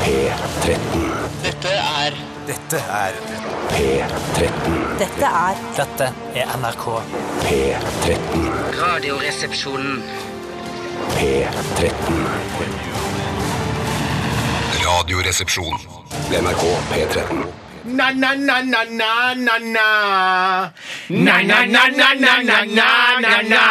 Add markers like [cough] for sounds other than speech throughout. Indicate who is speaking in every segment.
Speaker 1: P13.
Speaker 2: Dette er
Speaker 3: Dette er
Speaker 1: P13.
Speaker 4: Dette er
Speaker 5: Dette er NRK.
Speaker 1: P13.
Speaker 6: Radioresepsjonen.
Speaker 1: P13.
Speaker 7: Radioresepsjon.
Speaker 1: NRK P13.
Speaker 8: Na-na-na-na-na-na-na. Na-na-na-na-na-na-na-na.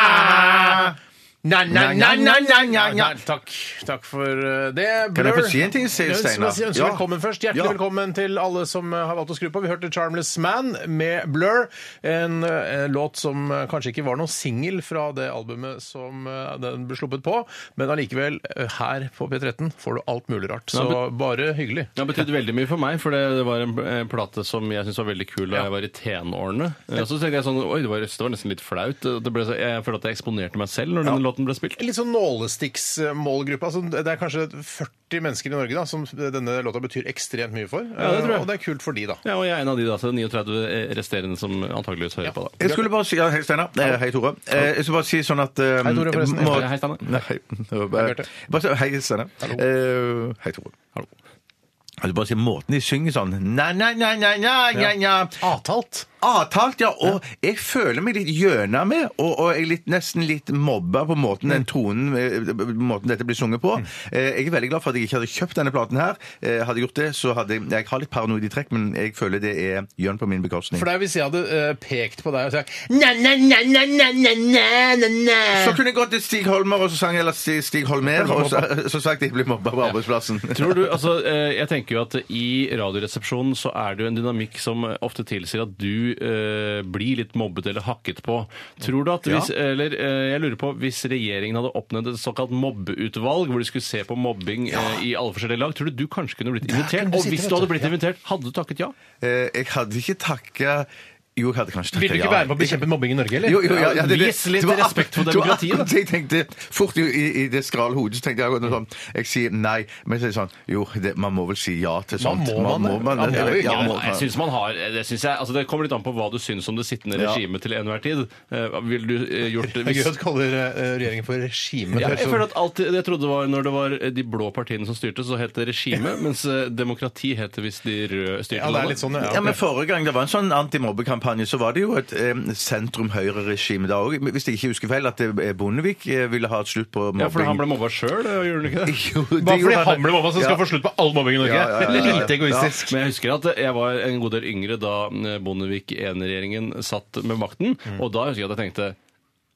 Speaker 8: Na-na-na-na-na-na. Takk Takk for eh, det.
Speaker 3: Kan jeg
Speaker 8: Blur.
Speaker 3: få si en ting, sier
Speaker 8: Ja,
Speaker 3: Steinar?
Speaker 8: jeg ønsker
Speaker 3: Ja.
Speaker 8: velkommen først. Hjertelig
Speaker 3: Ja.
Speaker 8: velkommen til alle som eh, har valgt å skru på. Vi hørte 'Charmless Man' med Blur. En, eh, låt som eh, kanskje ikke var noen singel fra det albumet som eh, den ble sluppet på, men allikevel, eh, her på P13 får du alt mulig rart. Så
Speaker 9: Ja,
Speaker 8: bare hyggelig.
Speaker 9: Det har betydd veldig mye for meg, for det, det var en eh, plate som jeg syntes var veldig kul da jeg var i tenårene. Eh, Og så tenkte jeg sånn Oi, det var, det var nesten litt flaut. Det ble, så, jeg føler at jeg eksponerte meg selv når denne låten ble spilt.
Speaker 8: litt sånn nålestikksmålgruppe. Altså, det er kanskje 40 mennesker i Norge da, som denne låta betyr ekstremt mye for. Eh,
Speaker 9: det tror jeg.
Speaker 8: Og det er kult for de, da.
Speaker 9: Ja, og jeg er en av de da, så det er 39 resterende som antakeligvis hører på, da.
Speaker 3: Jeg skulle bare si ja, Hei, Steinar. Eh, Hei, Tore. Eh, Jeg skulle bare si sånn at eh,
Speaker 8: Hei, Tore, forresten.
Speaker 3: må-
Speaker 9: Hei, Steinar.
Speaker 3: Nei, [laughs] Hei,
Speaker 8: Bjarte.
Speaker 3: Bare si- hei Steinar. Eh, Hei, Tore.
Speaker 9: Hallo.
Speaker 3: Jeg vil bare si Måten de synger sånn na-na-na-na-na-na
Speaker 8: Avtalt.
Speaker 3: Avtalt, ja. Og jeg føler meg litt gjøna med, og, og jeg er litt, nesten litt mobba på
Speaker 8: Mm.
Speaker 3: måten den tonen eh, måten dette blir sunget på. Eh, Jeg er veldig glad for at jeg ikke hadde kjøpt denne platen her. Eh, Hadde jeg gjort det, så hadde jeg Jeg har litt paranoid i trekk, men jeg føler det er gjøn på min bekostning.
Speaker 8: For det er hvis jeg hadde eh, pekt på deg og sagt Na-na-na-na-na-na-na-na
Speaker 3: Så kunne jeg gått til Stig Holmer og så sang jeg- eller Sti- Stig Holmer, og så, så sagt jeg blir mobba på arbeidsplassen.
Speaker 9: Tror du, altså, eh, jeg tenker jo at i Radioresepsjonen så er det jo en dynamikk som eh, ofte tilsier at du eh, blir litt mobbet eller hakket på. Tror du at hvis, eller eh, jeg lurer på, hvis regjeringen hadde oppnevnt et såkalt mobbeutvalg, hvor de skulle se på mobbing eh, i alle forskjellige lag, tror du du kanskje kunne blitt invitert?
Speaker 8: kunne du
Speaker 9: Og hvis
Speaker 8: sitte, vet
Speaker 9: du hadde
Speaker 8: du.
Speaker 9: blitt invitert, hadde du takket ja?
Speaker 3: Eh, Jeg hadde ikke takka Jo, jeg hadde kanskje takka
Speaker 8: Vil du ikke være med å bekjempe mobbing i Norge, eller?
Speaker 3: [laughs] Jo, jo, ja, ja,
Speaker 9: Vis litt
Speaker 3: var
Speaker 9: respekt for
Speaker 3: det var [laughs]
Speaker 9: demokratiet, da.
Speaker 3: akkurat det Jeg tenkte fort i, i, i det skrale hodet så tenkte jeg akkurat noe sånn Jeg sier nei, men så er det sånn Jo, det, man må vel si ja til sånt.
Speaker 8: må man det. Man må jo ikke.
Speaker 3: ja,
Speaker 9: Ja,
Speaker 3: må,
Speaker 9: jeg synes man har, det, synes jeg, altså det kommer litt an på hva du syns om det sittende
Speaker 3: Ja.
Speaker 9: regimet til enhver tid. Eh, vil du eh, gjort det
Speaker 8: Det er gøy at du kaller eh, regjeringen for regime.
Speaker 9: Ja,
Speaker 8: Det er sånn-
Speaker 9: jeg
Speaker 8: så-
Speaker 9: føler at alt jeg trodde det var når det var de blå partiene som styrte, så het det
Speaker 8: [laughs]
Speaker 9: regime, mens eh, demokrati het det hvis de røde styrte
Speaker 8: ja, det er litt
Speaker 9: landet.
Speaker 8: sånn,
Speaker 3: Ja, men Forrige gang det var en sånn antimobbekampanje, så var det jo et eh, sentrum-høyre-regime da òg. Hvis jeg ikke husker feil, at eh, Bondevik eh, ville ha et slutt på mobbing.
Speaker 9: Ja, for han ble mobba sjøl, gjorde han
Speaker 8: [laughs]
Speaker 9: ikke det?
Speaker 3: [laughs] Jo, det
Speaker 8: Bare fordi
Speaker 3: gjorde
Speaker 8: han ble mamma som skal få slutt på all mobbing i Norge.
Speaker 3: Ja, ja, ja, ja, ja.
Speaker 8: Lite egoistisk.
Speaker 9: Men jeg husker at jeg var en god del yngre da eh, Bondevik I-regjeringen satt med makten,
Speaker 8: Mm.
Speaker 9: og da husker jeg at jeg tenkte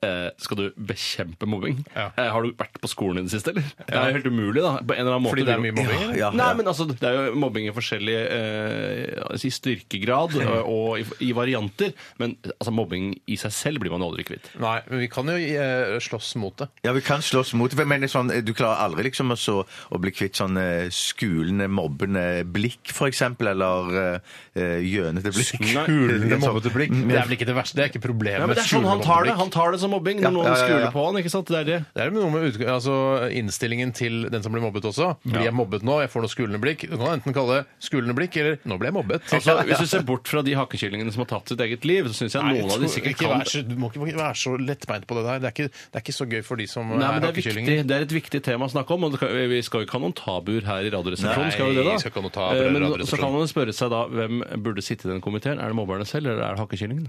Speaker 9: eh, skal du bekjempe mobbing?
Speaker 8: Ja.
Speaker 9: Eh, Har du vært på skolen i det siste, eller? Det er jo helt umulig, da. På en eller annen måte.
Speaker 8: Fordi det er mye mobbing? eller?
Speaker 3: Ja, ja.
Speaker 9: Nei, men altså, Det er jo mobbing i forskjellig eh, altså, i styrkegrad eh, og i, i varianter. Men altså, mobbing i seg selv blir man aldri kvitt.
Speaker 8: Nei, men vi kan jo eh, slåss mot det.
Speaker 3: Ja, vi kan slåss mot det, men det er sånn, du klarer aldri liksom å så, å bli kvitt sånn eh, skulende, mobbende blikk, for eksempel, eller eh, gjønete blikk.
Speaker 8: Kulende
Speaker 3: Sånn-
Speaker 8: mobbete blikk. Det er vel ikke det verste. Det er ikke problemet.
Speaker 9: Mm, Ja, men det er sånn Han tar det Han tar det som mobbing når
Speaker 3: Ja,
Speaker 9: noen
Speaker 3: ja, ja, ja.
Speaker 9: skuler på han. ikke sant? Det er det.
Speaker 8: Det er jo noe med utg- altså, innstillingen til den som blir mobbet også. Blir jeg mobbet nå? Jeg får noe skulende blikk. Du kan enten kalle det skulende blikk eller 'nå ble jeg mobbet'.
Speaker 9: [laughs] Altså,
Speaker 8: [laughs]
Speaker 9: Hvis du ser bort fra de hakkekyllingene som har tatt sitt eget liv, så syns jeg
Speaker 8: Nei, jeg
Speaker 9: noen av de
Speaker 8: tror
Speaker 9: sikkert
Speaker 8: ikke
Speaker 9: kan
Speaker 8: være så, Du må ikke må ikke være så lettbeint på det der. Det er ikke, det er ikke så gøy for de som
Speaker 9: Nei, men det er, viktig,
Speaker 8: hakkekyllinger.
Speaker 9: det er et viktig tema å snakke om. og det kan- Vi skal jo ikke ha noen tabuer her i Radioresepsjonen.
Speaker 8: Nei,
Speaker 9: skal vi det da?
Speaker 8: vi skal ikke ha noen tabuer her i
Speaker 9: Eh, Men
Speaker 8: Radioresepsjonen.
Speaker 9: så kan man jo spørre seg da, hvem burde sitte i den komiteen? Er det mobberne selv, eller er det hakkekyllingen?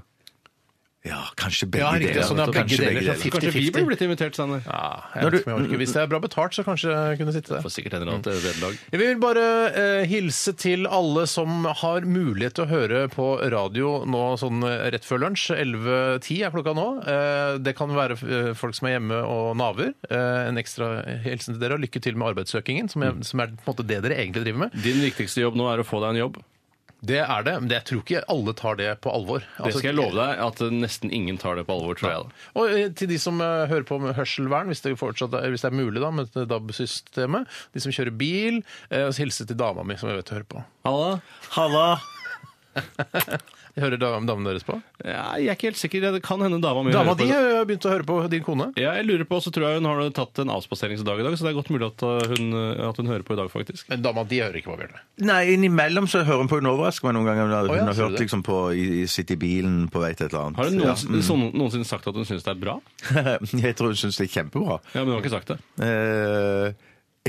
Speaker 3: Ja, kanskje begge
Speaker 8: Ja, riktig.
Speaker 3: deler.
Speaker 8: Sånn, ja,
Speaker 3: vet du,
Speaker 8: begge
Speaker 3: kanskje
Speaker 8: deler.
Speaker 3: begge
Speaker 8: Så
Speaker 3: deler.
Speaker 8: fint.
Speaker 9: Kanskje vi
Speaker 8: 50-50.
Speaker 9: burde blitt invitert, Steinar?
Speaker 8: Ja, Ah, jeg vet ikke om jeg orker. Hvis det er bra betalt, så kanskje jeg kunne sitte
Speaker 9: Får
Speaker 8: der.
Speaker 9: sikkert en eller
Speaker 8: Mm.
Speaker 9: annen vederlag.
Speaker 8: Jeg vil bare eh, hilse til alle som har mulighet til å høre på radio nå sånn eh, rett før lunsj. 11.10 er klokka nå. Eh, det kan være eh, folk som er hjemme og naver. Eh, en ekstra hilsen til dere, og lykke til med arbeidssøkingen, som,
Speaker 9: Mm.
Speaker 8: jeg, som er på en måte det dere egentlig driver med.
Speaker 9: Din viktigste jobb nå er å få deg en jobb.
Speaker 8: Det er det, men jeg tror ikke alle tar det på alvor.
Speaker 9: Det skal jeg love deg at eh, nesten ingen tar det på alvor, tror jeg. da.
Speaker 8: Og eh, til de som eh, hører på med hørselvern, hvis det, fortsatt er, hvis det er mulig da, med DAB-systemet, de som kjører bil, eh, så hilse til dama mi, som jeg vet hører på.
Speaker 9: Halla?
Speaker 3: Halla!
Speaker 8: Jeg hører da- damene deres på.
Speaker 9: Ja, jeg er ikke helt sikker. Det kan hende dama mi
Speaker 8: Dama
Speaker 9: hører på
Speaker 8: di
Speaker 9: det.
Speaker 8: har jo begynt å høre på din kone.
Speaker 9: Ja, jeg lurer på, så tror jeg hun har tatt en avspaseringsdag i dag, så det er godt mulig at eh, hun, eh, at hun hører på i dag, faktisk.
Speaker 8: Men dama di hører ikke på, Bjørne.
Speaker 3: Nei, innimellom så hører hun på Hun overrasker meg noen ganger. Hun har,
Speaker 8: Å, ja,
Speaker 3: hun har
Speaker 8: ser du
Speaker 3: hørt
Speaker 8: det?
Speaker 3: liksom på i, i sitt i bilen på vei til et eller annet.
Speaker 9: Har hun
Speaker 8: Mm.
Speaker 9: noensinne, sånn- noensinne sagt at hun syns det er bra?
Speaker 3: [laughs] Ja. Jeg tror hun syns det er kjempebra.
Speaker 9: Ja, men hun har ikke sagt det.
Speaker 3: Eh,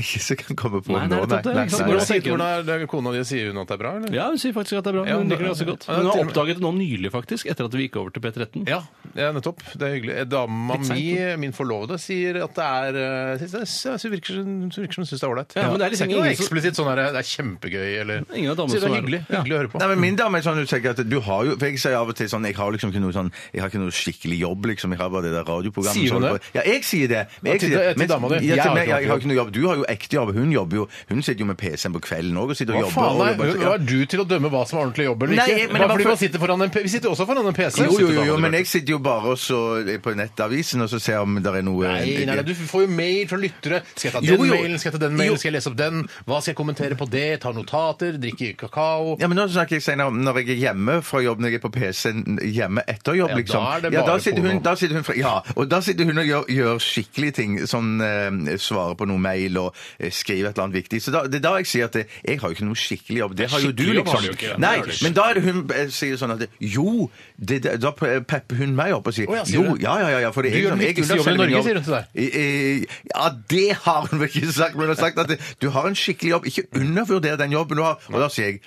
Speaker 3: [laughs] ikke som jeg kan komme på
Speaker 9: Nei, det
Speaker 3: nå,
Speaker 9: er nettopp det, ikke sant?
Speaker 8: Hvordan
Speaker 9: Nei, jeg
Speaker 8: tenker hvordan er det kona di sier hun at det er bra, eller?
Speaker 9: Ja, hun sier faktisk at det er bra.
Speaker 8: Ja,
Speaker 9: hun
Speaker 8: men-
Speaker 9: liker det ganske godt.
Speaker 8: Ja,
Speaker 9: Hun har
Speaker 8: til og med-
Speaker 9: oppdaget det nå nylig, faktisk, etter at vi gikk over til P13.
Speaker 8: Ja, ja, nettopp. Det er hyggelig. Dama
Speaker 9: Litt
Speaker 8: mi,
Speaker 9: seint,
Speaker 8: min forlovede, sier at det er eh, synes det- synes det virker, som- det virker som hun syns det er ålreit.
Speaker 9: Ja, men det er liksom
Speaker 8: ikke noe
Speaker 9: ingen som-
Speaker 8: eksplisitt sånn her, det er kjempegøy, eller
Speaker 9: Ingen av damene
Speaker 8: Sier det
Speaker 9: som
Speaker 8: er
Speaker 9: er-
Speaker 8: hyggelig,
Speaker 9: Ja.
Speaker 8: hyggelig å høre på.
Speaker 3: Nei, men Min dame er sånn, hun tenker at du har jo For jeg sier av og til sånn Jeg har liksom ikke noe sånn Jeg har ikke noe skikkelig jobb, liksom. Jeg har bare det der radioprogrammet.
Speaker 8: Sier hun det?
Speaker 3: som- Ja, jeg sier det.
Speaker 8: Ja,
Speaker 3: Men jeg
Speaker 8: til-
Speaker 3: sier det.
Speaker 8: til dama di.
Speaker 3: Ja, til
Speaker 8: Jeg har
Speaker 3: meg,
Speaker 8: ikke
Speaker 3: jeg har ikke noe jobb. Du har jo ekte jobb. Hun jobber jo Hun sitter jo med PC-en på kvelden òg og sitter og
Speaker 8: Hva
Speaker 3: jobber.
Speaker 8: faen
Speaker 3: og
Speaker 8: er,
Speaker 3: jobber-
Speaker 8: hva er du til å dømme hva som er ordentlig jobb eller ikke?
Speaker 3: Nei, men det
Speaker 8: Bare
Speaker 3: var
Speaker 8: fordi
Speaker 3: for-
Speaker 8: man sitter foran en, P- vi sitter jo også foran en PC.
Speaker 3: Jo, jo,
Speaker 8: sitter
Speaker 3: jo, jo,
Speaker 8: dama di,
Speaker 3: men
Speaker 8: Bjarte.
Speaker 3: jeg sitter jo bare også på Nettavisen og så ser om det er noe
Speaker 8: Nei, nei, nei, du får jo mail fra lyttere. Skal jeg ta den
Speaker 3: Jo, jo.
Speaker 8: mailen, skal jeg ta den
Speaker 3: Jo.
Speaker 8: mailen, skal jeg lese opp den? Hva skal jeg kommentere på det? Ta notater, drikke kakao?
Speaker 3: Ja, men nå snakker jeg senere om når jeg er hjemme fra jobb, når jeg er på PC-en hjemme etter jobb,
Speaker 8: Ja, da
Speaker 3: liksom.
Speaker 8: er det
Speaker 3: ja, da
Speaker 8: bare
Speaker 3: sitter hun,
Speaker 8: porno.
Speaker 3: da sitter hun fra, ja, og da sitter hun og gjør, gjør skikkelige ting, sånn eh, svarer på noe mail og eh, skriver et eller annet viktig. Så da, det er da jeg sier at eh, jeg har jo ikke noe skikkelig jobb. Det har jo du,
Speaker 9: Skikkelig jobb har
Speaker 3: liksom.
Speaker 9: du jo ikke.
Speaker 3: Nei,
Speaker 9: Det har du ikke.
Speaker 3: men da er det hun eh, sier sånn at jo, det, det, da pepper hun meg opp og sier
Speaker 8: Å, ja, sier
Speaker 3: jo,
Speaker 8: du?
Speaker 3: ja, ja, ja, ja, for det
Speaker 8: Du
Speaker 3: er liksom,
Speaker 8: gjør den viktigste jobben i
Speaker 3: underselger min
Speaker 8: Norge,
Speaker 3: jobb.
Speaker 8: sier hun til deg.
Speaker 3: I- i- Ja, det har hun vel ikke sagt, men hun har sagt at det- du har en skikkelig jobb. Ikke undervurder den jobben du har. Og da sier jeg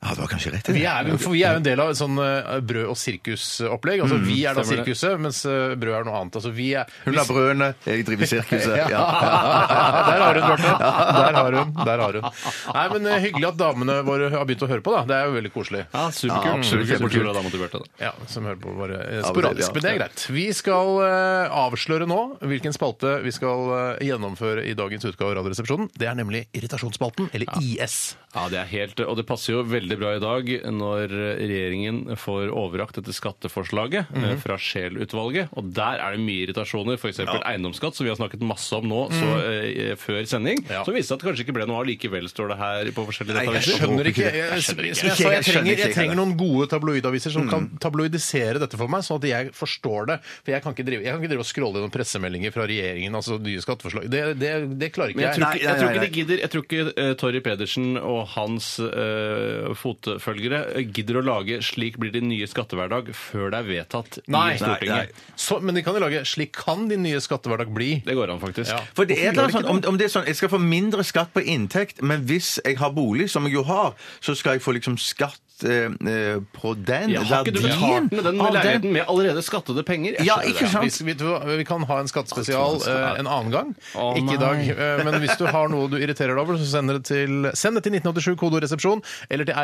Speaker 3: ja, du har kanskje rett i det.
Speaker 8: Vi er, jo- for vi er jo en del av et sånn eh, brød- og sirkusopplegg. Altså, vi er da
Speaker 9: stemmer det.
Speaker 8: sirkuset, mens eh, brød er noe annet. Altså, vi er,
Speaker 3: Mm, Hun har brødene, jeg driver sirkuset.
Speaker 8: eh, Ja.
Speaker 3: [laughs] Ja.
Speaker 8: [laughs] Der har hun, Bjarte. Der har hun. Der har hun. Nei, men eh, Hyggelig at damene våre har begynt å høre på. da. Det er jo veldig koselig.
Speaker 9: Ja, superkult.
Speaker 3: Ja, absolutt.
Speaker 9: Superkult å være motivert av det.
Speaker 8: Ja, som hører på bare eh,
Speaker 3: men det-
Speaker 8: sporadisk.
Speaker 3: ja.
Speaker 8: Men det er greit. Vi skal eh, avsløre nå hvilken spalte vi skal eh, gjennomføre i dagens utgave av Radioresepsjonen. Det er nemlig Irritasjonsspalten, eller IS.
Speaker 9: Ja, det er helt, og det passer jo veldig bra i dag når regjeringen får overrakt dette skatteforslaget eh,
Speaker 3: Mhm.
Speaker 9: fra Scheel-utvalget. Og der er det mye irritasjoner, f.eks. eiendomsskatt, som vi har snakket masse om nå så,
Speaker 3: Mhm.
Speaker 9: eh, før sending.
Speaker 8: Ja.
Speaker 9: Som viste at det kanskje ikke ble noe av likevel, står det her på forskjellige
Speaker 3: Nei, jeg
Speaker 9: nettaviser.
Speaker 3: skjønner
Speaker 8: skjønner ikke. Jeg,
Speaker 3: Jeg
Speaker 8: som
Speaker 3: skjønner
Speaker 8: jeg,
Speaker 3: ikke.
Speaker 8: sa,
Speaker 3: Jeg
Speaker 8: jeg,
Speaker 3: skjønner
Speaker 8: trenger,
Speaker 3: ikke
Speaker 8: jeg trenger
Speaker 3: det. Mm.
Speaker 8: noen gode tabloidaviser som kan tabloidisere dette for meg, sånn at jeg forstår det. For jeg kan ikke drive, jeg kan ikke drive og scrolle gjennom pressemeldinger fra regjeringen, altså nye skatteforslag. Det, det, det klarer ikke
Speaker 9: Men jeg
Speaker 8: jeg.
Speaker 9: tror
Speaker 3: Nei,
Speaker 9: ikke,
Speaker 3: nei,
Speaker 9: jeg tror
Speaker 3: nei,
Speaker 9: ikke de gidder Jeg tror ikke eh, Torry Pedersen og hans eh, fotfølgere eh, gidder å lage 'Slik blir din nye skattehverdag' før det er vedtatt
Speaker 8: Nei,
Speaker 9: i Stortinget.
Speaker 8: Så, men de kan jo lage 'Slik kan din nye skattehverdag bli'.
Speaker 9: Det går an, faktisk.
Speaker 8: Ja.
Speaker 3: For det er et eller annet
Speaker 8: Hvorfor gjør
Speaker 3: sånn,
Speaker 8: det
Speaker 3: om, om det er sånn, Jeg skal få mindre skatt på inntekt, men hvis jeg har bolig, som jeg jo har, så skal jeg få liksom skatt eh, eh, på den.
Speaker 9: Ja, har ikke du betalt med den
Speaker 3: verdien av den.
Speaker 9: leiligheten med allerede skattede penger? Jeg
Speaker 3: Ja,
Speaker 9: skjønner
Speaker 3: ikke
Speaker 9: det.
Speaker 3: sant?
Speaker 8: Vi, vi, vi kan ha en skattespesial eh, en annen gang.
Speaker 9: Å,
Speaker 8: ikke i dag.
Speaker 9: nei.
Speaker 8: eh, men hvis du har noe du irriterer deg over, så send det til, send det til 1987 kodoresepsjon eller til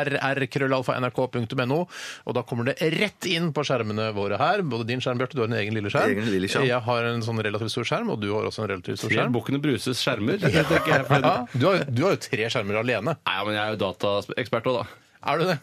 Speaker 8: rrkrøllalfa.nrk.no. Og da kommer det rett inn på skjermene våre her. Både din skjerm, Bjarte, du har en egen lille skjerm.
Speaker 3: Egen lille skjerm.
Speaker 8: Jeg har en sånn relativt stor skjerm, og du har også en relativt stor
Speaker 9: Tre
Speaker 8: skjerm.
Speaker 9: Bukkene Bruses skjermer. tenker jeg. For-
Speaker 8: Ja, du, har, du har jo tre skjermer alene.
Speaker 9: Nei, men jeg er jo dataekspert òg, da.
Speaker 8: Er du det?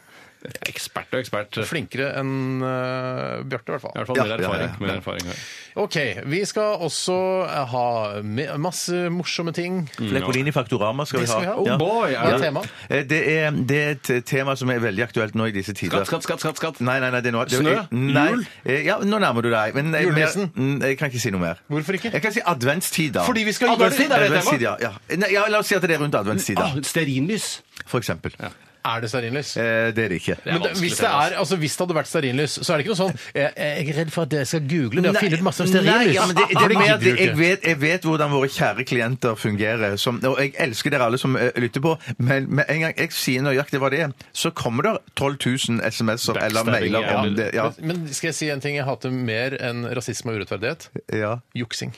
Speaker 9: Ekspert og ekspert. I
Speaker 8: Flinkere enn eh, Bjarte, i hvert fall.
Speaker 9: hvert fall mer
Speaker 3: Ja, ja, ja,
Speaker 9: erfaring.
Speaker 3: ja.
Speaker 9: Mer erfaring her.
Speaker 8: Ok, vi skal også eh, ha me- masse morsomme ting.
Speaker 3: Flekolini Faktorama skal vi
Speaker 8: Det
Speaker 3: ha.
Speaker 8: skal vi ha. Oh
Speaker 3: Ja.
Speaker 8: boy, er det
Speaker 3: Ja.
Speaker 8: tema?
Speaker 3: Eh, Det er, det er et tema som er veldig aktuelt nå i disse tider.
Speaker 9: Skatt, skatt, skatt, skatt, skatt.
Speaker 3: Nei, nei, nei, det er noe, det,
Speaker 9: Snø?
Speaker 3: Nei,
Speaker 9: Jul?
Speaker 3: Eh, Ja, nå nærmer du deg. Men jeg,
Speaker 8: Julenissen?
Speaker 3: Mm, jeg kan ikke si noe mer.
Speaker 8: Hvorfor ikke?
Speaker 3: Jeg kan si adventstid, da.
Speaker 8: Fordi vi skal
Speaker 9: Adventstid, er det et
Speaker 3: Adventstid, ja, ja. Nei, ja, La oss si at det er rundt adventstid, da.
Speaker 9: Ah, stearinlys!
Speaker 3: For eksempel.
Speaker 8: Er det stearinlys?
Speaker 3: Eh, det er det ikke.
Speaker 9: er
Speaker 8: Men det,
Speaker 9: vanskelig
Speaker 8: hvis, det
Speaker 9: tema,
Speaker 8: er, altså, hvis det hadde vært stearinlys, så er det ikke noe sånn Jeg, jeg er redd for at jeg skal google det og
Speaker 3: Nei,
Speaker 8: finne ut masse om stearinlys.
Speaker 3: Nei, ja, men det, det, er
Speaker 8: gidder
Speaker 3: mer at
Speaker 8: du ikke.
Speaker 3: jeg, vet, jeg vet hvordan våre kjære klienter fungerer. Som, og jeg elsker dere alle som eh, lytter på, men med en gang jeg sier nøyaktig hva det er, så kommer det 12 000 SMS-er eller
Speaker 9: Backstabbing,
Speaker 3: mailer
Speaker 9: ja.
Speaker 3: om det. Ja.
Speaker 8: Men skal jeg si en ting jeg hater mer enn rasisme og urettferdighet?
Speaker 3: Ja.
Speaker 8: Juksing.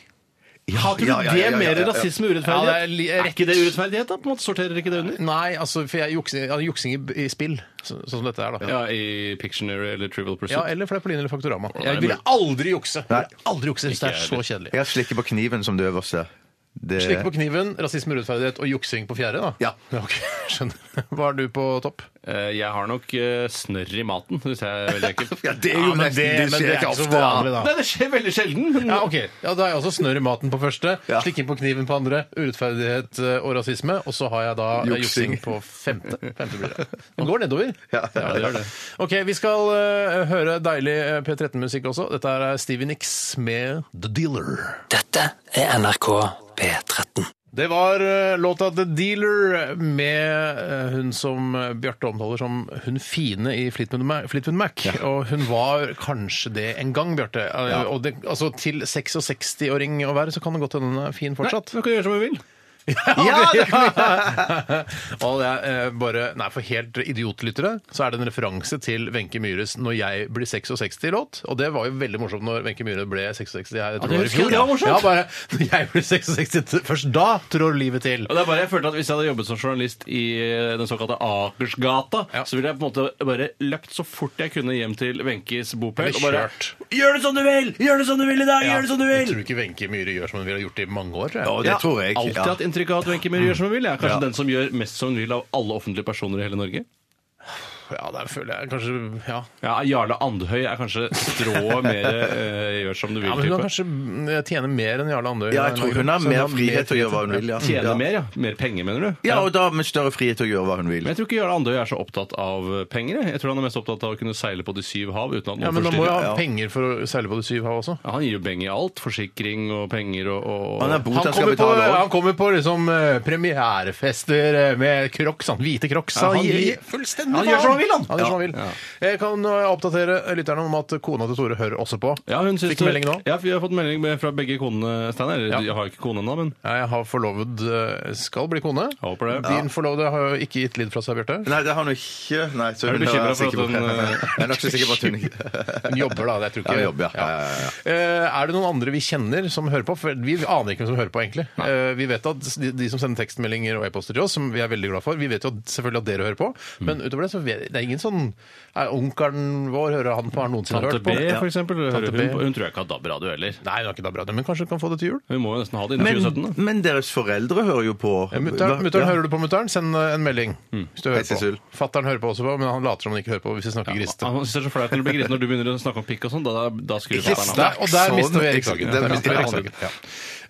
Speaker 9: Har ikke du
Speaker 3: Ja, ja, ja, ja,
Speaker 9: det
Speaker 3: ja,
Speaker 9: mer
Speaker 3: ja.
Speaker 9: rasisme og
Speaker 8: Ja, det er
Speaker 9: urettferdighet?
Speaker 8: li-
Speaker 9: er ikke det urettferdighet, da? på en måte? Sorterer ikke det under?
Speaker 8: Nei, altså, for jeg juksing, ja, juksing i, i spill, så, sånn som dette er, da. Ja.
Speaker 9: Ja, i Pictionary eller Trivial Pursuit.
Speaker 8: eller Fleipolini eller Faktorama.
Speaker 9: det er
Speaker 8: Jeg ville
Speaker 9: mulig.
Speaker 8: aldri jukse! Jeg
Speaker 3: Nei.
Speaker 8: ville aldri jukse, hvis det er
Speaker 9: Ikke
Speaker 8: så
Speaker 9: jeg
Speaker 8: kjedelig.
Speaker 3: Jeg har slikket på kniven som det øverste. Det-
Speaker 8: Slikke på kniven, rasisme og urettferdighet og juksing på fjerde, da?
Speaker 3: Ja.
Speaker 8: Ok, [laughs] skjønner. Hva er du på topp?
Speaker 9: Eh, Jeg har nok eh, snørr i maten. Det synes jeg er veldig ekkelt. [laughs]
Speaker 3: Ja, det er jo
Speaker 8: Ja, men
Speaker 3: nesten
Speaker 8: det- men det
Speaker 3: Det
Speaker 8: er
Speaker 3: skjer ikke
Speaker 8: ikke så
Speaker 3: ofte. ja.
Speaker 8: vanlig, da.
Speaker 9: Nei, det skjer veldig sjelden.
Speaker 8: [laughs] Ja, ok. Ja, Da har jeg også snørr i maten på første,
Speaker 3: Ja.
Speaker 8: slikking på kniven på andre, urettferdighet eh, og rasisme, og så har jeg da eh,
Speaker 3: Juksing.
Speaker 8: juksing på femte. Femte blir [laughs] det. Det går nedover.
Speaker 3: Ja, det
Speaker 9: gjør det.
Speaker 8: Ok, vi skal eh, høre deilig eh, P13-musikk også. Dette er Stevie Nicks med The Dealer.
Speaker 2: Dette er NRK P13.
Speaker 8: Det var eh, låta The Dealer med eh, hun som eh, Bjarte omtaler som hun fine i Fleetwood Mac. Fleetwood Mac. Og hun var kanskje det en gang, Bjarte. Eh, Og det, altså, til 66-åring å være, så kan det godt hende hun er fin
Speaker 9: Nei,
Speaker 8: fortsatt.
Speaker 9: du kan gjøre som du vil.
Speaker 3: Ja, det
Speaker 9: [laughs]
Speaker 3: kan
Speaker 8: Og det er eh, bare, nei, For helt idiotlyttere så er det en referanse til Wenche Myhres 'Når jeg blir 66'-låt. Og det var jo veldig morsomt når Wenche Myhre ble 66 her.
Speaker 9: det husker jeg, det var morsomt.
Speaker 8: Ja, bare, når jeg blir 66, først da trår livet til.
Speaker 9: Og det er bare jeg følte at Hvis jeg hadde jobbet som journalist i eh, den såkalte Akersgata,
Speaker 8: Ja.
Speaker 9: så ville jeg på en måte bare løpt så fort jeg kunne hjem til Wenches bopel.
Speaker 8: Eller
Speaker 9: og bare,
Speaker 8: kjørt.
Speaker 9: Gjør det som du vil! Gjør det som du vil i dag! Gjør det som du
Speaker 8: Jeg
Speaker 9: vil!
Speaker 8: tror ikke Wenche Myhre gjør som hun ville gjort i mange år. tror jeg.
Speaker 3: Ja, det tror jeg.
Speaker 9: alltid
Speaker 3: Ja.
Speaker 9: hatt inntrykk av at Wenche Myhre gjør som hun vil. Jeg er kanskje den som gjør mest som hun vil av alle offentlige personer i hele Norge.
Speaker 8: Ja, der føler jeg kanskje Ja.
Speaker 9: Ja, Jarle Andhøy er kanskje
Speaker 8: [laughs]
Speaker 9: strået mer eh, gjør som du vil.
Speaker 8: Ja, men Hun kan
Speaker 9: type.
Speaker 8: kanskje mm, tjene mer enn Jarle Andøy.
Speaker 3: Ja, jeg tror hun har
Speaker 8: Så
Speaker 3: mer frihet til å gjøre hva hun vil. ja.
Speaker 9: Tjene
Speaker 3: Ja.
Speaker 9: mer, ja. Mer penger, mener du?
Speaker 3: Ja, og da med større frihet til å gjøre hva hun vil.
Speaker 9: Men jeg tror ikke Jarle Andøy er så opptatt av penger. jeg. Jeg tror han er mest opptatt av å kunne seile på de syv hav uten at noen
Speaker 8: Ja, men da må
Speaker 9: forstyrrer.
Speaker 8: jeg
Speaker 3: Ja.
Speaker 8: ha penger for å seile på de syv hav også.
Speaker 9: Ja, han gir jo beng i alt. Forsikring og penger og, og
Speaker 3: Han er bot
Speaker 8: Han
Speaker 3: han skal
Speaker 8: kommer, på,
Speaker 3: betale òg.
Speaker 8: han kommer på liksom eh, premierefester eh, med crocs, han, hvite crocs.
Speaker 9: Ja, han
Speaker 8: gir-
Speaker 9: gir-
Speaker 8: gir fullstendig
Speaker 9: han gjør som han vil, han.
Speaker 8: gjør som han vil. Jeg kan eh, oppdatere lytterne om at kona til Tore hører også på.
Speaker 9: Ja, hun syns
Speaker 8: Fikk
Speaker 9: det-
Speaker 8: melding nå.
Speaker 9: Ja, vi har fått melding med- fra begge konene, Steinar. Eller,
Speaker 8: Ja.
Speaker 9: Jeg har ikke kone ennå, men
Speaker 8: Ja, Jeg har forloved eh, skal bli kone.
Speaker 9: Håper det.
Speaker 8: Din forlovede har jo ikke gitt lyd fra seg, Bjarte.
Speaker 3: Nei, det har hun ikke. Nei, så
Speaker 9: Er du
Speaker 3: hun
Speaker 9: bekymret for
Speaker 3: sikker
Speaker 9: at hun,
Speaker 3: på-
Speaker 9: eh,
Speaker 3: [laughs] Jeg er nok så sikker på at
Speaker 9: [laughs]
Speaker 3: hun ikke
Speaker 8: Hun jobber, da. Jeg tror ikke
Speaker 3: Ja, jobber, ja. Ja, ja,
Speaker 8: Eh, Er det noen andre vi kjenner som hører på? For vi aner ikke hvem som hører på, egentlig. Eh, Vi vet at de, de som sender tekstmeldinger og e-poster til oss, som vi er veldig glad for, vi vet jo at- selvfølgelig at dere hører på,
Speaker 3: Mm.
Speaker 8: men utover det så vet, det er ingen sånn er Onkelen vår, hører han på? Har han noensinne
Speaker 9: Tante
Speaker 8: hørt
Speaker 9: B,
Speaker 8: på?
Speaker 9: for eksempel. Hører
Speaker 8: Tante
Speaker 9: hun,
Speaker 8: B.
Speaker 9: på- hun tror jeg ikke har DAB-radio heller.
Speaker 8: Nei, hun har ikke DAB-radio, men kanskje hun kan få det til jul?
Speaker 9: Hun må jo nesten ha det innen
Speaker 3: men,
Speaker 9: 2017. da.
Speaker 3: men deres foreldre hører jo på.
Speaker 8: Ja, Mutter'n, mutter'n, hører du på mutter'n? Send eh, en melding hvis du hører
Speaker 3: Mm. Hei, Cecil.
Speaker 8: på. Fatter'n hører på også, på, men han later som han ikke hører på hvis vi snakker griste.
Speaker 9: Han synes det er så flaut når du blir grisen når du begynner å snakke om pikk og sånn. Da, da skrur
Speaker 8: Ikke
Speaker 9: fatteren av.
Speaker 8: sterk, og der
Speaker 3: Sånn,
Speaker 8: mister vi
Speaker 3: ikke-
Speaker 8: Erikshagen.
Speaker 3: der
Speaker 8: Der
Speaker 3: mister
Speaker 8: mister vi
Speaker 3: vi
Speaker 8: Erikshagen. Ja.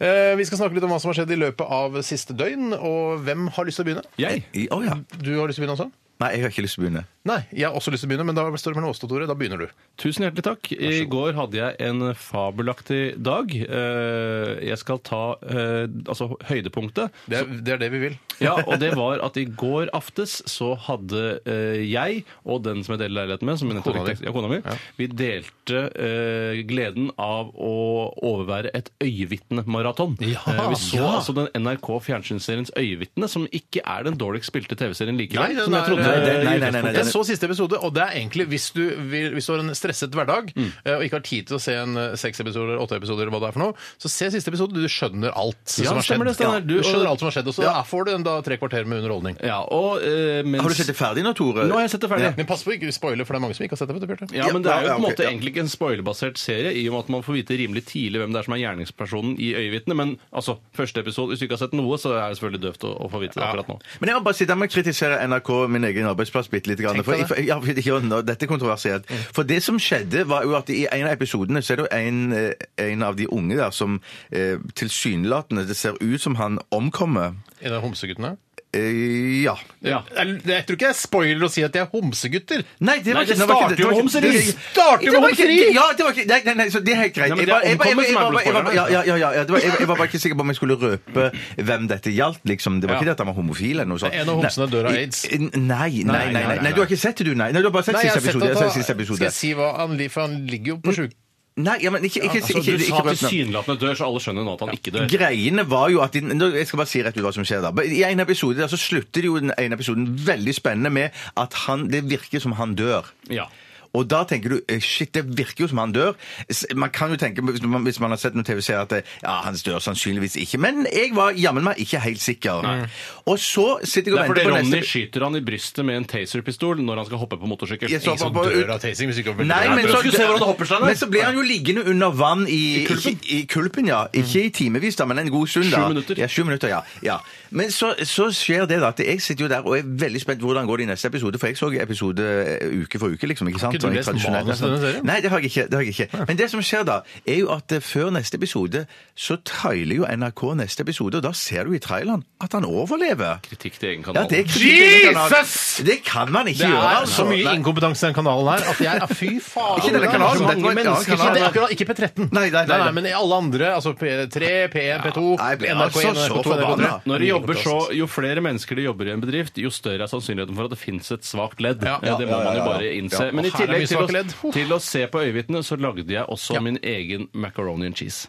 Speaker 8: Eh, Vi skal snakke litt om hva som har skjedd i løpet av siste døgn, og hvem har lyst til å begynne?
Speaker 9: Jeg?
Speaker 3: I- Å ja.
Speaker 8: Du har lyst til å begynne også?
Speaker 3: Nei, jeg har ikke lyst til å begynne.
Speaker 8: Nei, jeg har også lyst til å begynne, men da står det mellom oss to, Tore. Da begynner du.
Speaker 9: Tusen hjertelig takk. I går hadde jeg en fabelaktig dag. Eh, Jeg skal ta eh, altså høydepunktet.
Speaker 8: Det er det, er det vi vil.
Speaker 9: Ja, og det var at i går aftes så hadde eh, jeg og den som jeg deler leiligheten med, som jeg nettopp
Speaker 8: Kona di.
Speaker 9: fikk- ja, kona mi, vi delte eh, gleden av å overvære et øyevitne-maraton.
Speaker 8: Ja,
Speaker 9: Eh, vi så
Speaker 8: ja.
Speaker 9: altså den NRK fjernsynsseriens Øyevitne, som ikke er den dårligst spilte TV-serien likevel.
Speaker 8: Nei, den
Speaker 9: som jeg
Speaker 8: er-
Speaker 9: trodde
Speaker 8: Nei, den-
Speaker 3: nei, nei, nei, nei,
Speaker 8: Jeg så siste episode, og det er egentlig hvis du, vil, hvis du har en stresset hverdag
Speaker 9: Mm.
Speaker 8: eh, og ikke har tid til å se en eh, seks episoder, åtte episoder, eller hva det er for noe, så se siste episode. Du skjønner alt
Speaker 9: Ja,
Speaker 8: som har
Speaker 9: stemmer
Speaker 8: skjedd.
Speaker 9: det, Steinar.
Speaker 8: Ja,
Speaker 9: Du-
Speaker 8: du skjønner alt som har skjedd, og så ja, får du en da tre kvarter med underholdning.
Speaker 9: Ja, og, eh, mens...
Speaker 3: Har du sett det ferdig nå, Tore?
Speaker 9: Nå har jeg sett det ferdig.
Speaker 8: Men pass på ikke spoiler, for det er mange som ikke har sett det. vet du, Bjarte.
Speaker 9: Ja, men det er jo
Speaker 3: Ja,
Speaker 9: på en
Speaker 3: ok,
Speaker 9: måte
Speaker 3: ja.
Speaker 9: egentlig ikke en spoilerbasert serie, i og med at man får vite rimelig tidlig hvem det er som er gjerningspersonen i Øyevitnet. Men altså, første episode, hvis du ikke har sett noe, så er det selvfølgelig døvt å, å få vite det akkurat nå.
Speaker 3: Men jeg må bare si, da må jeg kritisere NRK, min egen arbeidsplass, bitte litt. Grann,
Speaker 8: Tenk
Speaker 3: for,
Speaker 8: på det.
Speaker 3: for, ja, for, ja, nå, dette er kontroversielt. For det som skjedde, var jo at i en av episodene så er det jo en, eh, en av de unge der som eh, tilsynelatende Det ser ut som han omkommer.
Speaker 8: En av homseguttene?
Speaker 3: Eh, ja.
Speaker 9: Ja.
Speaker 8: Jeg, jeg tror ikke jeg spoiler å si at de er homsegutter.
Speaker 3: Nei, det var
Speaker 9: Nei,
Speaker 3: ikke
Speaker 9: det
Speaker 3: var
Speaker 9: starter
Speaker 3: ikke-
Speaker 9: jo
Speaker 3: var
Speaker 9: med
Speaker 3: ikke-
Speaker 9: homseri.
Speaker 3: det-
Speaker 9: Det starter jo
Speaker 3: det var
Speaker 9: med
Speaker 3: ikke-
Speaker 9: homseri.
Speaker 3: Ja, det var ikke Nei, nei, nei så det er helt greit.
Speaker 9: Nei, men
Speaker 3: Jeg
Speaker 9: det er
Speaker 3: bare- jeg bare- jeg
Speaker 9: omkommet som er
Speaker 3: bare- jeg bare-
Speaker 9: blodspåreren.
Speaker 3: ja, ja, ja, ja, ja, det var- Jeg jeg var bare ikke sikker på om jeg skulle røpe hvem dette gjaldt, liksom. Det var ikke det at han var homofil eller noe sånt.
Speaker 8: En av homsene dør av aids.
Speaker 3: Nei, nei, nei. nei, nei, nei Du har ikke sett det, du, nei? nei du har bare sett
Speaker 8: Nei, jeg har
Speaker 3: siste
Speaker 8: sett
Speaker 3: episode. Jeg
Speaker 8: at
Speaker 3: har
Speaker 8: han-
Speaker 3: sett siste episode. Mm.
Speaker 8: Skal jeg si hva han ligger For han ligger jo på sjuk...
Speaker 3: Nei, ja, men ikke, ikke, ikke,
Speaker 9: Altså,
Speaker 3: ikke,
Speaker 9: du
Speaker 3: ikke
Speaker 9: sa
Speaker 3: røp navn.
Speaker 9: tilsynelatende dør, så alle skjønner nå at han ikke dør.
Speaker 3: Greiene var jo at de, nå, Jeg skal bare si rett ut hva som skjer da. Men I en episode der så slutter jo den ene episoden veldig spennende med at han, det virker som han dør.
Speaker 9: Ja.
Speaker 3: Og da tenker du eh, shit, det virker jo som han dør. S- Man kan jo tenke, hvis man, hvis man har sett noen TV-serier, at eh, ja, han dør sannsynligvis ikke. Men jeg var jammen meg ikke helt sikker. Og så sitter
Speaker 9: Det er
Speaker 3: jeg og
Speaker 9: fordi
Speaker 3: venter på
Speaker 9: Ronny
Speaker 3: neste
Speaker 9: skyter han i brystet med en taserpistol når han skal hoppe på motorsykkel. sånn
Speaker 3: Jeg så
Speaker 9: Ikke sant?
Speaker 3: på-
Speaker 8: Dør av tasing hvis ikke han blir-
Speaker 3: Nei, men
Speaker 9: Skal
Speaker 3: så,
Speaker 9: du se hvordan det hopper, Steinar?
Speaker 3: men så blir han jo liggende under vann i, I,
Speaker 9: kulpen?
Speaker 3: kulpen? I, kulpen. ja. Ikke i timevis, da, men en god stund. da.
Speaker 9: Sju minutter.
Speaker 3: Ja, sju minutter, ja. ja. Men så, så skjer det da at jeg sitter jo der og er veldig spent hvordan går det i neste episode, for jeg så episode eh, uke for uke, liksom. ikke sant?
Speaker 8: ikke du
Speaker 3: Sånn
Speaker 8: lest
Speaker 3: tradisjonelt,
Speaker 8: manus til denne serien?
Speaker 3: Nei, det har, jeg ikke, det har jeg ikke. Men det som skjer da, er jo at eh, før neste episode så trailer jo NRK neste episode, og da ser du i traileren at han overlever.
Speaker 9: Kritikk til egen
Speaker 3: Ja,
Speaker 9: kanal.
Speaker 3: det er kritikk-
Speaker 8: Jesus!
Speaker 3: Det kan man ikke
Speaker 8: Det
Speaker 3: gjøre.
Speaker 8: er så
Speaker 3: altså.
Speaker 8: mye
Speaker 3: Nei.
Speaker 8: inkompetanse i den kanalen her at jeg er fy faen.
Speaker 3: Ikke denne
Speaker 8: det er
Speaker 3: kanalen,
Speaker 8: så
Speaker 3: men
Speaker 8: mange
Speaker 3: den-
Speaker 8: mennesker som-
Speaker 3: ja, kanalen.
Speaker 8: Ikke- akkurat Ikke P13.
Speaker 3: Nei, nei, nei, nei.
Speaker 8: Men i alle andre, altså P3, P1, P2,
Speaker 3: Nei, jeg ble
Speaker 8: NRK1,
Speaker 3: altså så
Speaker 8: NRK2, NRK3.
Speaker 3: forbanna.
Speaker 9: Når de jobber så, Jo flere mennesker det jobber i en bedrift, jo større er sannsynligheten for at det fins et svakt ledd.
Speaker 8: Ja.
Speaker 9: Eh, det må
Speaker 3: Ja, ja,
Speaker 9: man jo
Speaker 3: ja, ja.
Speaker 9: bare innse.
Speaker 8: Ja,
Speaker 9: Men i
Speaker 8: og her er
Speaker 9: tillegg
Speaker 8: mye
Speaker 9: til
Speaker 8: svake ledd.
Speaker 9: å, til å se på øyevitnet, så lagde jeg også min egen macaroni and cheese.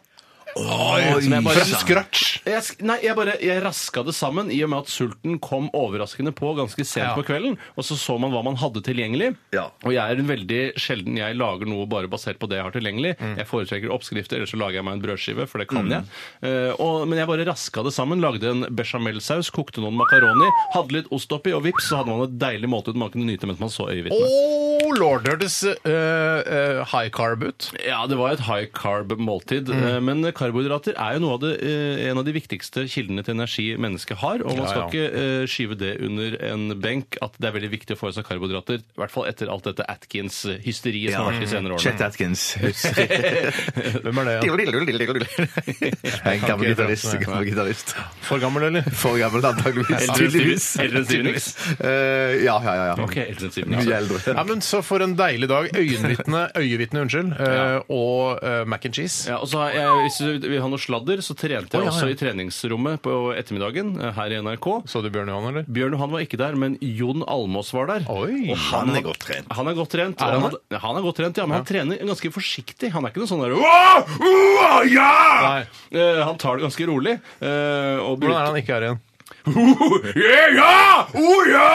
Speaker 9: som jeg bare
Speaker 8: Fra scratch.
Speaker 9: jeg, sk- nei, jeg bare jeg raska det sammen i og med at sulten kom overraskende på ganske sent
Speaker 8: Ja.
Speaker 9: på kvelden. Og så så man hva man hadde tilgjengelig.
Speaker 3: Ja.
Speaker 9: Og jeg er en veldig sjelden jeg lager noe bare basert på det jeg har tilgjengelig. Jeg foretrekker oppskrifter, eller så lager jeg meg en brødskive, for det kan jeg. Eh, og, men jeg bare raska det sammen. Lagde en bechamelsaus, kokte noen makaroni, hadde litt ost oppi, og vips, så hadde man et deilig måltid man kunne nyte mens man så øyevitnet.
Speaker 8: Oh, lord, hørtes eh, eh, high carb ut.
Speaker 9: Ja, det var et high carb-måltid.
Speaker 8: Mm.
Speaker 9: eh, Men karbohydrater er jo noe av det, eh, en av de viktigste kildene til energi mennesket har. Og
Speaker 8: Ja,
Speaker 9: man skal
Speaker 8: ja.
Speaker 9: ikke eh, skyve det under en benk at det er veldig viktig å få i seg karbohydrater. I hvert fall etter alt dette Atkins-hysteriet som har vært de senere
Speaker 3: Chet
Speaker 9: årene.
Speaker 3: Atkins. [laughs]
Speaker 8: Hvem er det? Ja?
Speaker 3: [laughs] En gammel gitarist. en Gammel gitarist.
Speaker 8: For gammel, eller?
Speaker 3: [laughs] For gammel, antakeligvis.
Speaker 9: Eldre enn
Speaker 3: Tydeligvis.
Speaker 9: Steven- eldre enn Steven Nicks.
Speaker 3: Eh, ja, ja, ja. ja.
Speaker 9: Ok, eldre enn Steven Nicks.
Speaker 3: Mye eldre.
Speaker 8: Ja, men Så for en deilig dag. Øyenvitne, øyevitne, unnskyld, eh, og eh, mac and cheese.
Speaker 9: Ja, og så har jeg, hvis du vil ha noe sladder, så trente jeg
Speaker 8: Å, ja,
Speaker 9: også
Speaker 8: ja.
Speaker 9: i treningsrommet på ettermiddagen eh, her i NRK.
Speaker 8: Så du Bjørn Johan, eller?
Speaker 9: Bjørn Johan var ikke der, men Jon Almås var der.
Speaker 8: Oi.
Speaker 9: Og han,
Speaker 3: Han er godt trent.
Speaker 9: Han er godt trent.
Speaker 8: Er
Speaker 9: og
Speaker 8: han
Speaker 9: han, han er godt trent, ja, men han trener ganske forsiktig. Han er ikke noe sånn der «Åh! Åh! ja! Eh, han tar det ganske rolig. eh, og Oh,
Speaker 8: Hvordan
Speaker 9: [laughs]
Speaker 8: er han ikke her igjen?
Speaker 9: Ja! ja! Oh, ja!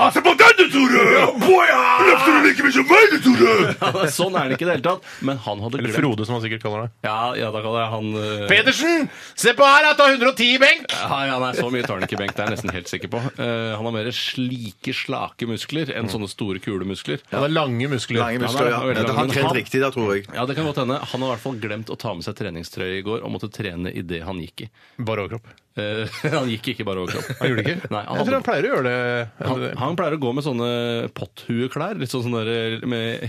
Speaker 9: Altså på denne, Tore! Løfter du like mye som meg, [laughs] Tore? sånn er han ikke i det hele tatt. Men han hadde
Speaker 8: Eller
Speaker 9: glemt
Speaker 8: Frode, som han sikkert kaller deg.
Speaker 9: Ja, ja da kaller jeg han eh,
Speaker 8: Pedersen! Se på her, jeg tar 110 i benk!
Speaker 9: Ja, ja, nei, så mye tar han ikke, Bengt. Det er jeg nesten helt sikker på. Eh, han har mer slike, slake muskler enn
Speaker 8: Mm.
Speaker 9: sånne store kulemuskler.
Speaker 8: Han har lange muskler.
Speaker 3: Lange muskler, ja.
Speaker 9: Han er-
Speaker 3: ja. Han trent riktig da, tror jeg.
Speaker 9: Ja, det kan godt hende. Han har i hvert fall glemt å ta med seg treningstrøye i går og måtte trene i det han gikk i.
Speaker 8: Bare overkropp.
Speaker 9: Eh, [laughs] han gikk ikke bare overkropp.
Speaker 8: Han gjorde det ikke?
Speaker 9: Nei, han,
Speaker 8: jeg tror han
Speaker 9: hadde,
Speaker 8: pleier å gjøre det.
Speaker 9: han, han pleier å gå med sånne potthueklær. Litt sånn sånne der, med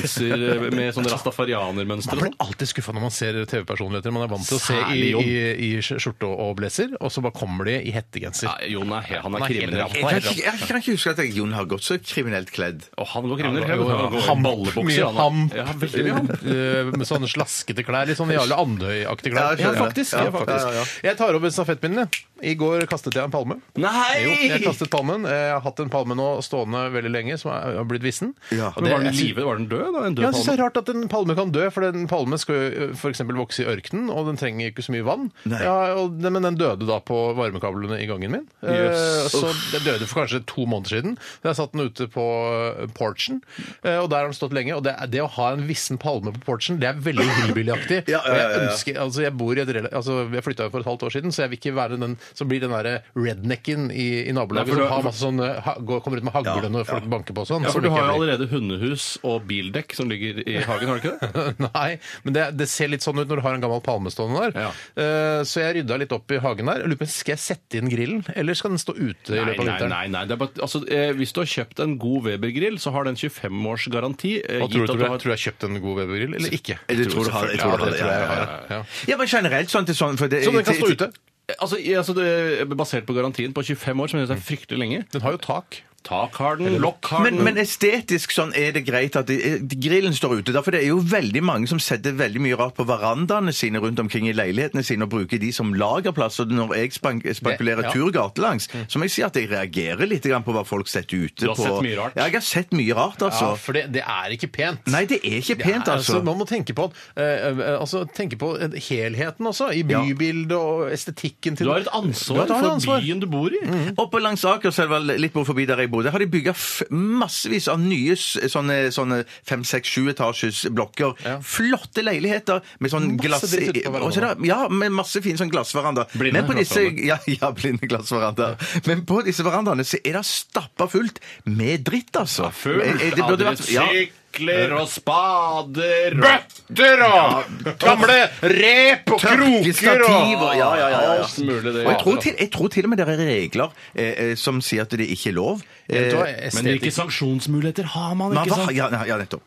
Speaker 9: hettegenser med sånn
Speaker 8: man
Speaker 9: rastafarianermønster og
Speaker 8: blir
Speaker 9: sånn.
Speaker 8: alltid skuffa når man ser TV-personligheter man er vant til å se i,
Speaker 9: Særlig Jon.
Speaker 8: i, i skjorte og blazer, og så bare kommer de i hettegenser.
Speaker 9: Ja, Jon er, he- han er
Speaker 8: Han er helt
Speaker 9: kriminell.
Speaker 8: ræva.
Speaker 3: Jeg kan, ikke- jeg kan ikke huske at jeg, Jon har gått så kriminelt kledd.
Speaker 9: Og han går kriminell.
Speaker 8: Jo,
Speaker 9: Han går i
Speaker 8: hamp,
Speaker 9: ballebukser,
Speaker 8: mye
Speaker 9: han er-
Speaker 8: hamp.
Speaker 9: Ja, veldig mye hamp.
Speaker 8: eh, Med sånne slaskete klær. Litt sånn Jarle Andøy-aktige klær.
Speaker 3: Ja, jeg skjønner. Ja,
Speaker 8: ja, faktisk.
Speaker 3: ja, ja, ja.
Speaker 8: Jeg tar over stafettpinnen. jeg. I går kastet jeg en palme.
Speaker 9: Nei!
Speaker 8: Jo, jeg kastet palmen. Jeg har hatt en palme nå stående veldig lenge, som er- har blitt vissen.
Speaker 3: Ja.
Speaker 8: Og
Speaker 9: Men
Speaker 8: det,
Speaker 9: var den i
Speaker 8: jeg
Speaker 9: live? Var den død? Da? En død
Speaker 8: Ja, jeg synes det
Speaker 9: palme?
Speaker 8: er rart at en palme kan dø, for en palme skal f.eks. vokse i ørkenen, og den trenger ikke så mye vann.
Speaker 3: Nei.
Speaker 8: Ja, og, den- men den døde da på varmekablene i gangen min. Eh,
Speaker 9: Jøss.
Speaker 8: så den døde for kanskje to måneder siden. Jeg satt den ute på eh, porchen, eh, og der har den stått lenge. Og det, det å ha en vissen palme på porchen, det er veldig hillbillyaktig.
Speaker 3: [laughs] Ja, ja, ja,
Speaker 8: Og
Speaker 3: ja.
Speaker 8: jeg ønsker, altså jeg bor i et rela- altså jeg flytta jo for et halvt år siden, så jeg vil ikke være den som blir den derre rednecken i, i nabolaget
Speaker 9: Nei, for du-
Speaker 8: som har masse sånn, eh, ha, går, kommer ut med hagle når folk banker på og sånn.
Speaker 9: Ja,
Speaker 8: Som
Speaker 9: for du
Speaker 8: ikke jeg
Speaker 9: har jo
Speaker 8: blir.
Speaker 9: allerede hundehus og bildekk som ligger i hagen, har du [laughs] ikke det?
Speaker 8: [laughs] Nei, men det, det ser litt sånn ut når du har en gammel palme stående der.
Speaker 9: Ja.
Speaker 8: Eh, så jeg rydda litt opp i hagen der. Jeg lurer på, Skal jeg sette inn grillen, eller skal den stå ute i løpet av
Speaker 9: nei,
Speaker 8: vinteren?
Speaker 9: nei. nei. Det er bare, altså, eh, hvis du har kjøpt en god Weber-grill, så har den 25 års garanti. Eh,
Speaker 8: Hva
Speaker 9: gitt
Speaker 8: tror,
Speaker 9: at
Speaker 8: du, tror,
Speaker 9: du
Speaker 8: jeg,
Speaker 9: har-
Speaker 8: tror du jeg har kjøpt en god Weber-grill, eller ikke?
Speaker 3: Jeg tror du har- jeg tror du har det, ja, ja, ja.
Speaker 8: Ja.
Speaker 3: Ja, men generelt sånn til sånn for det,
Speaker 8: Så den kan stå ute.
Speaker 9: Altså, i- altså det, Basert på garantien på 25 år, som jeg synes er
Speaker 8: Mm.
Speaker 9: fryktelig lenge.
Speaker 8: Den har jo tak.
Speaker 9: Tak har den, lokk har
Speaker 3: Men,
Speaker 9: den.
Speaker 3: men estetisk sånn er det greit at de- grillen står ute. da, For det er jo veldig mange som setter veldig mye rart på verandaene sine rundt omkring i leilighetene sine og bruker de som lagerplass. Og når jeg spank spankulerer
Speaker 8: Det- ja.
Speaker 3: tur gatelangs, så må jeg si at jeg reagerer litt grann på hva folk setter
Speaker 9: Mm.
Speaker 3: ute.
Speaker 9: Du har
Speaker 3: på.
Speaker 9: sett mye rart.
Speaker 3: Ja, jeg har sett mye rart,
Speaker 8: Ja,
Speaker 3: altså.
Speaker 8: for det, det er ikke pent.
Speaker 3: Nei, det er ikke pent,
Speaker 8: Nei,
Speaker 3: altså.
Speaker 8: Man må tenke på, eh, eh, altså, tenke på helheten også, i
Speaker 3: Ja.
Speaker 8: bybildet og estetikken til
Speaker 9: Du har et ansvar
Speaker 8: Du har et
Speaker 9: for
Speaker 8: ansvar. Mm.
Speaker 9: byen du bor i.
Speaker 3: Oppe langs Akerselva, litt bort forbi der jeg bodde, har de bygga massevis av nye s- sånne, sånne fem, seks, sju etasjes blokker.
Speaker 8: Ja.
Speaker 3: Flotte leiligheter med sånn
Speaker 8: Masse
Speaker 3: glass...
Speaker 8: dritt ute på verandaen.
Speaker 3: Og så er det- Ja, med masse fine sånn glassveranda.
Speaker 9: Blinde
Speaker 3: Men på disse,
Speaker 9: glassveranda.
Speaker 3: ja, ja, blinde glassverandaer. Men på disse verandaene så er det stappa fullt med dritt, altså. Eh, eh, det burde vært- ja.
Speaker 9: sykler og spader
Speaker 8: Bøtter og gamle rep og
Speaker 3: Tørkestativ og ja, ja, ja, ja, ja.
Speaker 9: Alt mulig det
Speaker 3: Og jeg
Speaker 9: gjør.
Speaker 3: tror, til, jeg tror til og med det er regler eh, eh, som sier at det ikke er lov. Eh,
Speaker 9: Men hvilke sanksjonsmuligheter har man?
Speaker 3: man,
Speaker 9: ikke sant?
Speaker 3: hva- ja, nei, ja, nettopp.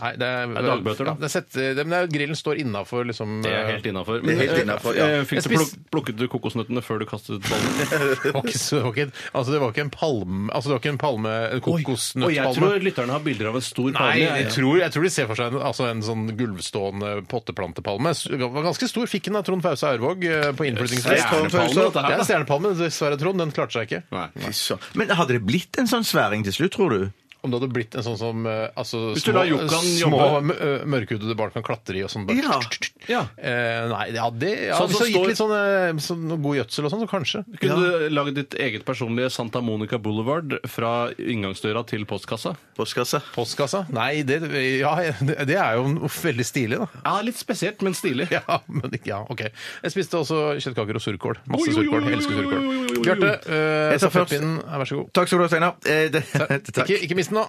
Speaker 8: Nei, det er,
Speaker 9: er dagbøter, da.
Speaker 8: Ja, det er sett, det, men det er, grillen står innafor, liksom.
Speaker 9: Det er helt innafor.
Speaker 3: Det er helt innenfor, ja.
Speaker 9: Eh, Fikk
Speaker 8: Jeg
Speaker 9: du
Speaker 8: spis-
Speaker 9: pluk plukket du kokosnøttene før du kastet ballen?
Speaker 8: Det var ikke, så- det var ikke, altså, det var ikke en palme Altså, det var ikke en palme En
Speaker 9: Og jeg
Speaker 8: kokosnøttpalme.
Speaker 9: tror lytterne har bilder av en stor palme.
Speaker 8: Nei, jeg
Speaker 9: jeg.
Speaker 8: tror, jeg tror de ser for seg en, altså en sånn gulvstående potteplantepalme. S- Den var ganske stor. Fikk den av Trond Fause Aurvåg eh, på innflyttingsfest.
Speaker 9: Stjernepalme,
Speaker 8: Det
Speaker 9: dette her,
Speaker 8: er en
Speaker 9: da.
Speaker 8: stjernepalme, dessverre, Trond. Den klarte seg ikke.
Speaker 9: Nei.
Speaker 3: Fy søren. Men hadde det blitt en sånn sværing til slutt, tror du?
Speaker 8: Om det hadde blitt en sånn som eh, altså,
Speaker 9: Hvis du
Speaker 8: små, eh,
Speaker 9: lar Jokan
Speaker 8: små mø- mørkhudede barn kan klatre i og sånn bare
Speaker 3: Ja.
Speaker 9: Ja.
Speaker 8: Eh, nei, ja, det ja,
Speaker 9: Sånn som
Speaker 8: Hvis du har
Speaker 9: står-
Speaker 8: gitt litt sånn, eh, sånn god gjødsel og sånn, så kanskje.
Speaker 9: Kunne du lagd ditt eget personlige Santa Monica Boulevard fra inngangsdøra til postkassa?
Speaker 3: Postkasse.
Speaker 8: Postkassa? Nei, det, ja, [laughs] det det er jo noe veldig stilig, da.
Speaker 9: Ja, litt spesielt, men stilig.
Speaker 8: [laughs] Ja, men ikke, ja, ok. Jeg spiste også kjøttkaker og surkål. Masse
Speaker 9: Oi, oi, oi,
Speaker 8: surkål.
Speaker 9: oi,
Speaker 8: Jeg elsker
Speaker 9: oi, oi, oi, oi, oi,
Speaker 8: surkål.
Speaker 9: oi.
Speaker 8: Bjarte, eh,
Speaker 3: Jeg tar først.
Speaker 8: stafettpinnen, eh, vær så god.
Speaker 3: Takk skal du ha, Steinar. Eh, [laughs] det- Takk.
Speaker 8: Ikke, ikke mist den nå.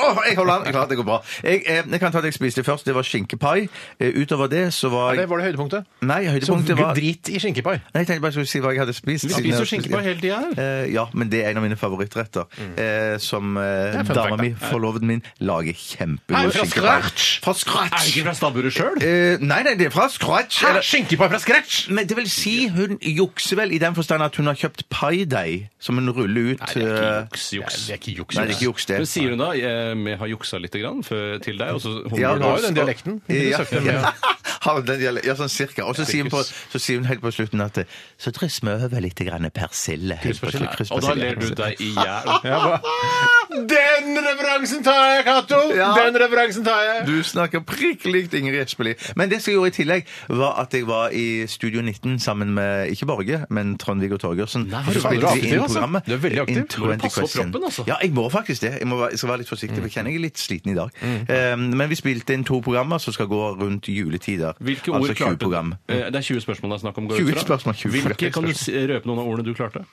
Speaker 3: Åh, jeg holder an! Jeg klarer at det går bra. Jeg, eh, jeg kan ta at jeg spiste først. Det var skinkepai. Eh, utover det så var
Speaker 8: Det
Speaker 3: jeg
Speaker 8: var det høydepunktet.
Speaker 3: Nei,
Speaker 8: Så
Speaker 3: høydepunktet var Nei,
Speaker 8: drit i skinkepai.
Speaker 3: jeg tenkte bare jeg skulle si hva jeg hadde spist.
Speaker 9: Vi
Speaker 3: siden
Speaker 9: spiser jo
Speaker 3: jeg-
Speaker 9: skinkepai hele tida her.
Speaker 3: Eh, ja, men det er en av mine favorittretter. Eh, som eh,
Speaker 8: Mm. er fun
Speaker 3: dama
Speaker 8: fact,
Speaker 3: mi, forloveden min,
Speaker 8: Nei,
Speaker 3: lager kjempegod
Speaker 8: fra
Speaker 3: skinkepai.
Speaker 8: scratch!
Speaker 3: Fra
Speaker 9: Er det
Speaker 3: scratch!
Speaker 9: ikke fra stabburet sjøl?
Speaker 3: Eh, nei, nei, det er fra scratch.
Speaker 8: Hæ?
Speaker 3: Eller,
Speaker 8: Skinkepai fra scratch!
Speaker 3: men det vil si hun jukser vel i den forstand at hun har kjøpt paideig som hun ruller ut.
Speaker 9: Det er ikke
Speaker 3: eh,
Speaker 9: juks, juks.
Speaker 8: Det er ikke juks.
Speaker 3: Nei, det er ikke juks, det.
Speaker 9: Men sier hun da eh, 'vi har juksa lite grann' før- til deg? Og så
Speaker 3: Ja,
Speaker 8: Hun har jo
Speaker 3: og-
Speaker 8: den dialekten. Hun
Speaker 3: Ja,
Speaker 8: besøkte
Speaker 3: ja.
Speaker 8: med-
Speaker 3: [laughs] Har den dialekten, ja, sånn cirka. Og så sier, hun på, så sier hun helt på slutten at eh, Så dryss vi over litt grann persille. helt på slutten.
Speaker 9: Og da ler du deg i hjel.
Speaker 8: Ja, hva? Den referansen tar jeg, Cato!
Speaker 3: Ja.
Speaker 8: Den referansen tar jeg!
Speaker 3: Du snakker prikk likt Ingrid Espelid. Men det som jeg gjorde i tillegg, var at jeg var i Studio 19 sammen med ikke Borge, men Trond-Viggo Torgersen.
Speaker 9: Nei,
Speaker 3: Og så
Speaker 9: du er
Speaker 3: spilte vi
Speaker 9: aktiv,
Speaker 3: inn
Speaker 9: altså.
Speaker 3: programmet
Speaker 8: Du er veldig aktiv.
Speaker 3: In
Speaker 9: Du må
Speaker 3: 20
Speaker 9: passe på
Speaker 3: Question.
Speaker 9: kroppen, altså.
Speaker 3: Ja, jeg må faktisk det. Jeg, må, være- jeg skal være litt forsiktig, for jeg kjenner jeg er litt sliten i dag.
Speaker 9: Mm.
Speaker 3: Eh, men vi spilte inn to programmer som skal gå rundt juletider.
Speaker 9: Hvilke
Speaker 3: altså
Speaker 9: ord klarte
Speaker 3: 20 program.
Speaker 9: Eh, Det er 20 spørsmål det er snakk om. går
Speaker 3: 20
Speaker 9: ut fra.
Speaker 3: spørsmål, 20
Speaker 9: Hvilke Kan du
Speaker 3: spørsmål. Eh,
Speaker 9: si- røpe noen av ordene du klarte?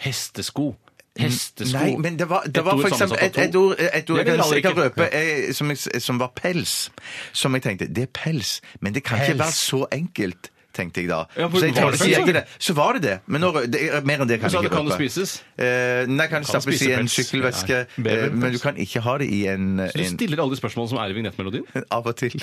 Speaker 9: Hestesko. Hestesko.
Speaker 3: Nei, men det var, det
Speaker 9: Et
Speaker 3: var
Speaker 9: ord
Speaker 3: for eksempel
Speaker 9: sammensatt
Speaker 3: et,
Speaker 9: av
Speaker 3: et
Speaker 9: to.
Speaker 3: ord, et ord
Speaker 9: Det
Speaker 3: jeg,
Speaker 9: vil
Speaker 3: kan,
Speaker 9: alle
Speaker 3: jeg kan
Speaker 9: ikke.
Speaker 3: røpe eh, som, jeg, som var pels. Som jeg tenkte Det er pels, men det kan ikke
Speaker 8: Pels.
Speaker 3: være så enkelt. Tenkte jeg da.
Speaker 9: Ja, for
Speaker 3: så, jeg
Speaker 9: var
Speaker 3: tenkte,
Speaker 9: det
Speaker 3: så, jeg
Speaker 9: pels,
Speaker 3: det. så var det det. Men nå, rø- det er, mer enn det kan
Speaker 9: Du sa
Speaker 3: jeg
Speaker 9: det
Speaker 3: ikke
Speaker 9: kan
Speaker 3: røpe.
Speaker 9: jo spises.
Speaker 3: Eh, nei, kan
Speaker 9: Kan
Speaker 3: stappes i
Speaker 9: spise
Speaker 3: en
Speaker 9: pels.
Speaker 3: sykkelveske.
Speaker 9: Nei, bever
Speaker 3: eh, men
Speaker 9: pels.
Speaker 3: du kan ikke ha det i en,
Speaker 9: Du
Speaker 3: en
Speaker 9: stiller alle de spørsmålene som er i vignettmelodien.
Speaker 3: Av og til.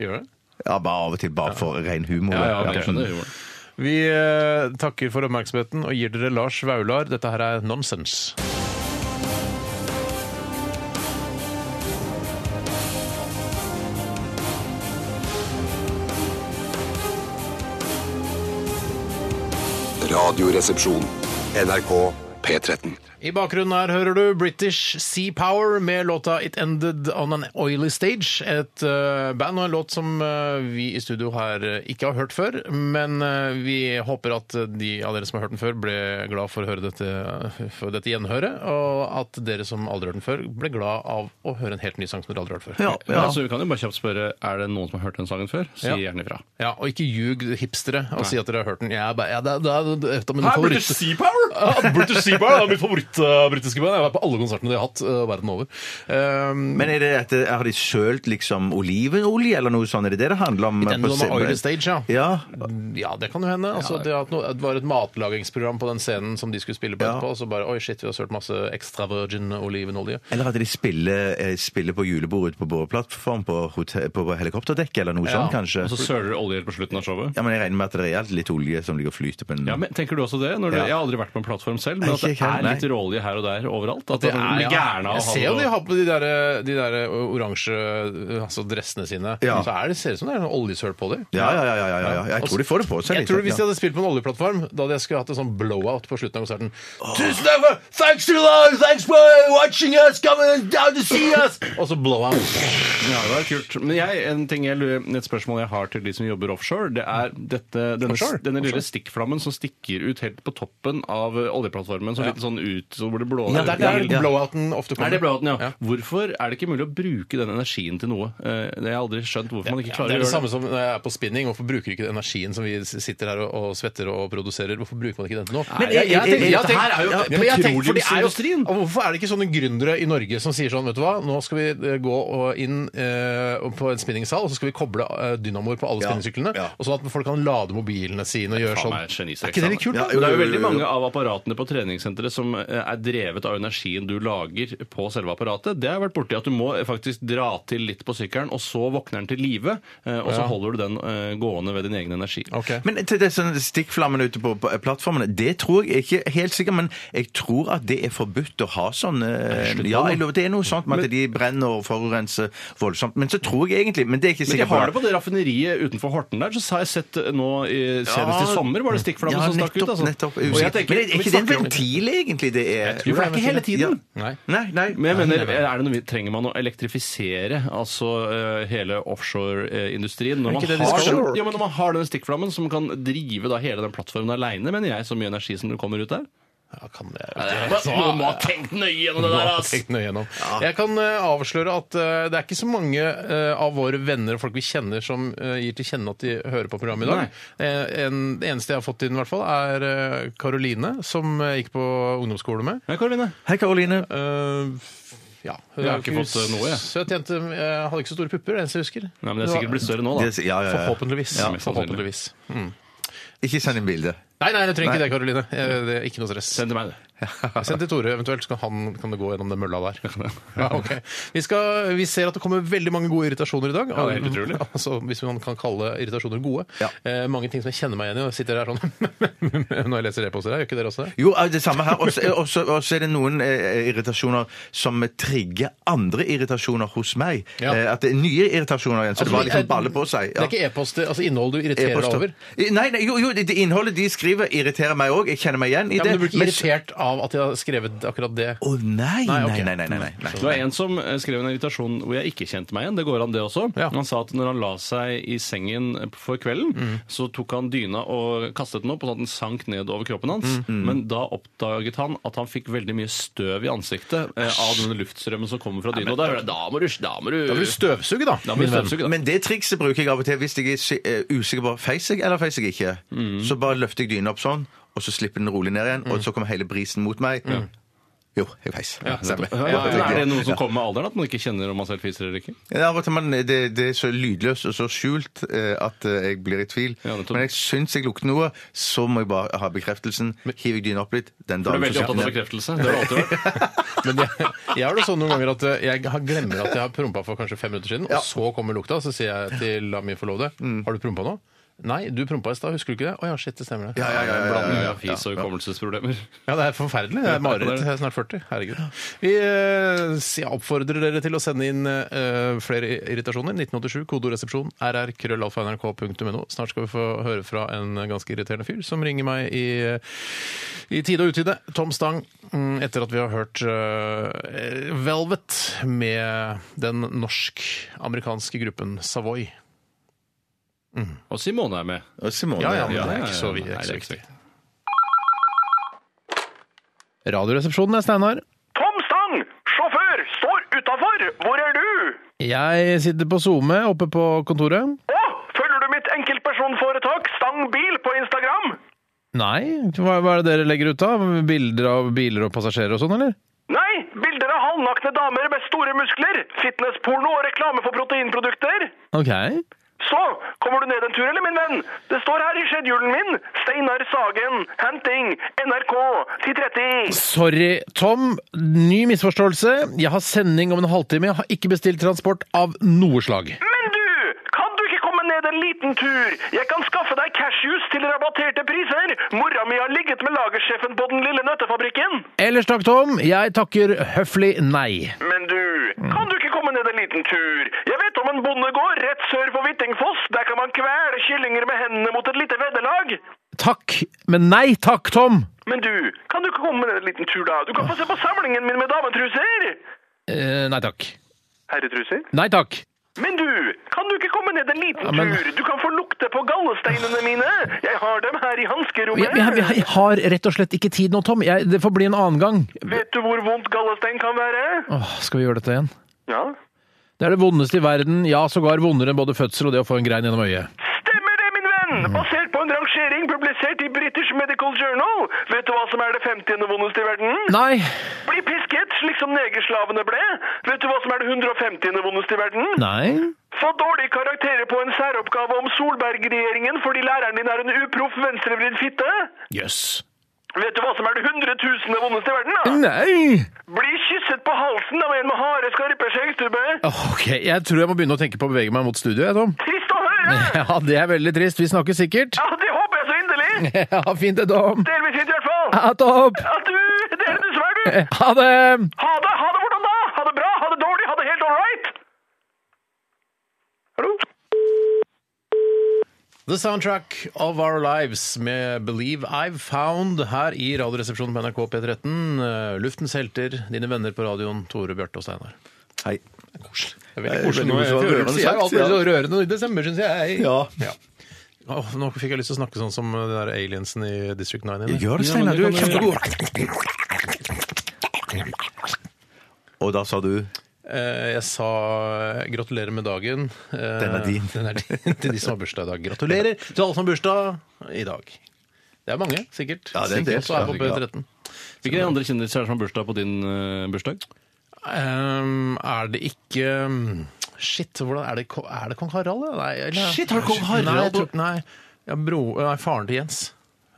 Speaker 9: Gjør det?
Speaker 3: Ja, bare av og til. Bare for ren humor.
Speaker 9: Ja, ja, men jeg
Speaker 3: sånn-
Speaker 9: skjønner humoren.
Speaker 8: Vi eh, takker for oppmerksomheten og gir dere Lars Vaular. Dette her er nonsens.
Speaker 1: Radioresepsjon. NRK P13.
Speaker 8: I bakgrunnen her hører du British Sea Power med låta It Ended On An Oily Stage. Et eh, band og en låt som eh, vi i studio her eh, ikke har hørt før. Men eh, vi håper at de av dere som har hørt den før, ble glad for å høre dette, for dette gjenhøret. Og at dere som aldri har hørt den før, ble glad av å høre en helt ny sang som dere aldri har hørt før.
Speaker 3: Ja,
Speaker 9: Ja.
Speaker 3: ja.
Speaker 9: så vi kan jo bare kjapt spørre Er det noen som har hørt den sangen før. Si
Speaker 8: Ja.
Speaker 9: gjerne ifra.
Speaker 8: Ja, og ikke ljug hipstere og si at dere har hørt den. Jeg er bare, ja, det er, det er, det er et av mine favoritter.
Speaker 9: Power!
Speaker 8: [laughs] Ja, British Sea Bar er mitt favoritt-britiske band. Jeg har vært på alle konsertene de har hatt eh, verden over. Um,
Speaker 3: Men er det at, det- har de sølt liksom olivenolje, eller noe sånt? Er det det det handler om?
Speaker 8: den
Speaker 3: på
Speaker 8: du har med
Speaker 3: scenen?
Speaker 8: Oily Stage, ja.
Speaker 3: Ja,
Speaker 8: Ja, det kan jo hende. Altså, det, har hatt noe, det var et matlagingsprogram på den scenen som de skulle spille på
Speaker 3: Ja.
Speaker 8: etterpå, og så bare Oi, shit, vi har sølt masse extra virgin olivenolje.
Speaker 3: Eller at de spiller, eh, spiller på julebordet på båreplattform på, hotell- på helikopterdekk eller noe sånt, kanskje.
Speaker 9: Og så søler du olje helt på slutten av showet.
Speaker 3: Ja, men Jeg regner med at det er litt olje som ligger og flyter på en
Speaker 9: Ja, men Tenker du også det? Når du,
Speaker 3: Ja.
Speaker 9: Jeg har aldri vært på en plattform selv, men
Speaker 3: Nei,
Speaker 9: at det
Speaker 3: ikke jeg
Speaker 9: er
Speaker 3: heller,
Speaker 9: litt råolje her og der overalt. At
Speaker 8: Det
Speaker 9: det er,
Speaker 8: er-
Speaker 9: blir gæren av
Speaker 8: jeg
Speaker 9: å ha
Speaker 8: ser jo
Speaker 9: noe-
Speaker 8: de har på de der, de der eh, oransje altså dressene sine.
Speaker 3: Ja.
Speaker 8: Så er det, ser det ut som det er noe oljesøl på dem.
Speaker 3: ja, ja, ja, ja, ja, ja. Jeg tror de får det på seg
Speaker 8: Jeg
Speaker 3: litt.
Speaker 8: tror Hvis de
Speaker 3: ja.
Speaker 8: hadde spilt på en oljeplattform, da hadde jeg skulle hatt en sånn blowout på slutten av konserten. Tusen takk for Thanks to love! Thanks for watching us! Coming down to see us! Og så blowout.
Speaker 9: Ja, det var kult. Men jeg, en ting jeg, lurer- et spørsmål jeg har til de som jobber offshore, det er dette, denne,
Speaker 8: Offshore?
Speaker 9: denne lille stikkflammen som stikker ut helt på toppen av eh, oljeplattformen. Så litt sånn ut, så hvor det blå
Speaker 8: Ja, det er der
Speaker 9: Ja.
Speaker 8: blowouten ofte kommer.
Speaker 9: Er det blauten, ja.
Speaker 8: Ja.
Speaker 9: Hvorfor er det ikke mulig å bruke den energien til noe? Eh, Det har jeg aldri skjønt hvorfor man ikke
Speaker 8: Ja, det
Speaker 9: klarer
Speaker 8: er det
Speaker 9: å gjøre
Speaker 8: samme som når jeg er på spinning. Hvorfor bruker ikke energien som vi s- sitter her og, og svetter og produserer, hvorfor bruker man ikke den til noe?
Speaker 9: Men jeg- jeg- jeg- dette her er jo
Speaker 8: Ja, men jeg tenker- for det er jo-
Speaker 9: petroleumsindustrien.
Speaker 8: og Hvorfor er det ikke sånne gründere i Norge som sier sånn, vet du hva, nå skal vi eh, gå og inn eh, på en spinningsal, og så skal vi koble eh, dynamoer på alle
Speaker 3: Ja,
Speaker 8: spinningsyklene,
Speaker 3: ja.
Speaker 8: og sånn at folk kan lade mobilene sine og gjøre
Speaker 9: Faen,
Speaker 8: sånn.
Speaker 9: det er et genistrek,
Speaker 8: Er ikke det litt kult,
Speaker 3: Ja,
Speaker 8: da?
Speaker 3: jo,
Speaker 9: det er jo
Speaker 3: jo,
Speaker 9: veldig
Speaker 3: jo, jo.
Speaker 9: mange av apparatene på treningssenteret som eh, er drevet av energien du lager på selve apparatet. Det har jeg vært borti at du må eh, faktisk dra til litt på sykkelen, og så våkner den til live, eh, og så holder du den eh, gående ved din egen energi.
Speaker 8: Ok.
Speaker 3: Men til det sånn stikkflammene ute på på plattformene, det tror jeg ikke helt sikkert, men jeg tror at det er forbudt å ha sånne eh,
Speaker 9: slutt nå,
Speaker 3: Ja,
Speaker 9: da.
Speaker 3: jeg lover, det er noe sånt med at de brenner og forurenser voldsomt. Men så tror jeg egentlig Men det er ikke
Speaker 9: Men de
Speaker 3: sikkert
Speaker 9: har det på det raffineriet utenfor Horten der, så har jeg sett eh, nå i- senest i
Speaker 3: Ja.
Speaker 9: sommer var det stikkflammer
Speaker 3: Ja,
Speaker 9: som stakk ut.
Speaker 3: nettopp,
Speaker 9: altså.
Speaker 3: nettopp.
Speaker 9: Og jeg
Speaker 3: usikker.
Speaker 9: tenker-
Speaker 3: Men er
Speaker 9: men
Speaker 3: ikke det en
Speaker 9: snakker om-
Speaker 3: ventil, egentlig, det er
Speaker 8: Jeg tror
Speaker 9: For det er ikke hele tiden.
Speaker 8: Nei.
Speaker 3: Nei, nei.
Speaker 9: Men jeg mener, er det noe, vi- trenger man å elektrifisere altså eh, hele offshoreindustrien? Når, man
Speaker 8: ikke det de
Speaker 9: har
Speaker 8: skal?
Speaker 9: den- ja, men når man har den stikkflammen som kan drive da hele den plattformen aleine, mener jeg, så mye energi som det kommer ut der?
Speaker 8: Ja, kan det,
Speaker 9: Noen må ha tenkt nøye gjennom det
Speaker 8: Nå
Speaker 9: der,
Speaker 8: har jeg
Speaker 9: ass!
Speaker 8: tenkt nøye gjennom. Jeg kan eh, avsløre at eh, det er ikke så mange eh, av våre venner og folk vi kjenner som eh, gir til kjenne at de hører på programmet i dag. Eh, en, det eneste jeg har fått inn, i hvert fall, er eh, Karoline, som jeg gikk på ungdomsskole med.
Speaker 9: Hei, Karoline.
Speaker 3: Hei, Karoline.
Speaker 8: Eh, f- ja. Jeg
Speaker 9: har ikke fått, eh, noe, jeg.
Speaker 8: Søt jente. Jeg hadde ikke så store pupper, det eneste jeg husker.
Speaker 9: Nei, men det er sikkert blitt større nå,
Speaker 3: Ja,
Speaker 9: da.
Speaker 3: ja, ja.
Speaker 8: Forhåpentligvis.
Speaker 9: Ja, mest sannsynlig.
Speaker 8: forhåpentligvis.
Speaker 3: Ikke send inn bilde.
Speaker 8: Nei, nei, du trenger ikke det, Karoline. Eh, Det er ikke noe stress.
Speaker 9: Send til meg, det.
Speaker 8: [laughs] Send til Tore, eventuelt så kan, han, kan det gå gjennom den mølla der. [laughs] Ja, ok. vi, skal, vi ser at det kommer veldig mange gode irritasjoner i dag.
Speaker 9: Ja, det er helt utrolig.
Speaker 8: [laughs] Altså, hvis man kan kalle irritasjoner gode.
Speaker 3: Ja.
Speaker 8: Eh, mange ting som jeg kjenner meg igjen i. og Jeg sitter her sånn [laughs] når jeg leser e-poster her. Gjør ikke dere også det?
Speaker 3: Jo, eh, det samme her. Og så er det noen eh, irritasjoner som trigger andre irritasjoner hos meg.
Speaker 8: Ja.
Speaker 3: Eh, at det er nye irritasjoner igjen, så det
Speaker 8: Altså,
Speaker 3: bare
Speaker 8: eh,
Speaker 3: liksom baller på seg.
Speaker 8: Det er ikke e-poster, altså innhold du irriterer deg
Speaker 3: E-poster.
Speaker 8: over.
Speaker 3: Eh, Nei, nei, jo, jo, det det innholdet de skriver, irriterer meg òg. Jeg kjenner meg igjen i
Speaker 8: Ja, men
Speaker 3: det.
Speaker 8: du blir ikke
Speaker 3: men-
Speaker 8: irritert av at jeg har skrevet akkurat det.
Speaker 3: Å nei,
Speaker 8: Nei,
Speaker 3: nei,
Speaker 8: ok.
Speaker 3: nei, nei, nei, nei, nei.
Speaker 9: Det var en som eh, skrev en irritasjon hvor jeg ikke kjente meg igjen. Det går an, det også.
Speaker 8: Ja.
Speaker 9: Han sa at når han la seg i sengen eh, for kvelden, så tok han dyna og kastet den opp, og sånn at den sank ned over kroppen hans. Men da oppdaget han at han fikk veldig mye støv i ansiktet eh, av denne luftstrømmen som kommer fra dyna. Og da hører jeg, da må du Da må du,
Speaker 8: Da blir du støvsuget, da.
Speaker 9: da må du støvsuge, da.
Speaker 3: Men det trikset bruker jeg av og til hvis jeg er si- eh, usikker på feis jeg eller feis jeg ikke.
Speaker 9: Mm.
Speaker 3: Så bare løfter jeg dyna opp sånn, og så slipper den rolig ned igjen, og så kommer hele brisen mot meg. Jo, jeg feis. Stemmer.
Speaker 9: Ja, ja, ja. Er det noe som kommer med alderen, at man ikke kjenner om man selv fiser eller ikke?
Speaker 3: Ja, av og til man, det, det er så lydløst og så skjult eh, at eh, jeg blir i tvil.
Speaker 9: Ja, nettopp.
Speaker 3: Men jeg syns jeg lukter noe, så må jeg bare ha bekreftelsen. Hiver jeg dyna opp litt den
Speaker 9: Du er
Speaker 3: dagen
Speaker 9: veldig opptatt av bekreftelse. Det har du alltid vært.
Speaker 8: Men jeg, jeg har det sånn noen ganger at eh, jeg har- glemmer at jeg har prompa for kanskje fem minutter siden, og så kommer lukta, så sier jeg til la min forlovede Har du prompa nå? Nei, du prompa i stad, husker du ikke det? Å ja, shit, det stemmer det.
Speaker 3: Ja, ja, ja, ja, ja,
Speaker 9: Blanding
Speaker 3: ja.
Speaker 9: av fis og hukommelsesproblemer.
Speaker 8: Ja, det er forferdelig. Det er mareritt. Jeg er snart 40. Herregud. Vi eh, s- jeg oppfordrer dere til å sende inn eh, flere irritasjoner. 1987, kodoresepsjon, rrkrøllalfa.nrk.no. Snart skal vi få høre fra en ganske irriterende fyr som ringer meg i, eh, i tide og utide. Tom Stang, mm, etter at vi har hørt eh, Velvet med den norsk-amerikanske gruppen Savoy.
Speaker 9: Og Simone er med.
Speaker 3: Og Simone,
Speaker 8: Ja, ja, men
Speaker 3: ja.
Speaker 8: det er ikke så,
Speaker 9: ja, ja.
Speaker 8: vi- det er
Speaker 9: Nei,
Speaker 8: ikke
Speaker 9: det
Speaker 8: så
Speaker 9: er ikke så
Speaker 8: viktig. Radioresepsjonen er Steinar.
Speaker 4: Tom Stang, sjåfør, står utafor. Hvor er du?
Speaker 8: Jeg sitter på SoMe oppe på kontoret.
Speaker 4: Å, følger du mitt enkeltpersonforetak Stang Bil på Instagram?
Speaker 8: Nei, hva, hva er det dere legger ut av? Bilder av biler og passasjerer og sånn, eller?
Speaker 4: Nei, bilder av halvnakne damer med store muskler, fitnessporno og reklame for proteinprodukter.
Speaker 8: Ok.
Speaker 4: Så, kommer du ned en tur, eller, min venn? Det står her i schedulen min. Steinar Sagen, Hunting, NRK, 1030.
Speaker 8: Sorry, Tom. Ny misforståelse. Jeg har sending om en halvtime. Jeg har ikke bestilt transport av noe slag.
Speaker 4: Men du, kan du ikke komme ned en liten tur? Jeg kan skaffe deg cashews til rabatterte priser. Mora mi har ligget med lagersjefen på den lille nøttefabrikken.
Speaker 8: Ellers takk, Tom. Jeg takker høflig nei.
Speaker 4: Men du, kan du ikke komme ned en liten tur? Jeg vet om en bondegård rett sør for Hvittingfoss. Der kan man kvele kyllinger med hendene mot et lite veddelag.
Speaker 8: Takk, men nei takk, Tom.
Speaker 4: Men du, kan du ikke komme ned en liten tur, da? Du kan få se på samlingen min med dametruser.
Speaker 8: Eh, nei takk.
Speaker 4: Herretruser?
Speaker 8: Nei takk.
Speaker 4: Men du, kan du ikke komme ned en liten
Speaker 8: Ja, men-
Speaker 4: tur? Du kan få lukte på gallesteinene mine. Jeg har dem her i hanskerommet.
Speaker 8: Jeg, jeg, jeg har rett og slett ikke tid nå, Tom. Jeg, det får bli en annen gang.
Speaker 4: Vet du hvor vondt gallestein kan være?
Speaker 8: Åh, skal vi gjøre dette igjen?
Speaker 4: Ja.
Speaker 8: Det er det vondeste i verden, ja, sågar vondere enn både fødsel og det å få en grein gjennom øyet.
Speaker 4: Stemmer det, min venn! Basert på en rangering publisert i British Medical Journal. Vet du hva som er det 50. vondeste i verden?
Speaker 8: Nei.
Speaker 4: Bli pisket, slik som negerslavene ble. Vet du hva som er det 150. vondeste i verden?
Speaker 8: Nei.
Speaker 4: Få dårlige karakterer på en særoppgave om Solberg-regjeringen fordi læreren din er en uproff venstrevridd fitte.
Speaker 8: Jøss.
Speaker 4: Vet du hva som er det 100 000. vondeste i verden, da?
Speaker 8: Nei!
Speaker 4: Bli kysset på halsen av en med harde, skarpe skjeggstubber.
Speaker 8: Ok, jeg tror jeg må begynne å tenke på å bevege meg mot studio, jeg, Tom.
Speaker 4: Trist å høre!
Speaker 8: [laughs] Ja, det er veldig trist. Vi snakkes sikkert.
Speaker 4: Ja, det håper jeg så inderlig.
Speaker 8: [laughs] Ja, fint det, Tom.
Speaker 4: Delvis fint i hvert fall.
Speaker 8: Ja, topp!
Speaker 4: Ja, du, det er det du svær, du.
Speaker 8: Ha det!
Speaker 4: Ha det, ha det hvordan da? Ha det bra, ha det dårlig, ha det helt all right. Hallo?
Speaker 8: The Soundtrack of Our Lives med Believe I've Found her i Radioresepsjonen på NRK P13. Eh, Luftens helter, dine venner på radioen, Tore, Bjarte og Steinar.
Speaker 3: Hei.
Speaker 8: Koselig. Det er
Speaker 3: Det
Speaker 8: veldig
Speaker 3: er
Speaker 8: koselig.
Speaker 3: veldig
Speaker 8: nå. Jeg føler det
Speaker 3: koselig. Rørende
Speaker 8: er Alt
Speaker 3: sagt,
Speaker 8: blir så
Speaker 3: ja.
Speaker 8: rørende i desember, syns jeg.
Speaker 3: Ja.
Speaker 8: Åh, nå fikk jeg lyst til å snakke sånn som eh, de der aliensen i District 9. eller?
Speaker 3: Gjør det, Steinar. Du er
Speaker 9: kan du-
Speaker 3: kjempegod. Og da sa du
Speaker 8: Eh, Jeg sa eh, gratulerer med dagen. Eh,
Speaker 3: Den er din.
Speaker 8: [laughs] Den er din. Til de som har bursdag i dag. Gratulerer til alle som har bursdag i dag. Det er mange, sikkert.
Speaker 3: Ja, det er en del.
Speaker 8: Sikkert også er på P13.
Speaker 9: Hvilke andre kjendiser er det som har bursdag på din eh, bursdag?
Speaker 8: Ehm, er det ikke um, Shit, hvordan er det, ko- er det kong Harald? ja? Nei, eller,
Speaker 9: Shit, har du kong Harald?
Speaker 8: Nei, jeg tror, nei, ja, bro, nei, faren til Jens.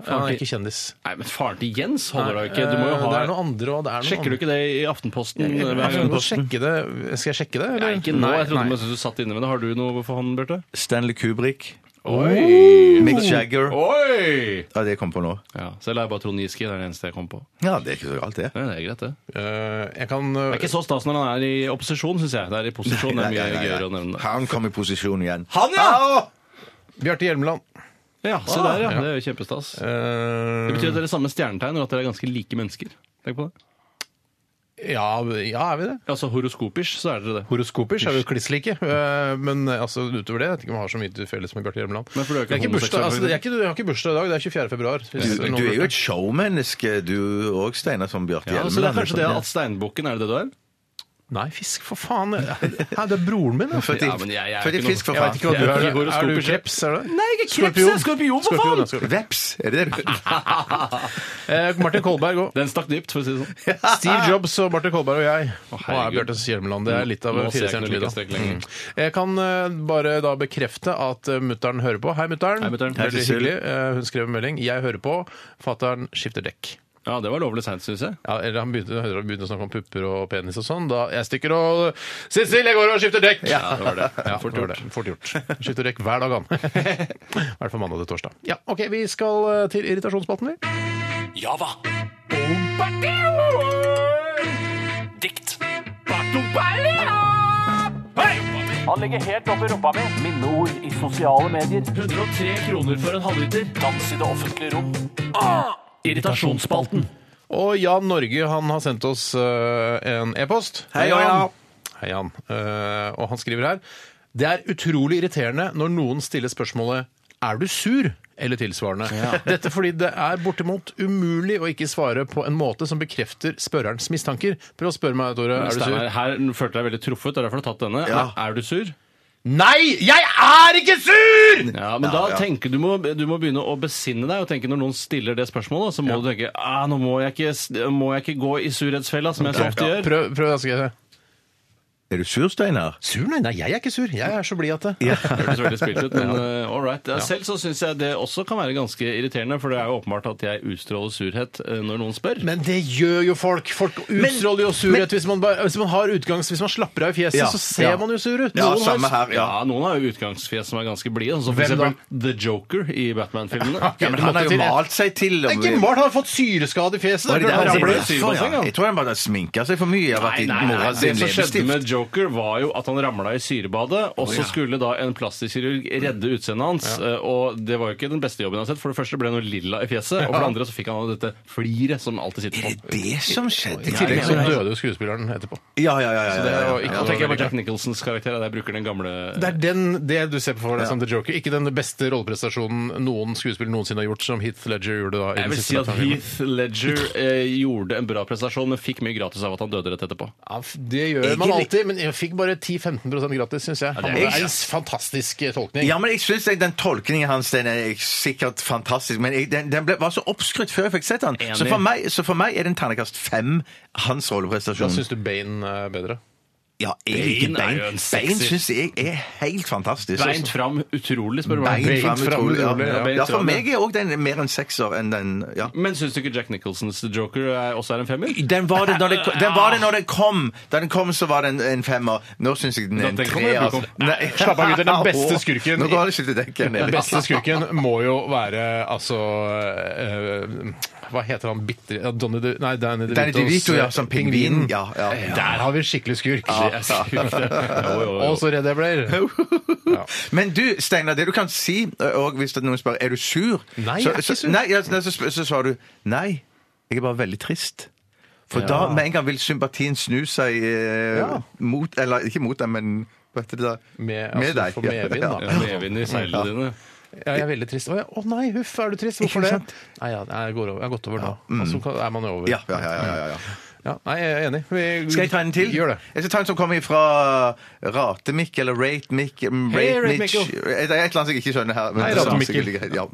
Speaker 8: Han er
Speaker 9: til-
Speaker 8: ikke kjendis.
Speaker 9: Nei, men faren til Jens holder deg ikke. Du må jo
Speaker 8: Eh, Det
Speaker 9: ha
Speaker 8: er noen andre òg.
Speaker 9: Sjekker du ikke det i Aftenposten? hver
Speaker 8: Jeg
Speaker 9: gang
Speaker 8: kan
Speaker 9: du-
Speaker 8: godt sjekke det. Skal jeg sjekke det? eller?
Speaker 9: Nei, ikke nå. Jeg trodde
Speaker 8: Nei.
Speaker 9: mens du satt inne med det. Har du noe for han, Bjarte?
Speaker 3: Stanley Kubrick,
Speaker 9: Oi!
Speaker 3: Mick Jagger
Speaker 9: Oi!
Speaker 3: Ja, det kom på nå.
Speaker 9: Ja, Selv er jeg bare Trond Giske. Det er det eneste jeg kom på.
Speaker 3: Ja, det er ikke så galt, det.
Speaker 9: Nei, det er greit, det. Det
Speaker 8: Eh, jeg kan eh,
Speaker 9: er ikke så stas når han er i opposisjon, syns jeg. Det er i posisjon det er mye
Speaker 3: Nei, nei, nei,
Speaker 9: gøyere å
Speaker 3: nei.
Speaker 9: nevne det.
Speaker 3: Han kom i posisjon igjen.
Speaker 9: Han, ja!
Speaker 8: Bjarte Hjelmeland.
Speaker 9: Ja, Se der,
Speaker 3: Ah.
Speaker 9: ja. Det er jo kjempestas.
Speaker 8: Eh,
Speaker 9: Det betyr at dere er samme stjernetegn, og at dere er ganske like mennesker. Tenk på det.
Speaker 8: eh, ja, ja, er vi det?
Speaker 9: Altså horoskopisk, så er dere det.
Speaker 8: Horoskopisk er vi jo kliss like, eh, men eh, altså, utover det jeg vet ikke om jeg har så mye til felles med Bjarte Hjelmeland.
Speaker 9: Men for du er
Speaker 8: Jeg
Speaker 9: ikke
Speaker 8: har ikke
Speaker 9: homoseksuell,
Speaker 8: bursdag, altså,
Speaker 9: for
Speaker 8: jeg, er ikke, jeg har ikke bursdag i dag, det er 24. februar. hvis
Speaker 3: Du,
Speaker 8: noen
Speaker 3: du er jo
Speaker 8: lurte.
Speaker 3: et showmenneske, du òg, Steinar, som Bjarte
Speaker 9: Ja,
Speaker 3: Hjelmeland.
Speaker 9: så det er kanskje det at steinbukken er det det du er?
Speaker 8: Nei, fisk, for faen! Hæ, det er broren min, da.
Speaker 3: Født i-
Speaker 9: Ja, men jeg- jeg er
Speaker 3: født i
Speaker 9: ikke noe-
Speaker 3: fisk, for
Speaker 9: jeg vet
Speaker 3: faen.
Speaker 9: ikke hva du
Speaker 3: Jeg
Speaker 9: er.
Speaker 3: er
Speaker 9: ikke
Speaker 8: Er
Speaker 9: horoskopisk.
Speaker 8: du kreps, er du?
Speaker 9: Nei, ikke kreps, jeg er skorpion, for faen!
Speaker 8: skorpion.
Speaker 3: Veps,
Speaker 9: [laughs]
Speaker 3: er det det?
Speaker 8: Eh, Martin Kolberg òg.
Speaker 9: Den stakk dypt, for å si det sånn.
Speaker 8: Steve Jobs og Martin Kolberg og jeg. Og er
Speaker 9: herregud.
Speaker 8: Bjarte Hjelmeland. Det er litt av
Speaker 9: Nå ser jeg ikke
Speaker 8: firestjerners
Speaker 9: noe
Speaker 8: middag.
Speaker 9: likhetstrekk lenger.
Speaker 8: Mm. Jeg kan eh, bare da bekrefte at uh, mutter'n hører på. Hei, mutter'n.
Speaker 9: Hei, mutteren.
Speaker 8: Veldig
Speaker 9: Hei,
Speaker 8: hyggelig.
Speaker 9: Cecilie.
Speaker 8: Eh, hun skrev en melding. Jeg hører på. Fatter'n skifter dekk.
Speaker 9: Ja, det var lovlig seint, syns jeg.
Speaker 8: Ja, eller han begynte, han begynte å snakke om pupper og penis og sånn. Da jeg stikker og Sissel, jeg går og skifter dekk! Ja, det var det. fort, gjort. fort gjort. Skifter dekk hver [laughs] dag, han. I hvert fall mandag til torsdag. Ja, OK, vi skal eh, til irritasjonsspalten, vi.
Speaker 2: Java. Dikt.
Speaker 5: Han ligger helt oppi rumpa mi. Minneord i sosiale medier.
Speaker 2: 103 kroner for en halvliter.
Speaker 5: Dans i det offentlige rom.
Speaker 2: Irritasjonsspalten.
Speaker 8: Og Jan Norge han har sendt oss eh, en e-post.
Speaker 3: Hei, Jan.
Speaker 8: Hei, Jan. Eh, og han skriver her Det er utrolig irriterende når noen stiller spørsmålet Er du sur? Eller tilsvarende. [laughs] Dette fordi det er bortimot umulig å ikke svare på en måte som bekrefter spørrerens mistanker. Prøv å spørre meg, Tore. Er du
Speaker 9: Steinar,
Speaker 8: sur?
Speaker 9: her følte jeg deg veldig truffet. Det er derfor du har tatt denne. Er du sur?
Speaker 8: Nei! Jeg er ikke sur!
Speaker 9: [laughs] Ja, men da tenker du må, du må begynne å besinne deg og tenke når noen stiller det spørsmålet, så må du tenke ah, nå må jeg, ikke, s- må jeg ikke gå i surhetsfella, som jeg så ofte gjør.
Speaker 8: Prøv, prøv da skal jeg se.
Speaker 3: Er du sur, Steinar?
Speaker 8: Sur, nei? Nei, jeg er ikke sur. Jeg er så blid at det.
Speaker 9: Det hørtes veldig spilt ut, men eh, all right. Ja, Selv så syns jeg det også kan være ganske irriterende, for det er jo åpenbart at jeg utstråler surhet eh, når noen spør.
Speaker 8: Men det gjør jo folk. Folk utstråler jo surhet. hvis, man, bare- hvis man har utgangs, hvis man slapper av i fjeset,
Speaker 3: Ja,
Speaker 8: så ser
Speaker 3: ja.
Speaker 8: man jo sur ut.
Speaker 3: Ja,
Speaker 8: Noen har-
Speaker 3: samme her.
Speaker 9: ja.
Speaker 3: ja.
Speaker 9: noen har jo utgangsfjes som er ganske blide, sånn som for
Speaker 8: Hvem da?
Speaker 9: eksempel The Joker i Batman-filmene.
Speaker 8: Ja, men
Speaker 3: Men han har jo malt seg til.
Speaker 8: Det er ikke malt, han har fått syreskade i fjeset.
Speaker 3: Var
Speaker 8: Det
Speaker 3: det
Speaker 8: er klart
Speaker 3: der
Speaker 8: han
Speaker 3: han ble
Speaker 8: ramler.
Speaker 3: syrebasseng? Ja. Jeg tror han bare sminka seg for mye. Jeg har vært
Speaker 9: altså. Nei,
Speaker 3: i
Speaker 9: nei, nei,
Speaker 3: mora
Speaker 9: det
Speaker 3: sin
Speaker 9: som skjedde
Speaker 3: leppestift.
Speaker 9: med Joker, var jo at han ramla i syrebadet, og så skulle da en plastikkirurg redde utseendet hans. eh, Og det var jo ikke den beste jobben jeg har sett. For det første ble han jo lilla i fjeset, og for det andre så fikk han dette fliret som alltid sitter
Speaker 3: Er
Speaker 9: på.
Speaker 3: det det som skjedde?
Speaker 8: I tillegg så døde jo skuespilleren etterpå.
Speaker 3: Ja, ja, ja. ja, ja, ja,
Speaker 8: ikke-
Speaker 9: Nå tenker jeg på Jack Nicholsons karakter. Jeg bruker den gamle
Speaker 8: Det er den, det du ser på for deg som The Joker. Ikke den beste rolleprestasjonen noen skuespiller noensinne har gjort, som Heath Ledger gjorde da. i den
Speaker 9: Jeg vil
Speaker 8: siste
Speaker 9: si at
Speaker 8: Batman-filmen.
Speaker 9: Heath Ledger eh, gjorde en bra prestasjon, men fikk mye gratis av at han døde rett etterpå.
Speaker 8: Ja, f- det gjør man alltid, men jeg fikk bare 10-15 gratis, syns jeg.
Speaker 9: det
Speaker 8: Han
Speaker 9: er-
Speaker 8: det er en fantastisk tolkning.
Speaker 3: Ja, men jeg synes jeg- Den tolkningen hans den er sikkert fantastisk, men jeg, den, den ble, var så oppskrytt før jeg fikk sett den. Så for, meg, så for meg er det en ternekast fem, hans
Speaker 8: Da
Speaker 3: rolleprestasjon.
Speaker 8: syns du Bane er bedre?
Speaker 3: Ja, jeg liker
Speaker 9: Bane er
Speaker 3: Bane.
Speaker 9: jo en sexy-
Speaker 3: Bane syns jeg er helt fantastisk.
Speaker 9: Beint fram utrolig, spør du meg.
Speaker 3: Beint
Speaker 8: fram,
Speaker 3: fram, utrolig. Ja,
Speaker 8: utrolig, ja.
Speaker 3: ja. ja, for meg er òg den mer en sekser enn den ja.
Speaker 9: Men syns du ikke Jack Nicholsons Joker er, også er en femmer?
Speaker 3: Den var det, når den, ko- den var det når den kom. Da den kom, så var den en femmer. Nå syns jeg den er en
Speaker 9: Da den kom,
Speaker 3: tre.
Speaker 9: den
Speaker 3: Altså.
Speaker 9: kom.
Speaker 3: Nei.
Speaker 8: Slapp av,
Speaker 3: [laughs]
Speaker 8: gutter, den beste skurken-
Speaker 3: Nå går det ikke til dekken.
Speaker 8: Den beste skurken må jo være altså eh, Hva heter han bitre ja, Donny De, Nei, Danny DeVitos.
Speaker 3: Danny DeVito, ja,
Speaker 8: eh,
Speaker 3: som pingvin. Ja, ja.
Speaker 8: Der har vi en skikkelig skurk.
Speaker 3: [laughs]
Speaker 9: Det er sykt, det. Jo, jo, jo.
Speaker 8: Og så Red Dead Blair.
Speaker 3: Men du, Steinar, det du kan si ø, og hvis det er noen spør er du sur,
Speaker 8: Nei,
Speaker 3: så,
Speaker 8: jeg er ikke
Speaker 3: så,
Speaker 8: sur.
Speaker 3: nei, ja, så, så, så, så svarer du nei, jeg er bare veldig trist. For da med en gang vil sympatien snu seg eh,
Speaker 8: Ja.
Speaker 3: mot Eller ikke mot deg, men hva heter det da?
Speaker 8: Med- altså, du får
Speaker 3: ja.
Speaker 8: medvind, da.
Speaker 3: Ja.
Speaker 9: Ja, Medvind i seilene dine.
Speaker 8: Ja, jeg er veldig trist. Å ja. å nei, huff, er du trist? Hvorfor
Speaker 3: Ikke
Speaker 8: det?
Speaker 3: sant? Mm.
Speaker 8: Nei, ja, jeg, går over. jeg har gått over nå. Altså kan- er man jo over.
Speaker 3: Ja, ja, ja, ja, ja, ja.
Speaker 8: Ja, nei, jeg er enig. Vi-
Speaker 3: Skal jeg ta en til?
Speaker 8: Gjør det.
Speaker 3: Jeg skal ta en som kommer fra Ratemikk, eller Ratemikk mm,
Speaker 8: Hei, Rate
Speaker 3: Ratemikk.
Speaker 8: Mikkel.
Speaker 3: Det er et eller annet jeg ikke skjønner her. men
Speaker 8: Hei,
Speaker 3: det er
Speaker 8: Rate
Speaker 3: sikkert
Speaker 8: Mikkel.
Speaker 3: greit, ja.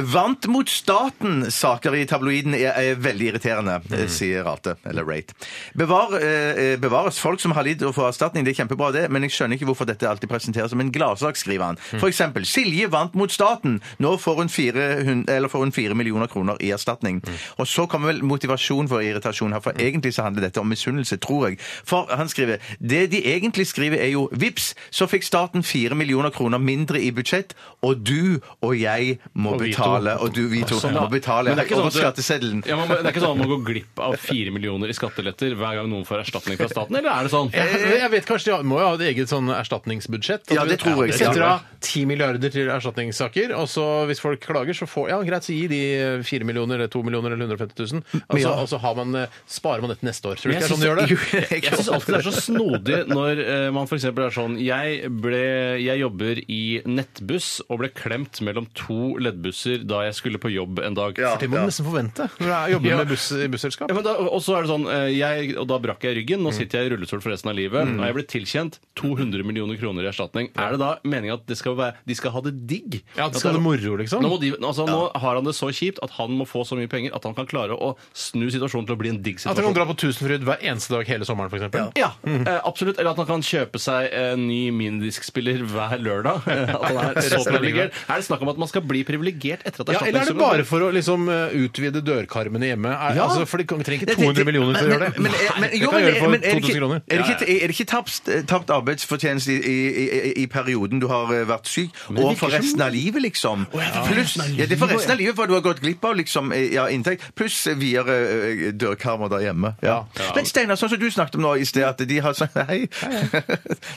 Speaker 3: Mm. Vant mot staten saker i tabloiden er, er veldig irriterende,
Speaker 8: Mm.
Speaker 3: eh, sier Rate, eller Rate. Bevar, eh, bevares folk som har lidd og får erstatning, det er kjempebra det, men jeg skjønner ikke hvorfor dette alltid presenteres som en gladsak, skriver han.
Speaker 8: Mm.
Speaker 3: For eksempel, Silje vant mot staten, nå får hun 400, eller får hun 4 millioner kroner i erstatning.
Speaker 9: Mm.
Speaker 3: Og så kommer vel motivasjon for irritasjon her, for egentlig så handler dette om misunnelse, tror jeg. For han skriver, det de egentlig skriver er jo, vips, så fikk staten 4 millioner kroner mindre i budsjett, og du og jeg må
Speaker 9: Og vi to.
Speaker 3: betale, og du, vi to,
Speaker 9: Sånn,
Speaker 3: må
Speaker 9: ja.
Speaker 3: betale
Speaker 9: Men det er ikke sånn
Speaker 3: over
Speaker 9: at det-
Speaker 3: skatteseddelen.
Speaker 9: Ja, men det er ikke sånn at man går glipp av fire millioner i skatteletter hver gang noen får erstatning fra staten, eller er det sånn?
Speaker 8: Jeg, jeg vet kanskje De har- må jo ha et eget sånn erstatningsbudsjett.
Speaker 3: Eh,
Speaker 8: Altså,
Speaker 3: Ja,
Speaker 8: At
Speaker 3: det tror jeg.
Speaker 8: Vi setter av 10 milliarder til erstatningssaker, og så hvis folk klager, så får Ja, greit, så gi de 4 millioner eller 2 millioner eller 150 000, og så,
Speaker 3: Ja.
Speaker 8: og så har man, eh, sparer man dette neste år. Tror du ikke det er
Speaker 9: synes-
Speaker 8: sånn de
Speaker 3: [laughs]
Speaker 8: gjør det?
Speaker 9: Jo, jeg syns alltid det er så snodig når eh, man f.eks. er sånn jeg, ble, jeg jobber i nettbuss og ble klemt mellom to leddbusser da jeg skulle på jobb en dag.
Speaker 8: Det må du nesten forvente når du er- jobber
Speaker 9: Ja.
Speaker 8: med buss, i busselskap.
Speaker 9: Ja, men da, og så er det sånn, eh, jeg, og da brakk jeg ryggen, nå sitter jeg i rullestol for resten av livet. Og jeg ble tilkjent 200 millioner kroner i erstatning. Er det da meningen at det skal være, de skal ha det digg?
Speaker 8: Ja,
Speaker 9: At
Speaker 8: det skal
Speaker 9: det
Speaker 8: være
Speaker 9: er- sånn-
Speaker 8: moro, liksom.
Speaker 9: Nå, må de, altså, nå har han det så kjipt at han må få så mye penger at han kan klare å snu situasjonen til å bli en digg
Speaker 8: At han kan
Speaker 9: situasjon.
Speaker 8: dra på Tusenfryd hver eneste dag hele sommeren, f.eks.
Speaker 9: Ja, eh, absolutt. Eller at han kan kjøpe seg en ny minidiskspiller hver
Speaker 8: [laughs]
Speaker 9: lørdag. Eh, At han er så
Speaker 8: Resten av livet.
Speaker 9: privilegert. Er det snakk om at man skal bli privilegert etter at
Speaker 8: Ja, eller er det
Speaker 9: erstatningssummen-
Speaker 8: bare for å liksom eh, utvide dørkarmene hjemme? Er,
Speaker 9: Ja.
Speaker 8: altså, for de kan- trenger
Speaker 3: Det-
Speaker 8: ikke
Speaker 3: det-
Speaker 8: 200 millioner for å
Speaker 3: men-
Speaker 8: gjøre det.
Speaker 3: Men, men,
Speaker 8: Nei,
Speaker 3: men,
Speaker 8: det
Speaker 3: jo,
Speaker 8: kan
Speaker 3: men,
Speaker 8: jeg gjøre
Speaker 3: men er,
Speaker 8: for 2000
Speaker 3: det ikke,
Speaker 8: kroner.
Speaker 3: er, det ikke, er det ikke tapt, eh, tapt arbeidsfortjeneste i, i, i, i perioden du har eh, vært syk,
Speaker 9: det
Speaker 3: og
Speaker 9: virker
Speaker 3: for
Speaker 9: som-
Speaker 3: resten av livet, liksom?
Speaker 9: for
Speaker 3: Pluss,
Speaker 9: resten av
Speaker 3: ja, det er for
Speaker 9: livet,
Speaker 3: resten av livet, for du har gått glipp av liksom, eh, ja, inntekt, pluss eh, videre eh, dørkarmer der hjemme. Ja. Men Steinar, sånn som du snakket om nå i sted, at de har sånn Hei. [laughs]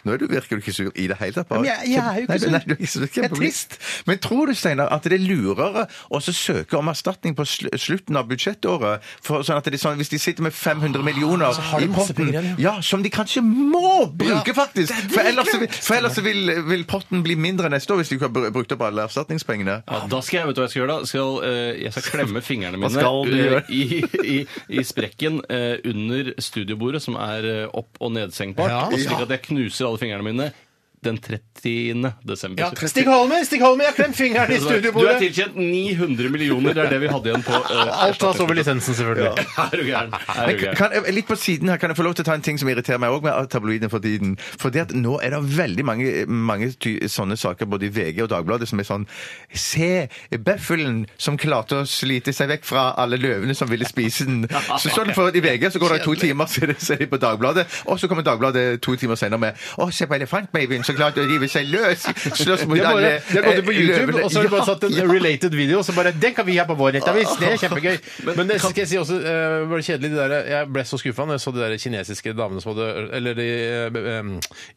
Speaker 3: Nå er du, virker du ikke sur i det hele tatt. bare.
Speaker 8: Men jeg- jeg er jo ikke
Speaker 3: Nei,
Speaker 8: sur.
Speaker 3: Nei, du er ikke sur.
Speaker 8: Jeg er trist.
Speaker 3: Men tror du, Steinar, at det er lurere å så søke om erstatning på sl slutten av budsjettåret? For, sånn at det er sånn, Hvis de sitter med 500 millioner
Speaker 8: Altså, har de
Speaker 3: i
Speaker 8: masse
Speaker 3: potten,
Speaker 8: penger igjen,
Speaker 3: ja, som de kanskje må bruke, faktisk!
Speaker 8: det er
Speaker 3: For ellers,
Speaker 8: dritlurt.
Speaker 3: vil- for ellers vil, vil potten bli mindre neste år hvis de ikke har br- brukt opp alle erstatningspengene.
Speaker 9: Ja, da skal jeg vet du hva jeg skal gjøre da skal, eh, Jeg
Speaker 8: [laughs]
Speaker 9: skal klemme fingrene mine
Speaker 3: skal du
Speaker 9: eh,
Speaker 3: gjøre?
Speaker 9: i, i, i sprekken eh, under studiobordet, som er eh, opp- og nedsengbart,
Speaker 8: Ja.
Speaker 9: og slik at jeg knuser alle fingrene mine den 30. desember.
Speaker 8: Ja, Stig Holme, Stig Holme, jeg har klemt
Speaker 3: [laughs]
Speaker 8: fingeren [laughs] i
Speaker 9: du er
Speaker 8: studiobordet!
Speaker 9: tilkjent 900 millioner, det er det vi hadde igjen på eh,
Speaker 8: Alt tas over lisensen, selvfølgelig.
Speaker 9: [laughs] Er du gæren? Er
Speaker 3: Men
Speaker 9: du gæren?
Speaker 3: kan, jeg- litt på siden her, kan jeg få lov til å ta en ting som irriterer meg òg med tabloidene for tiden? Fordi at nå er det veldig mange, mange ty sånne saker både i VG og Dagbladet som er sånn Se bøffelen som klarte å slite seg vekk fra alle løvene som ville
Speaker 8: [laughs]
Speaker 3: spise den. Så står den for i VG, så går det to timer, så er det- så er de på Dagbladet, og så kommer Dagbladet to timer senere med Å, se på elefantbabyen som klarte å rive seg løs! Slåss mot
Speaker 8: De har
Speaker 3: alle
Speaker 8: bare, de har gått inn på
Speaker 3: eh,
Speaker 8: YouTube,
Speaker 3: løvene.
Speaker 8: og så har de bare
Speaker 3: Ja,
Speaker 8: satt en
Speaker 3: ja.
Speaker 8: related video, og så bare Den kan vi ha på vår nettavis! Det er kjempegøy. Men det skal jeg si også, eh, var det kjedelig, de der, jeg ble så skuffa når jeg så de der kinesiske damene som hadde Eller de eh, em,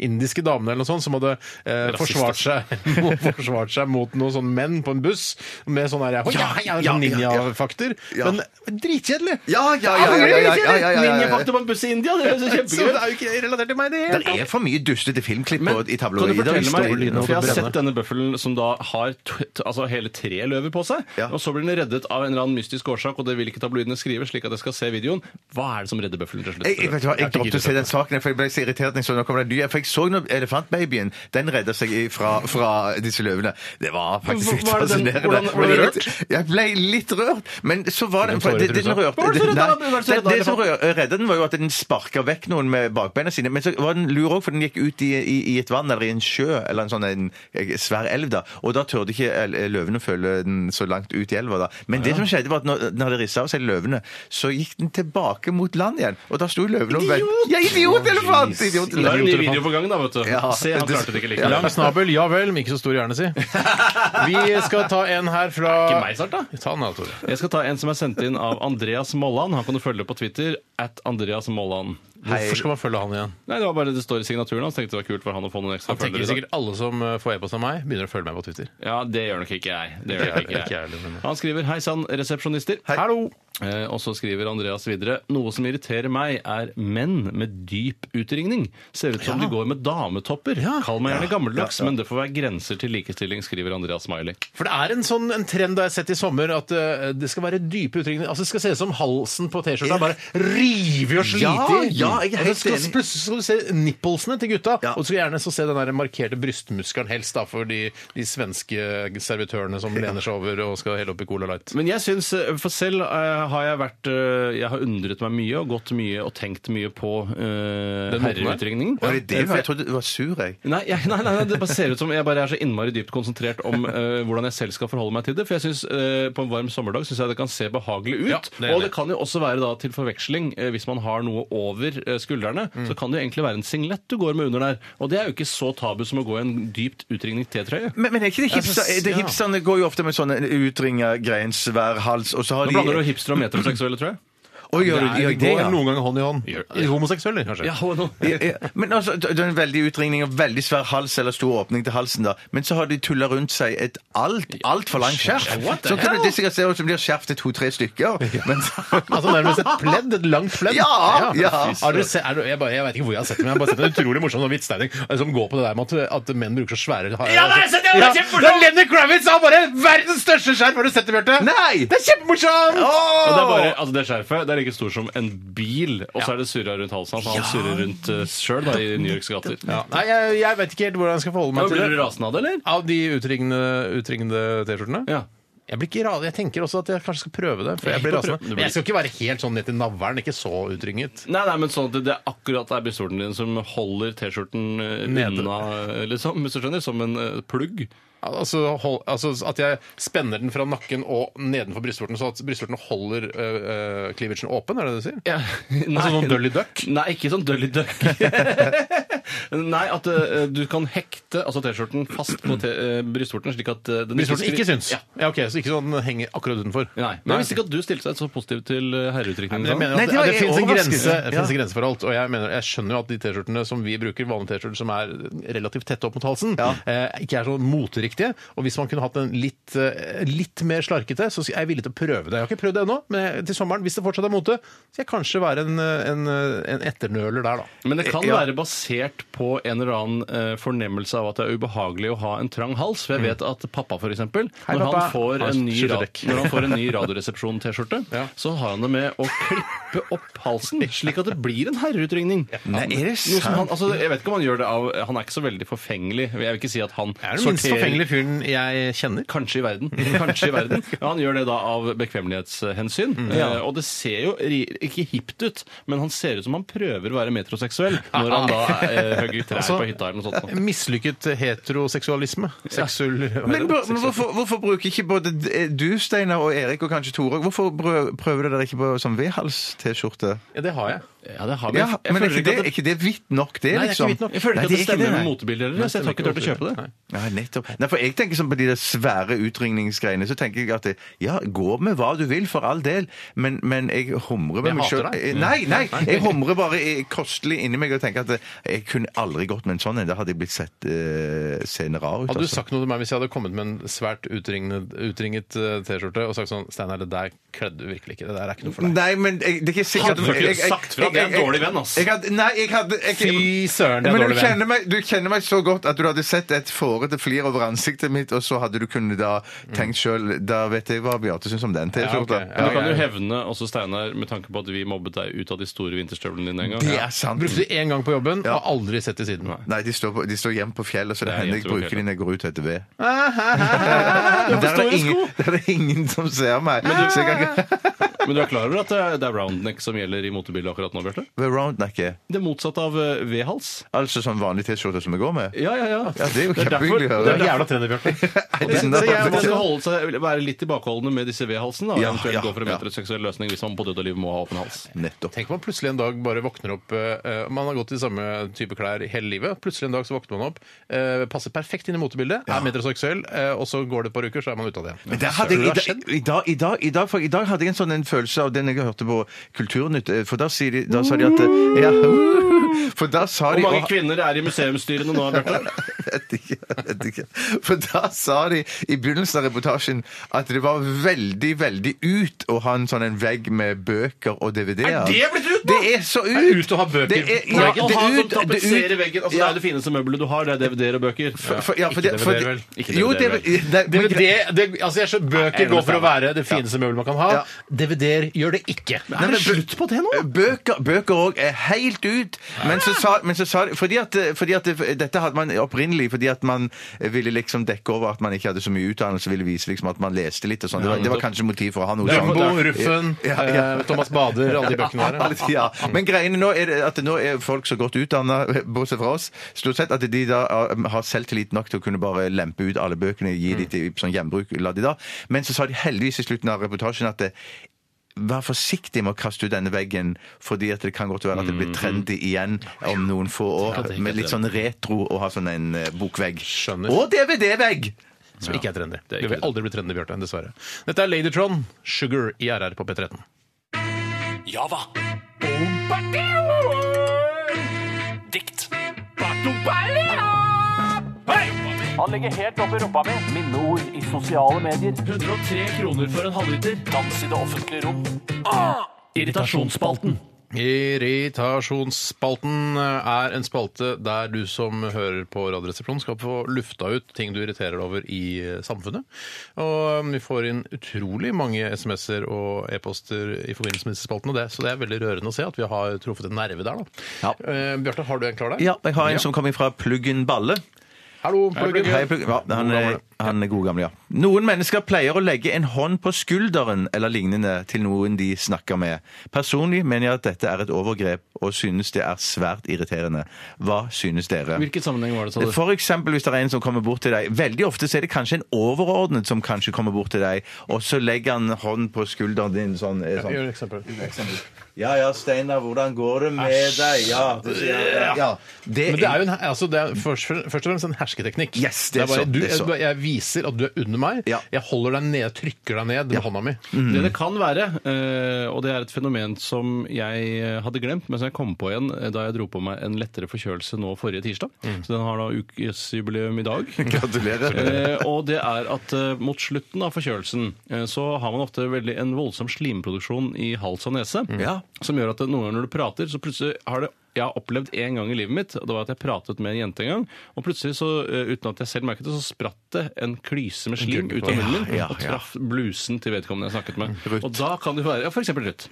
Speaker 8: indiske damene eller noe sånt, som hadde eh, forsvart, seg, [laughs] forsvart seg mot noen sånne menn på en buss med sånn her ja, ja,
Speaker 3: ja, ja, ja.
Speaker 8: ninjafakter.
Speaker 3: Ja.
Speaker 8: Men dritkjedelig!
Speaker 3: Ja, ja, ja, ja, ja, ja, ja, ja, ja, ja, ja.
Speaker 9: Ninjafakta på en buss i India, det er jo
Speaker 8: Så
Speaker 9: så
Speaker 8: det
Speaker 9: kjempegøy!
Speaker 8: er jo ikke relatert til meg, det.
Speaker 3: Det er for mye dustete filmklipp
Speaker 9: Men
Speaker 3: og- i
Speaker 9: kan
Speaker 3: tabloider.
Speaker 9: du fortelle
Speaker 3: i
Speaker 9: meg,
Speaker 3: historiene.
Speaker 9: for Jeg har
Speaker 8: brenne.
Speaker 9: sett denne bøffelen som da har t t altså hele tre løver på seg.
Speaker 3: Ja.
Speaker 9: Og så blir den reddet av en eller annen mystisk årsak, og det vil ikke tabloidene skrive. slik at jeg skal se videoen. Hva er det som redder bøffelen til slutt?
Speaker 3: Jeg, jeg, vet du hva, jeg droppet å se den saken, for jeg ble så irritert når jeg så nå kommer det en ny. For jeg så nå elefantbabyen. Den redda seg i- fra, fra disse løvene. Det var faktisk litt
Speaker 9: Var det den-
Speaker 3: fascinerende.
Speaker 9: hvordan- var
Speaker 3: Men
Speaker 9: det
Speaker 3: jeg- Jeg ble litt rørt, men så var det
Speaker 8: en tåre i
Speaker 3: det, det,
Speaker 8: trusa?
Speaker 3: den rørte,
Speaker 9: Hva var det som
Speaker 3: det,
Speaker 9: redda- hva var det som
Speaker 3: det,
Speaker 9: redda
Speaker 3: det som rør- redda den, var jo at den sparka vekk noen med bakbeina sine. Men så var den lur òg, for den gikk ut i, i, i et vann eller i en sjø eller en sånn en, eh, svær elv, da. Og da tørde ikke el- løvene å følge den så langt ut i elva, da. Men det som skjedde, var at når den hadde rissa av seg løvene, så gikk den tilbake mot land igjen. Og da sto løvene og ventet. Ja, idiot! Elefant! Idiot!
Speaker 9: Da er det en ny
Speaker 8: Idioter,
Speaker 9: video på gangen, da, vet du.
Speaker 3: Ja.
Speaker 9: Se, han klarte det ikke
Speaker 3: Ja.
Speaker 9: likevel.
Speaker 8: Lang snabel, ja vel, men ikke så stor hjerne,
Speaker 3: [laughs]
Speaker 8: si. Vi skal ta en her fra
Speaker 9: Ikke meg snart, da.
Speaker 8: Ta den da, Tore.
Speaker 9: Jeg skal ta en som er sendt inn av Andreas Molland. Han kan du følge på Twitter. At Andreas Molland.
Speaker 3: Hei.
Speaker 8: Hvorfor skal man følge han igjen?
Speaker 9: Nei, det var bare det står i signaturen hans. Tenkte det var kult for han å få noen ekstra
Speaker 8: Han tenker
Speaker 9: følgere.
Speaker 8: sikkert alle som eh, får e-post av meg, begynner å følge meg på Twitter.
Speaker 9: Ja, det gjør nok ikke jeg. Det gjør
Speaker 8: Det
Speaker 9: nok
Speaker 8: gjør
Speaker 9: ikke
Speaker 8: [laughs] ikke jeg heller,
Speaker 9: jeg.
Speaker 8: men-
Speaker 9: Han skriver 'Hei sann, resepsjonister'.
Speaker 3: Hallo!
Speaker 9: Eh, og så skriver Andreas videre 'Noe som irriterer meg, er menn med dyp utringning'. Ser ut som de går med dametopper. Kall meg gjerne gammeldags, men det får være grenser til likestilling, skriver Andreas Smiley.
Speaker 8: For det er en sånn en trend da jeg har sett i sommer, at eh, det skal være dype uttrykninger. Altså, det skal se ut som halsen på T-skjorta
Speaker 3: Ja.
Speaker 8: bare river og sliter.
Speaker 3: Ja, ja, jeg er
Speaker 8: Og det
Speaker 3: helt
Speaker 8: skal,
Speaker 3: enig.
Speaker 8: Plutselig skal du se nipplesene til gutta,
Speaker 3: Ja.
Speaker 8: og du skal gjerne så se den der markerte brystmuskelen helst da, for de, de svenske servitørene som lener seg over og skal helle opp i Cola Light.
Speaker 9: Men jeg syns eh, For selv eh, har jeg vært eh, Jeg har undret meg mye og gått mye og tenkt mye på uh,
Speaker 8: Den moten der?
Speaker 9: herreutringningen.
Speaker 3: Var det det? Jeg trodde du var sur, jeg.
Speaker 9: Nei, jeg, nei, nei, nei, det bare ser ut som jeg bare er så innmari dypt konsentrert om eh, hvordan jeg selv skal forholde meg til det. For jeg synes, eh, På en varm sommerdag syns jeg det kan se behagelig ut.
Speaker 8: Ja, det er
Speaker 9: og
Speaker 8: det.
Speaker 9: det kan jo også være da til forveksling, eh, hvis man har noe over eh, skuldrene,
Speaker 8: Mm.
Speaker 9: så kan det jo egentlig være en singlet du går med under der. Og det er jo ikke så tabu som å gå i en dypt utringnet T-trøye.
Speaker 3: Men, men er ikke det hipster,
Speaker 8: synes-
Speaker 3: er det
Speaker 8: ja.
Speaker 3: hipsterne går jo ofte med sånne utringer, grein, svær hals, og så har
Speaker 9: Nå
Speaker 3: de
Speaker 9: blander du hipster og metroseksuelle, tror jeg.
Speaker 3: Å, gjør du
Speaker 8: Nei,
Speaker 3: gjør
Speaker 8: de
Speaker 3: det,
Speaker 8: går
Speaker 3: ja?
Speaker 8: noen ganger hånd i hånd. Homoseksuelle, kanskje.
Speaker 3: Ja, ja. Men altså, det er en veldig utringning og veldig svær hals eller stor åpning til halsen, da. Men så har de tulla rundt seg et alt, altfor langt skjerf. Så kan det- det sikkert se ut som de har skjerf til to-tre stykker. Men,
Speaker 8: Altså nærmest et pledd, et langt pledd.
Speaker 3: Ja, ja.
Speaker 8: Har dere se, er det, jeg, bare, jeg vet ikke hvor jeg har sett det, men jeg har bare sett en utrolig morsom sånn vitsstegning som går på det der med at, at menn bruker så svære Ja,
Speaker 2: det har jeg sett, det er kjempemorsomt!
Speaker 8: er Lenny Kravitz har bare verdens største skjerf! Har du sett det, Bjarte?
Speaker 3: [laughs] Nei!
Speaker 8: Det er kjempemorsomt!
Speaker 9: Og det, er bare, altså det skjerfet det er like stort som en bil, og så er det surra rundt halsen hans. Han surrer rundt uh, sjøl i New Yorks gater.
Speaker 8: Ja, nei, jeg, jeg vet ikke helt hvordan jeg skal forholde meg til
Speaker 9: Blir du
Speaker 8: det.
Speaker 9: rasende av det, eller?
Speaker 8: Av de utringende, utringende T-skjortene?
Speaker 9: Ja.
Speaker 8: Jeg blir ikke ra- Jeg tenker også at jeg kanskje skal prøve det. For jeg blir
Speaker 9: Du
Speaker 8: rasende.
Speaker 9: prøver- du blir-
Speaker 8: Men jeg skal ikke være helt sånn ned til navlen. Ikke så utringet.
Speaker 9: Nei, nei, men sånn at det- det er akkurat det er brystvorten din som holder T-skjorten eh,
Speaker 8: Nede.
Speaker 9: unna, eh, liksom, hvis du skjønner, som en eh, plugg.
Speaker 8: Altså, hold, altså at jeg spenner den fra nakken og nedenfor brystvorten, så at brystvorten holder øh, øh, cleavagen åpen, er det det du sier? [laughs]
Speaker 9: Nei.
Speaker 8: Altså sånn Dully Duck?
Speaker 9: Nei, ikke sånn Dully Duck.
Speaker 8: [laughs]
Speaker 9: [laughs] nei, at eh, du kan hekte altså T-skjorten fast på te- eh, brystvorten, slik at eh, den
Speaker 8: Brystvorten ikke
Speaker 9: sklir-
Speaker 8: syns?
Speaker 9: Ja.
Speaker 8: Ja. ok, Så ikke sånn den henger akkurat utenfor?
Speaker 9: Nei, men Jeg visste ikke at du stilte deg så positiv til eh, herreuttrykningen.
Speaker 8: Men jeg mener
Speaker 3: Nei,
Speaker 8: at det,
Speaker 3: det var
Speaker 8: det,
Speaker 3: jeg
Speaker 8: finnes en
Speaker 3: overrasket.
Speaker 8: grense, det
Speaker 3: Ja.
Speaker 8: finnes en grense for alt. Og jeg, mener, jeg skjønner jo at de T-skjortene som vi bruker, vanlige T-skjorter som er relativt tette opp mot halsen, eh, ikke er så moteriktige. Og hvis man kunne hatt en litt, eh, litt mer slarkete, så er jeg villig til å prøve det. Jeg har ikke prøvd det ennå, men jeg- til sommeren, hvis det fortsatt er mote, skal jeg kanskje være en, eh, en, eh, en etternøler der, da.
Speaker 9: Men det kan
Speaker 3: Ja.
Speaker 9: være basert på en eller annen eh, fornemmelse av at det er ubehagelig å ha en trang hals. For jeg vet at pappa, for eksempel, når,
Speaker 8: pappa.
Speaker 9: han får
Speaker 8: Har
Speaker 9: en ny ra-
Speaker 8: skjortedekk.
Speaker 9: når han får en ny Radioresepsjon-T-skjorte,
Speaker 8: Ja.
Speaker 9: så har han det med å klippe opp halsen, slik at det blir en herreutringning.
Speaker 3: Nei, er det
Speaker 9: Noe som han,
Speaker 3: sant?
Speaker 9: altså, jeg vet ikke om han gjør det av Han er ikke så veldig forfengelig. Jeg vil ikke si at han
Speaker 8: Er den minst forfengelige fyren jeg kjenner?
Speaker 9: Kanskje i
Speaker 3: [laughs]
Speaker 9: verden. Kanskje i verden. Ja, han gjør det da av bekvemmelighetshensyn.
Speaker 3: Mm.
Speaker 9: Eh, og det ser jo ri- ikke hipt ut, men han ser ut som han prøver å være metroseksuell når han da eh, hugger trær
Speaker 3: [laughs]
Speaker 8: Altså,
Speaker 9: på hytta eller noe sånt. nå.
Speaker 8: Mislykket heteroseksualisme. Seksuell
Speaker 3: Men, bør- men hvorfor, hvorfor bruker ikke både d- eh, du, Steinar, og Erik, og kanskje Tore Hvorfor brø- prøver dere ikke på sånn V-hals-T-skjorte?
Speaker 8: Ja, det har jeg.
Speaker 9: Ja, det har vi.
Speaker 3: Ja,
Speaker 9: Jeg
Speaker 3: men er
Speaker 9: føler
Speaker 3: ikke
Speaker 9: ikke
Speaker 3: det,
Speaker 9: at
Speaker 3: er ikke det hvitt nok,
Speaker 8: Nei,
Speaker 3: det,
Speaker 8: det er ikke
Speaker 3: liksom?
Speaker 8: hvitt nok.
Speaker 9: jeg føler
Speaker 3: Nei,
Speaker 9: ikke at det
Speaker 3: er
Speaker 9: stemmer
Speaker 3: nei.
Speaker 9: med motebildet deres. Så jeg har ikke turt å kjøpe det.
Speaker 3: Ja, nettopp. Nei, for jeg tenker sånn på de der svære utringningsgreiene, så tenker jeg at det, ja, gå med hva du vil, for all del, men, men jeg humrer
Speaker 8: Jeg
Speaker 3: med meg
Speaker 8: hater
Speaker 3: sjøl.
Speaker 8: deg.
Speaker 3: Nei, nei, jeg humrer bare i- kostelig inni meg og tenker at det- jeg kunne aldri gått med en sånn en. Da hadde jeg blitt sett eh, senere rar ut.
Speaker 8: Hadde du
Speaker 3: altså.
Speaker 8: sagt noe til meg hvis jeg hadde kommet med en svært utringet, utringet eh, T-skjorte og sagt sånn Steinar, det der kledde du virkelig ikke. Det der er ikke noe for deg.
Speaker 3: Nei, men jeg, det er ikke sikkert
Speaker 9: Hadde du ikke sagt fra? Det er en dårlig venn, ass.
Speaker 3: Jeg hadde, nei, jeg hadde jeg,
Speaker 8: Fy søren, det er
Speaker 3: men
Speaker 8: dårlig
Speaker 3: du
Speaker 8: venn.
Speaker 3: kjenner, meg, du kjenner meg så godt at du hadde sett et fårete flir over ansiktet mitt, og så hadde du kunnet da tenkt sjøl Da vet jeg hva Beate syns om den T-skjorta.
Speaker 8: Mm. Ja, ok.
Speaker 9: Men
Speaker 8: Ja,
Speaker 9: du kan
Speaker 8: ja,
Speaker 9: jo
Speaker 8: ja.
Speaker 9: hevne også Steinar med tanke på at vi mobbet deg ut av de store vinterstøvlene dine en gang.
Speaker 3: Det
Speaker 9: Ja.
Speaker 3: er sant.
Speaker 8: Brukte det én gang på jobben og aldri sett det siden.
Speaker 3: Nei, de står, på, de står hjemme på fjellet, så det
Speaker 9: Ja, jeg
Speaker 3: hender jeg
Speaker 9: tror
Speaker 3: bruker
Speaker 9: ikke
Speaker 3: de når jeg går ut [laughs] etter ved.
Speaker 8: hvorfor
Speaker 3: Der er,
Speaker 8: står
Speaker 3: det
Speaker 8: det
Speaker 3: ingen, der er det ingen som ser meg. Så jeg kan ikke [laughs]
Speaker 9: Men du er klar over at det er- det er roundneck som gjelder i motebildet akkurat nå, Bjarte?
Speaker 3: Ved roundnecket.
Speaker 9: Det motsatte av eh, V-hals.
Speaker 3: Altså sånn vanlig T-skjorte som jeg går med.
Speaker 9: Ja, ja, ja.
Speaker 3: Ja, det er jo
Speaker 9: derfor-
Speaker 3: kjempehyggelig å
Speaker 8: Det
Speaker 3: høre.
Speaker 8: er jævla trendy, Bjarte.
Speaker 9: Jeg synes
Speaker 3: Det er
Speaker 9: jeg- Man skal
Speaker 3: jævla- sånn.
Speaker 9: holde seg, være litt tilbakeholdende med disse V-halsene. og
Speaker 3: Ja,
Speaker 9: eventuelt
Speaker 3: ja,
Speaker 9: gå for en
Speaker 3: ja.
Speaker 9: metroseksuell løsning hvis man på død og liv må ha åpen hals.
Speaker 3: Nettopp.
Speaker 8: Tenk om man plutselig en dag bare våkner opp eh, Man har gått i samme type klær hele livet. Plutselig en dag så våkner man opp, eh, passer perfekt inn i motebildet, er metroseksuell, eh, og så går det et par uker, så er man ute av det igjen.
Speaker 3: Men der hadde jeg, i, dag, i, dag, i, dag, for I dag hadde jeg en sånn en følelse av den jeg hørte på Kulturnytt, eh, for da, sier de, da sa de at eh, ja, [laughs] For da sa de
Speaker 9: Hvor mange
Speaker 3: og-
Speaker 9: kvinner er i museumsstyrene nå,
Speaker 3: [laughs]
Speaker 9: Bjarte?
Speaker 3: vet ikke, vet ikke. For da sa de i begynnelsen av reportasjen at det var veldig, veldig ut å ha en sånn en vegg med bøker og DVD-er.
Speaker 9: Er det blitt ut nå?
Speaker 3: Det er så ut!
Speaker 9: Det er ut å ha bøker
Speaker 3: Det er,
Speaker 9: på
Speaker 3: ja,
Speaker 9: veggen.
Speaker 3: det
Speaker 9: Å ha sånn
Speaker 3: er ut, det er
Speaker 9: tapetser i
Speaker 3: ut.
Speaker 9: veggen. Altså,
Speaker 3: Ja.
Speaker 9: Det er det fineste møbelet du har, det er DVD-er og bøker.
Speaker 3: For, ja, for
Speaker 8: Ikke
Speaker 3: det, for
Speaker 8: DVD,
Speaker 3: det-
Speaker 8: vel?
Speaker 9: Ikke
Speaker 3: Jo,
Speaker 9: DVD, vel?
Speaker 3: det, det, men,
Speaker 8: DVD, det, altså jeg skjønner, Bøker går
Speaker 9: Jeg
Speaker 8: for å
Speaker 9: understand.
Speaker 8: være det fineste møbelet man kan ha.
Speaker 3: Ja.
Speaker 8: DVD-er gjør det ikke.
Speaker 3: Nei, men bø- Bøker bøker òg er helt ut. Men så sa, men så sa de- fordi at, fordi at Dette hadde man opprinnelig fordi at man ville liksom dekke over at man ikke hadde så mye utdannelse, ville vise liksom at man leste litt og sånn. Det, var- det var kanskje motiv for å ha noe sånt.
Speaker 8: Rambo, Ruffen,
Speaker 3: Ja, ja.
Speaker 8: eh, Thomas Bader, alle de bøkene der.
Speaker 3: Alle- [laughs] Ja. Men greiene nå er det at nå er folk så godt utdanna, [laughs] bortsett fra oss, stort sett at de da eh, har selvtillit nok til å kunne bare lempe ut alle bøkene, gi de til sånn gjenbruk, la de da. Men så sa de heldigvis i slutten av reportasjen at det, Vær forsiktig med å kaste ut denne veggen, fordi at det kan godt være at det blir trendy igjen om noen få år. Med litt sånn retro å ha sånn en eh, bokvegg.
Speaker 8: Skjønner.
Speaker 3: Og DVD-vegg!
Speaker 8: Som ikke er trendy.
Speaker 9: er
Speaker 8: Det
Speaker 9: ikke
Speaker 8: vil aldri bli trendy, Bjarte. Dessverre. Dette er Ladytron, Sugar i RR på P13.
Speaker 2: Java. Dikt.
Speaker 5: Han legger helt opp i rumpa mi. Minneord i sosiale medier.
Speaker 2: 103 kroner for en halvliter.
Speaker 5: Dans i det offentlige rom.
Speaker 2: Irritasjonsspalten.
Speaker 8: Irritasjonsspalten er en spalte der du som hører på Radioresepsjonen skal få lufta ut ting du irriterer deg over i samfunnet. Og um, vi får inn utrolig mange SMS-er og e-poster i forbindelse med disse spaltene, og det, så det er veldig rørende å se at vi har truffet en nerve der, da.
Speaker 3: Ja.
Speaker 8: Eh, Bjarte, har du en klar der?
Speaker 3: Ja, jeg har en som kommer fra Pluggen Balle.
Speaker 8: Hallo, pluggen.
Speaker 3: Hei, Pluggen. Ja, han, er, han er god gammel, ja. Noen mennesker pleier å legge en hånd på skulderen eller lignende til noen de snakker med. Personlig mener jeg at dette er et overgrep, og synes det er svært irriterende. Hva synes dere?
Speaker 9: Hvilken sammenheng var det, sa du?
Speaker 3: For eksempel hvis det er en som kommer bort til deg Veldig ofte så er det kanskje en overordnet som kanskje kommer bort til deg, og så legger han hånd på skulderen din sånn, eh, sånn.
Speaker 8: Gjør et eksempel.
Speaker 3: Ja ja, Steinar, hvordan går det med deg? Ja, det sier jeg. ja. Det
Speaker 8: Men det er jo en, altså det er først, først og fremst en hersketeknikk.
Speaker 3: Eh, Yes, det er
Speaker 8: bare,
Speaker 3: så,
Speaker 8: du,
Speaker 3: det er så.
Speaker 8: Jeg, jeg viser at du er under meg.
Speaker 3: Ja. Mm.
Speaker 8: Jeg holder deg ned, jeg trykker deg ned med hånda mi.
Speaker 9: Det det kan være, eh, og det er et fenomen som jeg eh, hadde glemt, men som jeg kom på igjen eh, da jeg dro på meg en lettere forkjølelse nå forrige tirsdag. Så den har da ukesjubileum i dag.
Speaker 3: Mm. Gratulerer.
Speaker 9: Eh, og det er at eh, mot slutten av forkjølelsen eh, så har man ofte veldig en voldsom slimproduksjon i hals og nese.
Speaker 3: Mm. Ja.
Speaker 9: Som gjør at det, noen ganger når du prater, så plutselig har det jeg har opplevd en gang i livet mitt, og det var at jeg pratet med en jente en gang, og plutselig, så, eh, uten at jeg selv merket det, så spratt det en klyse med slim ut av munnen min
Speaker 3: ja,
Speaker 9: og
Speaker 3: ja.
Speaker 9: traff blusen til vedkommende jeg snakket med.
Speaker 3: Ruth.
Speaker 9: Og da kan det være Ja, for eksempel Ruth.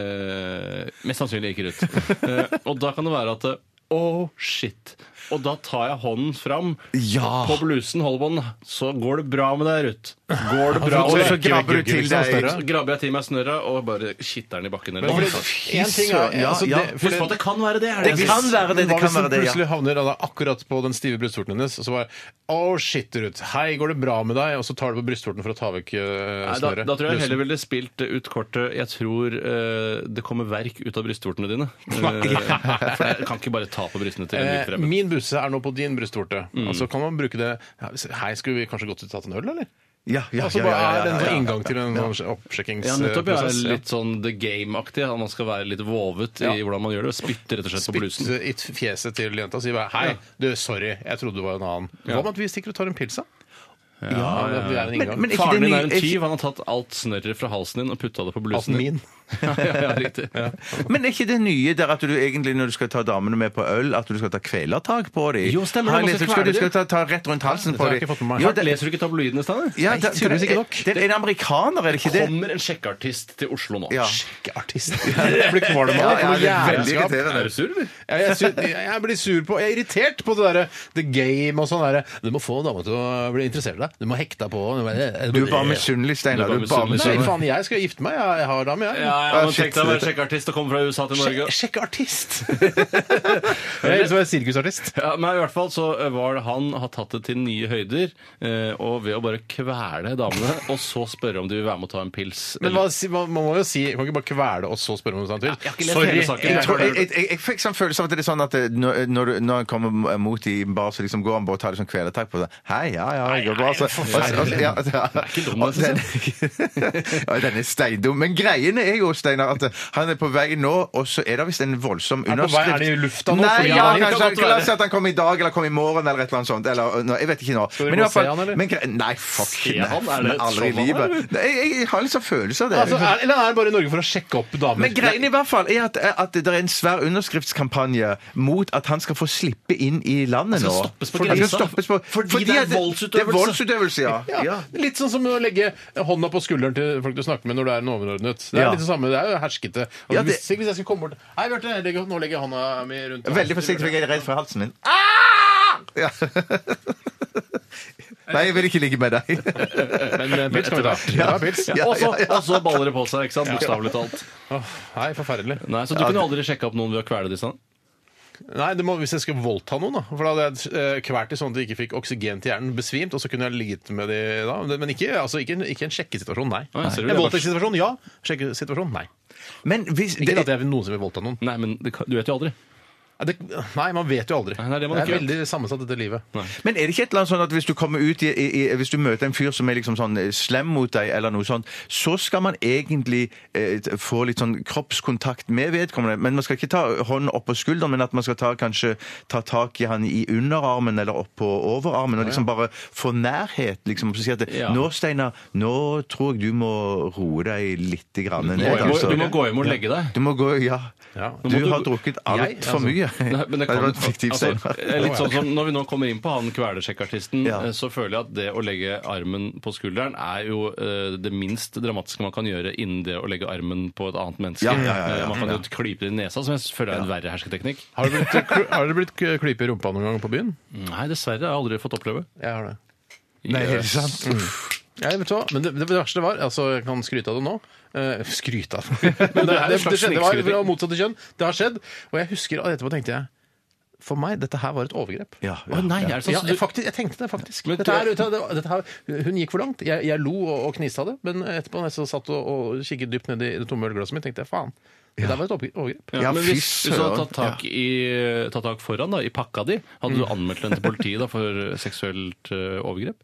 Speaker 9: Eh, mest sannsynlig ikke
Speaker 3: [laughs]
Speaker 9: Ruth. Eh, og da kan det være at eh, Oh, shit. Og da tar jeg hånden fram
Speaker 3: Ja.
Speaker 9: på blusen, holder på den, så går det bra med deg, Ruth. Går det bra
Speaker 3: Og
Speaker 9: med
Speaker 3: så
Speaker 9: deg?
Speaker 3: grabber du
Speaker 8: Gugge,
Speaker 3: til
Speaker 8: liksom,
Speaker 3: deg.
Speaker 9: Så grabber jeg til meg snørra og bare kitter den i bakken.
Speaker 8: Men
Speaker 9: Eller.
Speaker 8: fordi-
Speaker 3: fy
Speaker 8: en ting er-
Speaker 3: søren, ja,
Speaker 8: altså,
Speaker 3: ja.
Speaker 8: det- fordi-
Speaker 9: Husk på at det kan være det. Er
Speaker 3: Det
Speaker 9: det. jeg
Speaker 3: kan
Speaker 9: sier.
Speaker 3: være det.
Speaker 8: Men
Speaker 3: det
Speaker 8: hva
Speaker 3: kan
Speaker 8: hvis
Speaker 3: være
Speaker 8: den
Speaker 3: det, ja.
Speaker 8: plutselig havner da, akkurat på den stive brystvorten hennes, og så bare Å, shit, Ruth. Hei, går det bra med deg? Og så tar du på brystvorten for å ta vekk uh,
Speaker 9: Nei, da,
Speaker 8: snøret.
Speaker 9: da tror jeg heller
Speaker 8: Blusen.
Speaker 9: ville spilt ut kortet 'Jeg tror eh, det kommer verk ut av brystvortene dine'. Eh, for jeg kan ikke bare ta på brystene til en vilt
Speaker 8: Eh,
Speaker 9: fremmed. Mm.
Speaker 8: min busse er nå på din brystvorte. Altså, kan man bruke det Hei, skulle vi kanskje gått ut og tatt en øl, eller?
Speaker 3: Ja, ja,
Speaker 8: altså, bare
Speaker 3: ja, ja, ja, ja,
Speaker 8: er det en
Speaker 3: ja,
Speaker 8: sånn
Speaker 3: ja.
Speaker 8: inngang til en sånn
Speaker 9: Ja, nettopp. Jeg er
Speaker 8: oppsjekkingsprosess?
Speaker 9: litt sånn The Game-aktig. at Man skal være litt vovet i
Speaker 8: Ja.
Speaker 9: hvordan man gjør det. og Spytte rett og slett på blusen.
Speaker 8: Spytte i fjeset til jenta og si bare Hei,
Speaker 9: Ja.
Speaker 8: du, sorry, jeg trodde du var en annen. Hva med at vi stikker og tar en pils, da? Ja, vi er en inngang.
Speaker 3: men- er ikke
Speaker 9: Faren
Speaker 3: det
Speaker 9: din
Speaker 3: ny-
Speaker 9: er jo en
Speaker 3: er ikke-
Speaker 9: tyv. Han har tatt alt snørret fra halsen din og putta det på
Speaker 8: Alten
Speaker 9: blusen din.
Speaker 8: min.
Speaker 9: [laughs] ja, ja, ja, riktig.
Speaker 3: Men er ikke det nye der at du egentlig når du skal ta damene med på øl, at du skal ta kvelertak på dem?
Speaker 9: Jo, stemmer det,
Speaker 3: Har jeg
Speaker 9: man
Speaker 3: lest-
Speaker 9: skal
Speaker 3: skal,
Speaker 9: kvele
Speaker 3: du skal ta, ta rett rundt halsen
Speaker 8: Dette
Speaker 3: på
Speaker 8: har
Speaker 3: dem.
Speaker 8: jeg ikke fått med meg.
Speaker 3: Jo,
Speaker 9: Har- Leser du ikke tabloidene, Steinar?
Speaker 3: ja, det, det,
Speaker 8: tydeligvis ikke nok.
Speaker 3: det er en amerikaner, er det
Speaker 9: Det
Speaker 3: ikke det?
Speaker 9: kommer en sjekkeartist til Oslo nå.
Speaker 3: Ja.
Speaker 8: Artist. [laughs] Jeg blir kvalm av det.
Speaker 3: Ja,
Speaker 8: for noe
Speaker 3: ja, det er veldig
Speaker 8: jævelskap.
Speaker 3: irriterende.
Speaker 9: Er du sur, eller?
Speaker 8: Jeg, jeg, sy- jeg blir sur på Jeg er irritert på det derre The Game og sånn derre Du må få dama til å bli interessert i deg. Du må hekte deg på henne.
Speaker 3: Du er bare liksom. misunnelig, Steinar.
Speaker 9: Du er
Speaker 3: Du er bare
Speaker 9: bare
Speaker 8: Nei,
Speaker 3: misunnelig.
Speaker 8: faen, jeg skal gifte meg. Jeg, jeg har dame, jeg.
Speaker 9: Ja, ja, men
Speaker 3: shit.
Speaker 9: Tenk deg å være sjekkeartist og komme fra USA til Norge.
Speaker 8: Sjekk, sjekk [laughs] artist! Eller så er jeg sirkusartist.
Speaker 9: Ja, men i hvert fall så eh, var det Han har tatt det til nye høyder, eh, og ved å bare kvele damene og så spørre om de vil være med å ta en pils.
Speaker 8: Men hva, si- man, man må jo si Man kan ikke bare kvele og så spørre om noe annet.
Speaker 9: Jeg har ikke lest hele saken.
Speaker 3: Jeg, tror, jeg,
Speaker 9: Jeg-
Speaker 3: jeg, jeg, jeg fikk sånn følelse av at det er sånn at eh, når, når, du- når han kommer mot i en bar, så liksom går han bare og tar litt sånn kvelertak på det. Hei, ja, ja, det går bra, altså.
Speaker 8: forferdelig.
Speaker 3: Altså, ja, altså, ja.
Speaker 9: ikke dum, altså.
Speaker 3: Den- [laughs] Ja, Den er steindum. Men greiene er jo, Steinar, at han er på vei nå, og så er det visst en voldsom
Speaker 8: på vei?
Speaker 3: underskrift.
Speaker 8: Er det i lufta nå?
Speaker 3: Nei,
Speaker 8: Fordi
Speaker 3: ja,
Speaker 8: han-
Speaker 3: kanskje.
Speaker 8: kan godt
Speaker 3: La oss si
Speaker 8: være.
Speaker 3: at han kommer i dag, eller kommer i morgen, eller et eller annet sånt. Eller, nå, jeg vet ikke nå.
Speaker 8: vi
Speaker 3: Men i
Speaker 8: gå
Speaker 3: hvert fall-
Speaker 8: se han, eller?
Speaker 3: Men, gre- nei, fuck.
Speaker 9: Se
Speaker 3: nei,
Speaker 9: han? Er det et
Speaker 3: aldri i
Speaker 9: sånn han er,
Speaker 3: livet. Nei, Jeg, jeg har liksom følelse av det.
Speaker 8: Altså, er, eller er det bare i Norge for å sjekke opp damer?
Speaker 3: Men greien i hvert fall er at, at det er en svær underskriftskampanje mot at han skal få slippe inn i landet nå.
Speaker 9: stoppes på
Speaker 3: Fordi- Han skal
Speaker 9: grensa.
Speaker 3: stoppes på-
Speaker 9: Fordi det er
Speaker 3: at Det er
Speaker 9: voldsutøvelse.
Speaker 3: voldsutøvelse,
Speaker 9: [laughs]
Speaker 3: ja.
Speaker 8: Ja.
Speaker 3: ja.
Speaker 8: Litt sånn som å legge hånda på skulderen til folk du snakker med når du er en overordnet. Det er
Speaker 3: Ja.
Speaker 8: litt det samme, det er jo herskete. Og
Speaker 3: Ja, det-
Speaker 8: hvis, hvis jeg skulle komme bort Hei, Bjarte, jeg legger- nå legger jeg hånda mi rundt
Speaker 3: Veldig forsiktig, for jeg er redd for halsen min.
Speaker 9: Ah!
Speaker 3: Ja. [laughs] Nei, jeg vil ikke ligge med deg.
Speaker 9: [laughs] Men, eh,
Speaker 8: Pils kan vi ta.
Speaker 9: Ja.
Speaker 8: Ja, pils.
Speaker 9: Ja, og så- og så baller det på seg, ikke sant? Bokstavelig talt.
Speaker 8: Åh, Nei, forferdelig.
Speaker 9: Nei, Så du kunne aldri sjekka opp noen ved å kvele de sånn?
Speaker 8: Nei, det må, Hvis jeg skulle voldta noen, da. For da hadde jeg eh, kvært de sånn at de ikke fikk oksygen til hjernen, besvimt, og så kunne jeg ligget med de da. Men ikke, altså, ikke, en- ikke en sjekkesituasjon, nei.
Speaker 9: Nei, ser du
Speaker 8: En
Speaker 9: det,
Speaker 8: voldtektssituasjon, ja. Sjekkesituasjon, nei.
Speaker 3: Men hvis
Speaker 8: Ikke at jeg vil noen som vil voldta noen.
Speaker 9: Nei, men det, kan- du vet jo aldri.
Speaker 8: Nei, Det, nei, man vet jo aldri.
Speaker 9: Nei, det er det man ikke
Speaker 8: veldig sammensatt, dette livet.
Speaker 3: Men er det ikke et eller annet sånn at hvis du kommer ut i, i, i Hvis du møter en fyr som er liksom sånn eh, slem mot deg, eller noe sånt, så skal man egentlig eh, t- få litt sånn kroppskontakt med vedkommende. Men man skal ikke ta hånden opp på skulderen, men at man skal ta, kanskje ta tak i han i underarmen eller oppå overarmen, og liksom bare få nærhet, liksom. Og si at
Speaker 9: Ja.
Speaker 3: Nå, Steinar, nå tror jeg du må roe deg litt grann ned.
Speaker 9: Du må,
Speaker 3: altså.
Speaker 9: du må gå hjem og legge deg.
Speaker 3: Du må gå Ja.
Speaker 8: Ja.
Speaker 3: Du,
Speaker 9: Nå må
Speaker 3: har
Speaker 9: du-
Speaker 3: drukket altfor
Speaker 8: Jeg, altså.
Speaker 3: mye.
Speaker 9: Nei, men det
Speaker 3: det
Speaker 9: kan,
Speaker 3: var et fiktivt,
Speaker 9: altså,
Speaker 3: Steinar.
Speaker 9: eh, litt sånn som Når vi nå kommer inn på han kvelersjekkartisten,
Speaker 3: Ja.
Speaker 9: eh, så føler jeg at det å legge armen på skulderen er jo eh, det minst dramatiske man kan gjøre innen det å legge armen på et annet menneske.
Speaker 3: Ja, ja, ja, ja.
Speaker 9: Eh, Man kan jo klype det i nesa, som jeg føler er en verre hersketeknikk.
Speaker 8: Har dere blitt, kl- har dere blitt k- klype i rumpa noen gang på byen?
Speaker 9: Nei, dessverre. Jeg har aldri fått oppleve.
Speaker 8: Jeg har det.
Speaker 3: Nei, er det sant?
Speaker 8: Ja, jeg vet hva, men det, det verste var altså, Jeg kan skryte av det nå. Eh, skryte
Speaker 9: [laughs]
Speaker 8: av det. Men det,
Speaker 9: er
Speaker 8: det,
Speaker 9: en slags
Speaker 8: det skjedde, det var
Speaker 9: snikskryting.
Speaker 8: fra motsatte kjønn. Det har skjedd. Og jeg husker at etterpå tenkte jeg For meg, dette her var et overgrep.
Speaker 3: Ja, ja.
Speaker 9: Å nei, er det sånn?
Speaker 8: Ja,
Speaker 9: Så
Speaker 8: jeg,
Speaker 9: du-
Speaker 8: faktisk, jeg tenkte det faktisk.
Speaker 9: Men
Speaker 8: Dette her, vet du, det, dette her, hun gikk for langt. Jeg, jeg lo og, og kniste av det, men etterpå når jeg så satt og, og kikket dypt ned i det tomme ølglasset mitt, tenkte jeg faen. Det der var et overgre- overgrep.
Speaker 9: Ja,
Speaker 3: Ja,
Speaker 9: men
Speaker 3: fy
Speaker 9: hvis, hvis du hadde
Speaker 3: søren.
Speaker 9: tatt tak, i, tatt tak foran da, i pakka di, hadde du
Speaker 3: Mm.
Speaker 9: anmeldt den til politiet da, for seksuelt eh, overgrep?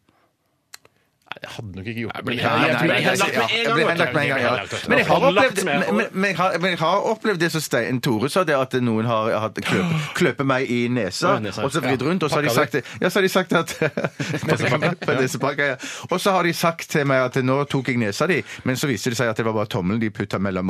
Speaker 8: Nei, jeg hadde nok ikke gjort det. men
Speaker 9: men
Speaker 8: jeg-
Speaker 9: jeg-
Speaker 3: Nei,
Speaker 8: jeg tror-
Speaker 3: nei, nei,
Speaker 8: jeg-
Speaker 3: jeg- ja, jeg ble henlagt med en gang, ja. Men jeg har opplevd- men- men jeg har- men jeg har opplevd det som Stein Tore sa, det at noen har hatt kløp,
Speaker 8: [gasps]
Speaker 3: kløpe meg i nesa,
Speaker 9: Ja, nesa.
Speaker 3: og så vridd rundt, og så har de
Speaker 8: Pakka
Speaker 3: sagt, ja, så har de
Speaker 8: [laughs]
Speaker 3: sagt at På nesepakka, ja. Og så har de sagt til meg at nå tok jeg nesa di, men så viste det seg at det var bare tommelen de putta mellom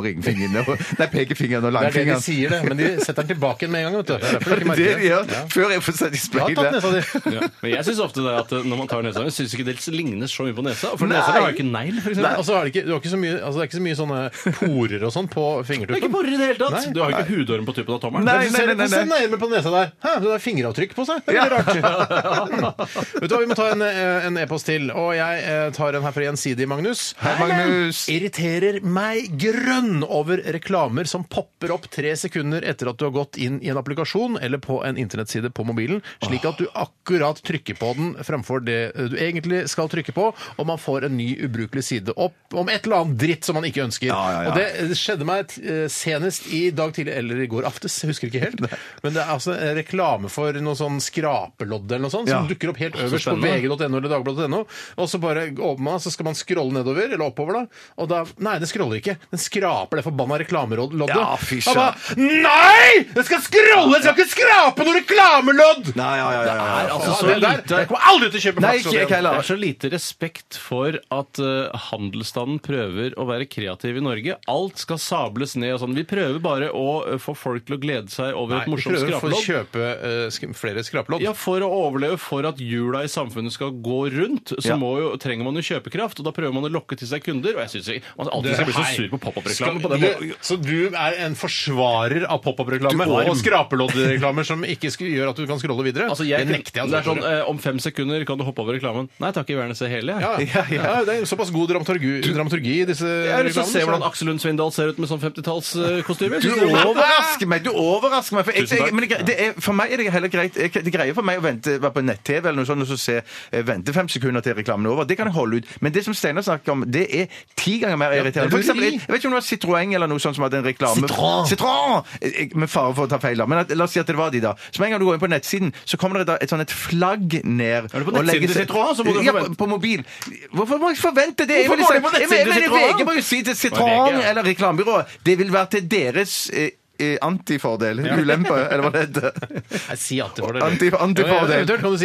Speaker 8: [laughs]
Speaker 3: ringfingrene og Nei, pekefingeren og
Speaker 8: Det er det de
Speaker 3: langfingeren.
Speaker 8: sier, det. Men de setter den tilbake igjen med en gang. vet du. Det er derfor du ikke
Speaker 3: [laughs] Det
Speaker 8: merker
Speaker 3: de gjør
Speaker 8: det. Ja.
Speaker 3: før jeg får sett i
Speaker 8: Jeg har tatt
Speaker 3: speilet.
Speaker 8: nesa di.
Speaker 9: Ja. Men jeg syns ofte det at eh, når man tar nesa Jeg syns ikke det ligner så mye på nesa. For
Speaker 3: Nei.
Speaker 9: nesa har jo ikke negl, for eksempel.
Speaker 8: Og så er det ikke, du har ikke så mye, altså det er ikke så mye sånne porer og sånn på
Speaker 9: Det er ikke
Speaker 8: fingertuppen.
Speaker 9: borer i det hele tatt!
Speaker 8: Nei.
Speaker 9: Du har jo ikke hudorm på tuppen av tommelen.
Speaker 3: Nei.
Speaker 8: Du ser-
Speaker 3: nei, nei,
Speaker 8: Se nærmere på nesa der. Hæ, det er fingeravtrykk på seg. Det er veldig rart. Vet du hva, Vi må ta en, eh, en e-post til. Og jeg eh, tar en her fra Gjensidig, Magnus.
Speaker 3: Hei, Magnus.
Speaker 8: Irriterer meg grønn over reklamer som popper opp tre sekunder etter at du har gått inn i en applikasjon eller på en internettside på mobilen, slik at du akkurat trykker på den fremfor det du egentlig skal trykke på, og man får en ny ubrukelig side opp om et eller annet dritt som man ikke ønsker.
Speaker 3: Ja, ja, ja.
Speaker 8: Og det det skjedde meg eh, senest i dag tidlig, eller i går aftes, jeg husker ikke helt. Men det er altså en reklame for noe sånn skrapelodd eller noe sånt, som
Speaker 3: Ja.
Speaker 8: dukker opp helt øverst på
Speaker 9: spennende.
Speaker 8: vg.no eller dagbladet.no. Og så bare åpner man, så skal man scrolle nedover, eller oppover, da. Og da Nei, den scroller ikke. Den skraper det forbanna reklameloddet.
Speaker 3: Ja, fy
Speaker 8: Og da, Nei! Den skal scrolle! Den skal ikke skrape noe reklamelodd!
Speaker 3: Nei, ja, ja, ja, ja.
Speaker 9: Det er altså så
Speaker 8: Ja, det der-
Speaker 9: lite-
Speaker 8: Jeg kommer aldri til å kjøpe
Speaker 3: Nei,
Speaker 8: flaks
Speaker 3: ikke jeg
Speaker 8: over den.
Speaker 9: Det
Speaker 3: heller.
Speaker 9: er så lite respekt for at eh, handelsstanden prøver å være kreativ i Norge. Alt skal sables ned og sånn. Vi prøver bare å eh, få folk til å glede seg over
Speaker 8: Nei,
Speaker 9: et
Speaker 8: vi
Speaker 9: morsomt
Speaker 8: prøver å få
Speaker 9: skrapelodd.
Speaker 8: kjøpe eh, sk- flere skrapelodd.
Speaker 9: Ja, For å overleve, for at hjula i samfunnet skal gå rundt, så
Speaker 3: Ja.
Speaker 9: må jo, trenger man jo kjøpekraft. Og da prøver man å lokke til seg kunder. Og jeg syns ikke man alltid skal bli så
Speaker 8: Hei.
Speaker 9: sur på pop-up-reklame
Speaker 8: Skal-
Speaker 9: på den måten.
Speaker 8: du- Så du er en forsvarer av pop-up-reklame
Speaker 9: Du-
Speaker 8: og skrapeloddreklamer som ikke sk- gjør at du kan scrolle videre?
Speaker 9: Altså, jeg,
Speaker 8: det nekter jeg.
Speaker 9: det er
Speaker 8: altså.
Speaker 9: sånn, eh, Om fem sekunder kan du hoppe over reklamen. Nei takk, jeg vil gjerne se hele. jeg. [laughs]
Speaker 8: Ja, ja. det er såpass god dramaturgi, dramaturgi i disse
Speaker 9: Jeg har lyst til å se
Speaker 8: reklamene,
Speaker 9: hvordan Aksel Lund Svindal ser ut med sånn 50-tallskostyme.
Speaker 3: Du overrasker meg! du overrasker meg For, jeg,
Speaker 9: Tusen takk.
Speaker 3: jeg, men det, det er, for meg er det heller greit jeg, Det greier for meg å vente, være på nett-TV eller noe sånt og så se, eh, vente fem sekunder til reklamen er over. Det kan jeg holde ut. Men det som Steinar snakker om, det er ti ganger mer irriterende. For eksempel, jeg, jeg vet ikke om det var Citroën eller noe sånt som hadde en reklame
Speaker 8: Citroën.
Speaker 3: Citroën! Jeg- jeg- Med fare for å ta feil, da. Men at, la oss si at det var de, da. Så med en gang du går inn på nettsiden, så kommer det da et sånn et flagg ned.
Speaker 9: Er det på
Speaker 3: og
Speaker 9: nettsiden
Speaker 3: legger
Speaker 9: til
Speaker 3: seg-
Speaker 9: Citroën, så må du
Speaker 3: ja,
Speaker 9: forvente.
Speaker 3: på, på mobil. Hvorfor må jeg forvente det? Jeg
Speaker 9: Hvorfor
Speaker 3: vil
Speaker 9: går
Speaker 3: si-
Speaker 9: du på nettsiden
Speaker 3: Jeg- men-
Speaker 9: til
Speaker 3: men
Speaker 9: Citroën?
Speaker 3: VG må jo si til
Speaker 9: VG,
Speaker 3: Citroën
Speaker 9: ja.
Speaker 3: eller reklamebyrået Det vil være til deres eh, eh, antifordel. Ulempe, eller hva det heter.
Speaker 8: Nei, si antifordel.
Speaker 3: Anti- antifordel.
Speaker 8: Ja, Eventuelt kan du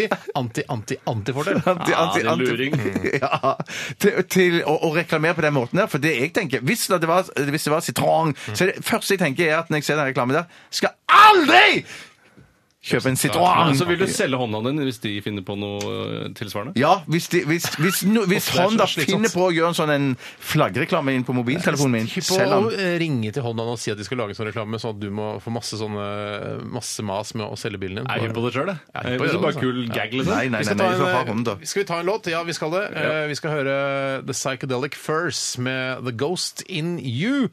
Speaker 8: si anti-anti-antifordel.
Speaker 3: Anti,
Speaker 9: Ah,
Speaker 3: anti,
Speaker 9: det er
Speaker 3: anti.
Speaker 9: luring.
Speaker 3: [laughs] Ja. Til, til å, å reklamere på den måten der. For det jeg tenker Hvis det var, hvis det var Citroën, så er det første jeg tenker, er at når jeg ser den reklamen der, skal aldri kjøpe en
Speaker 9: Ja,
Speaker 3: Citroën!
Speaker 9: så vil du selge hånda din hvis de finner på noe eh, tilsvarende?
Speaker 3: Ja, hvis, de, hvis, hvis, no, hvis
Speaker 8: er så
Speaker 3: Honda
Speaker 8: slitsomt.
Speaker 3: finner på å gjøre en sånn en flaggreklame inn på mobiltelefonen min
Speaker 8: Hypp på
Speaker 3: Selg
Speaker 8: å eh,
Speaker 3: den.
Speaker 8: ringe til Honda og si at de skal lage en sånn reklame, sånn at du må få masse, sånne, masse mas med å selge bilen din.
Speaker 9: Jeg er hypp på det sjøl, jeg.
Speaker 8: Jeg er hypp
Speaker 9: Eh,
Speaker 8: på det,
Speaker 9: Hvis det bare
Speaker 8: altså.
Speaker 9: er kul gag, liksom.
Speaker 3: Nei, nei,
Speaker 8: Vi
Speaker 3: nei,
Speaker 8: skal,
Speaker 3: nei, vi får
Speaker 8: ta
Speaker 3: ha
Speaker 8: en, eh,
Speaker 3: Honda.
Speaker 8: skal vi ta en låt? Ja, vi skal det. Eh, Vi skal høre The Psychedelic Furs med The Ghost In You.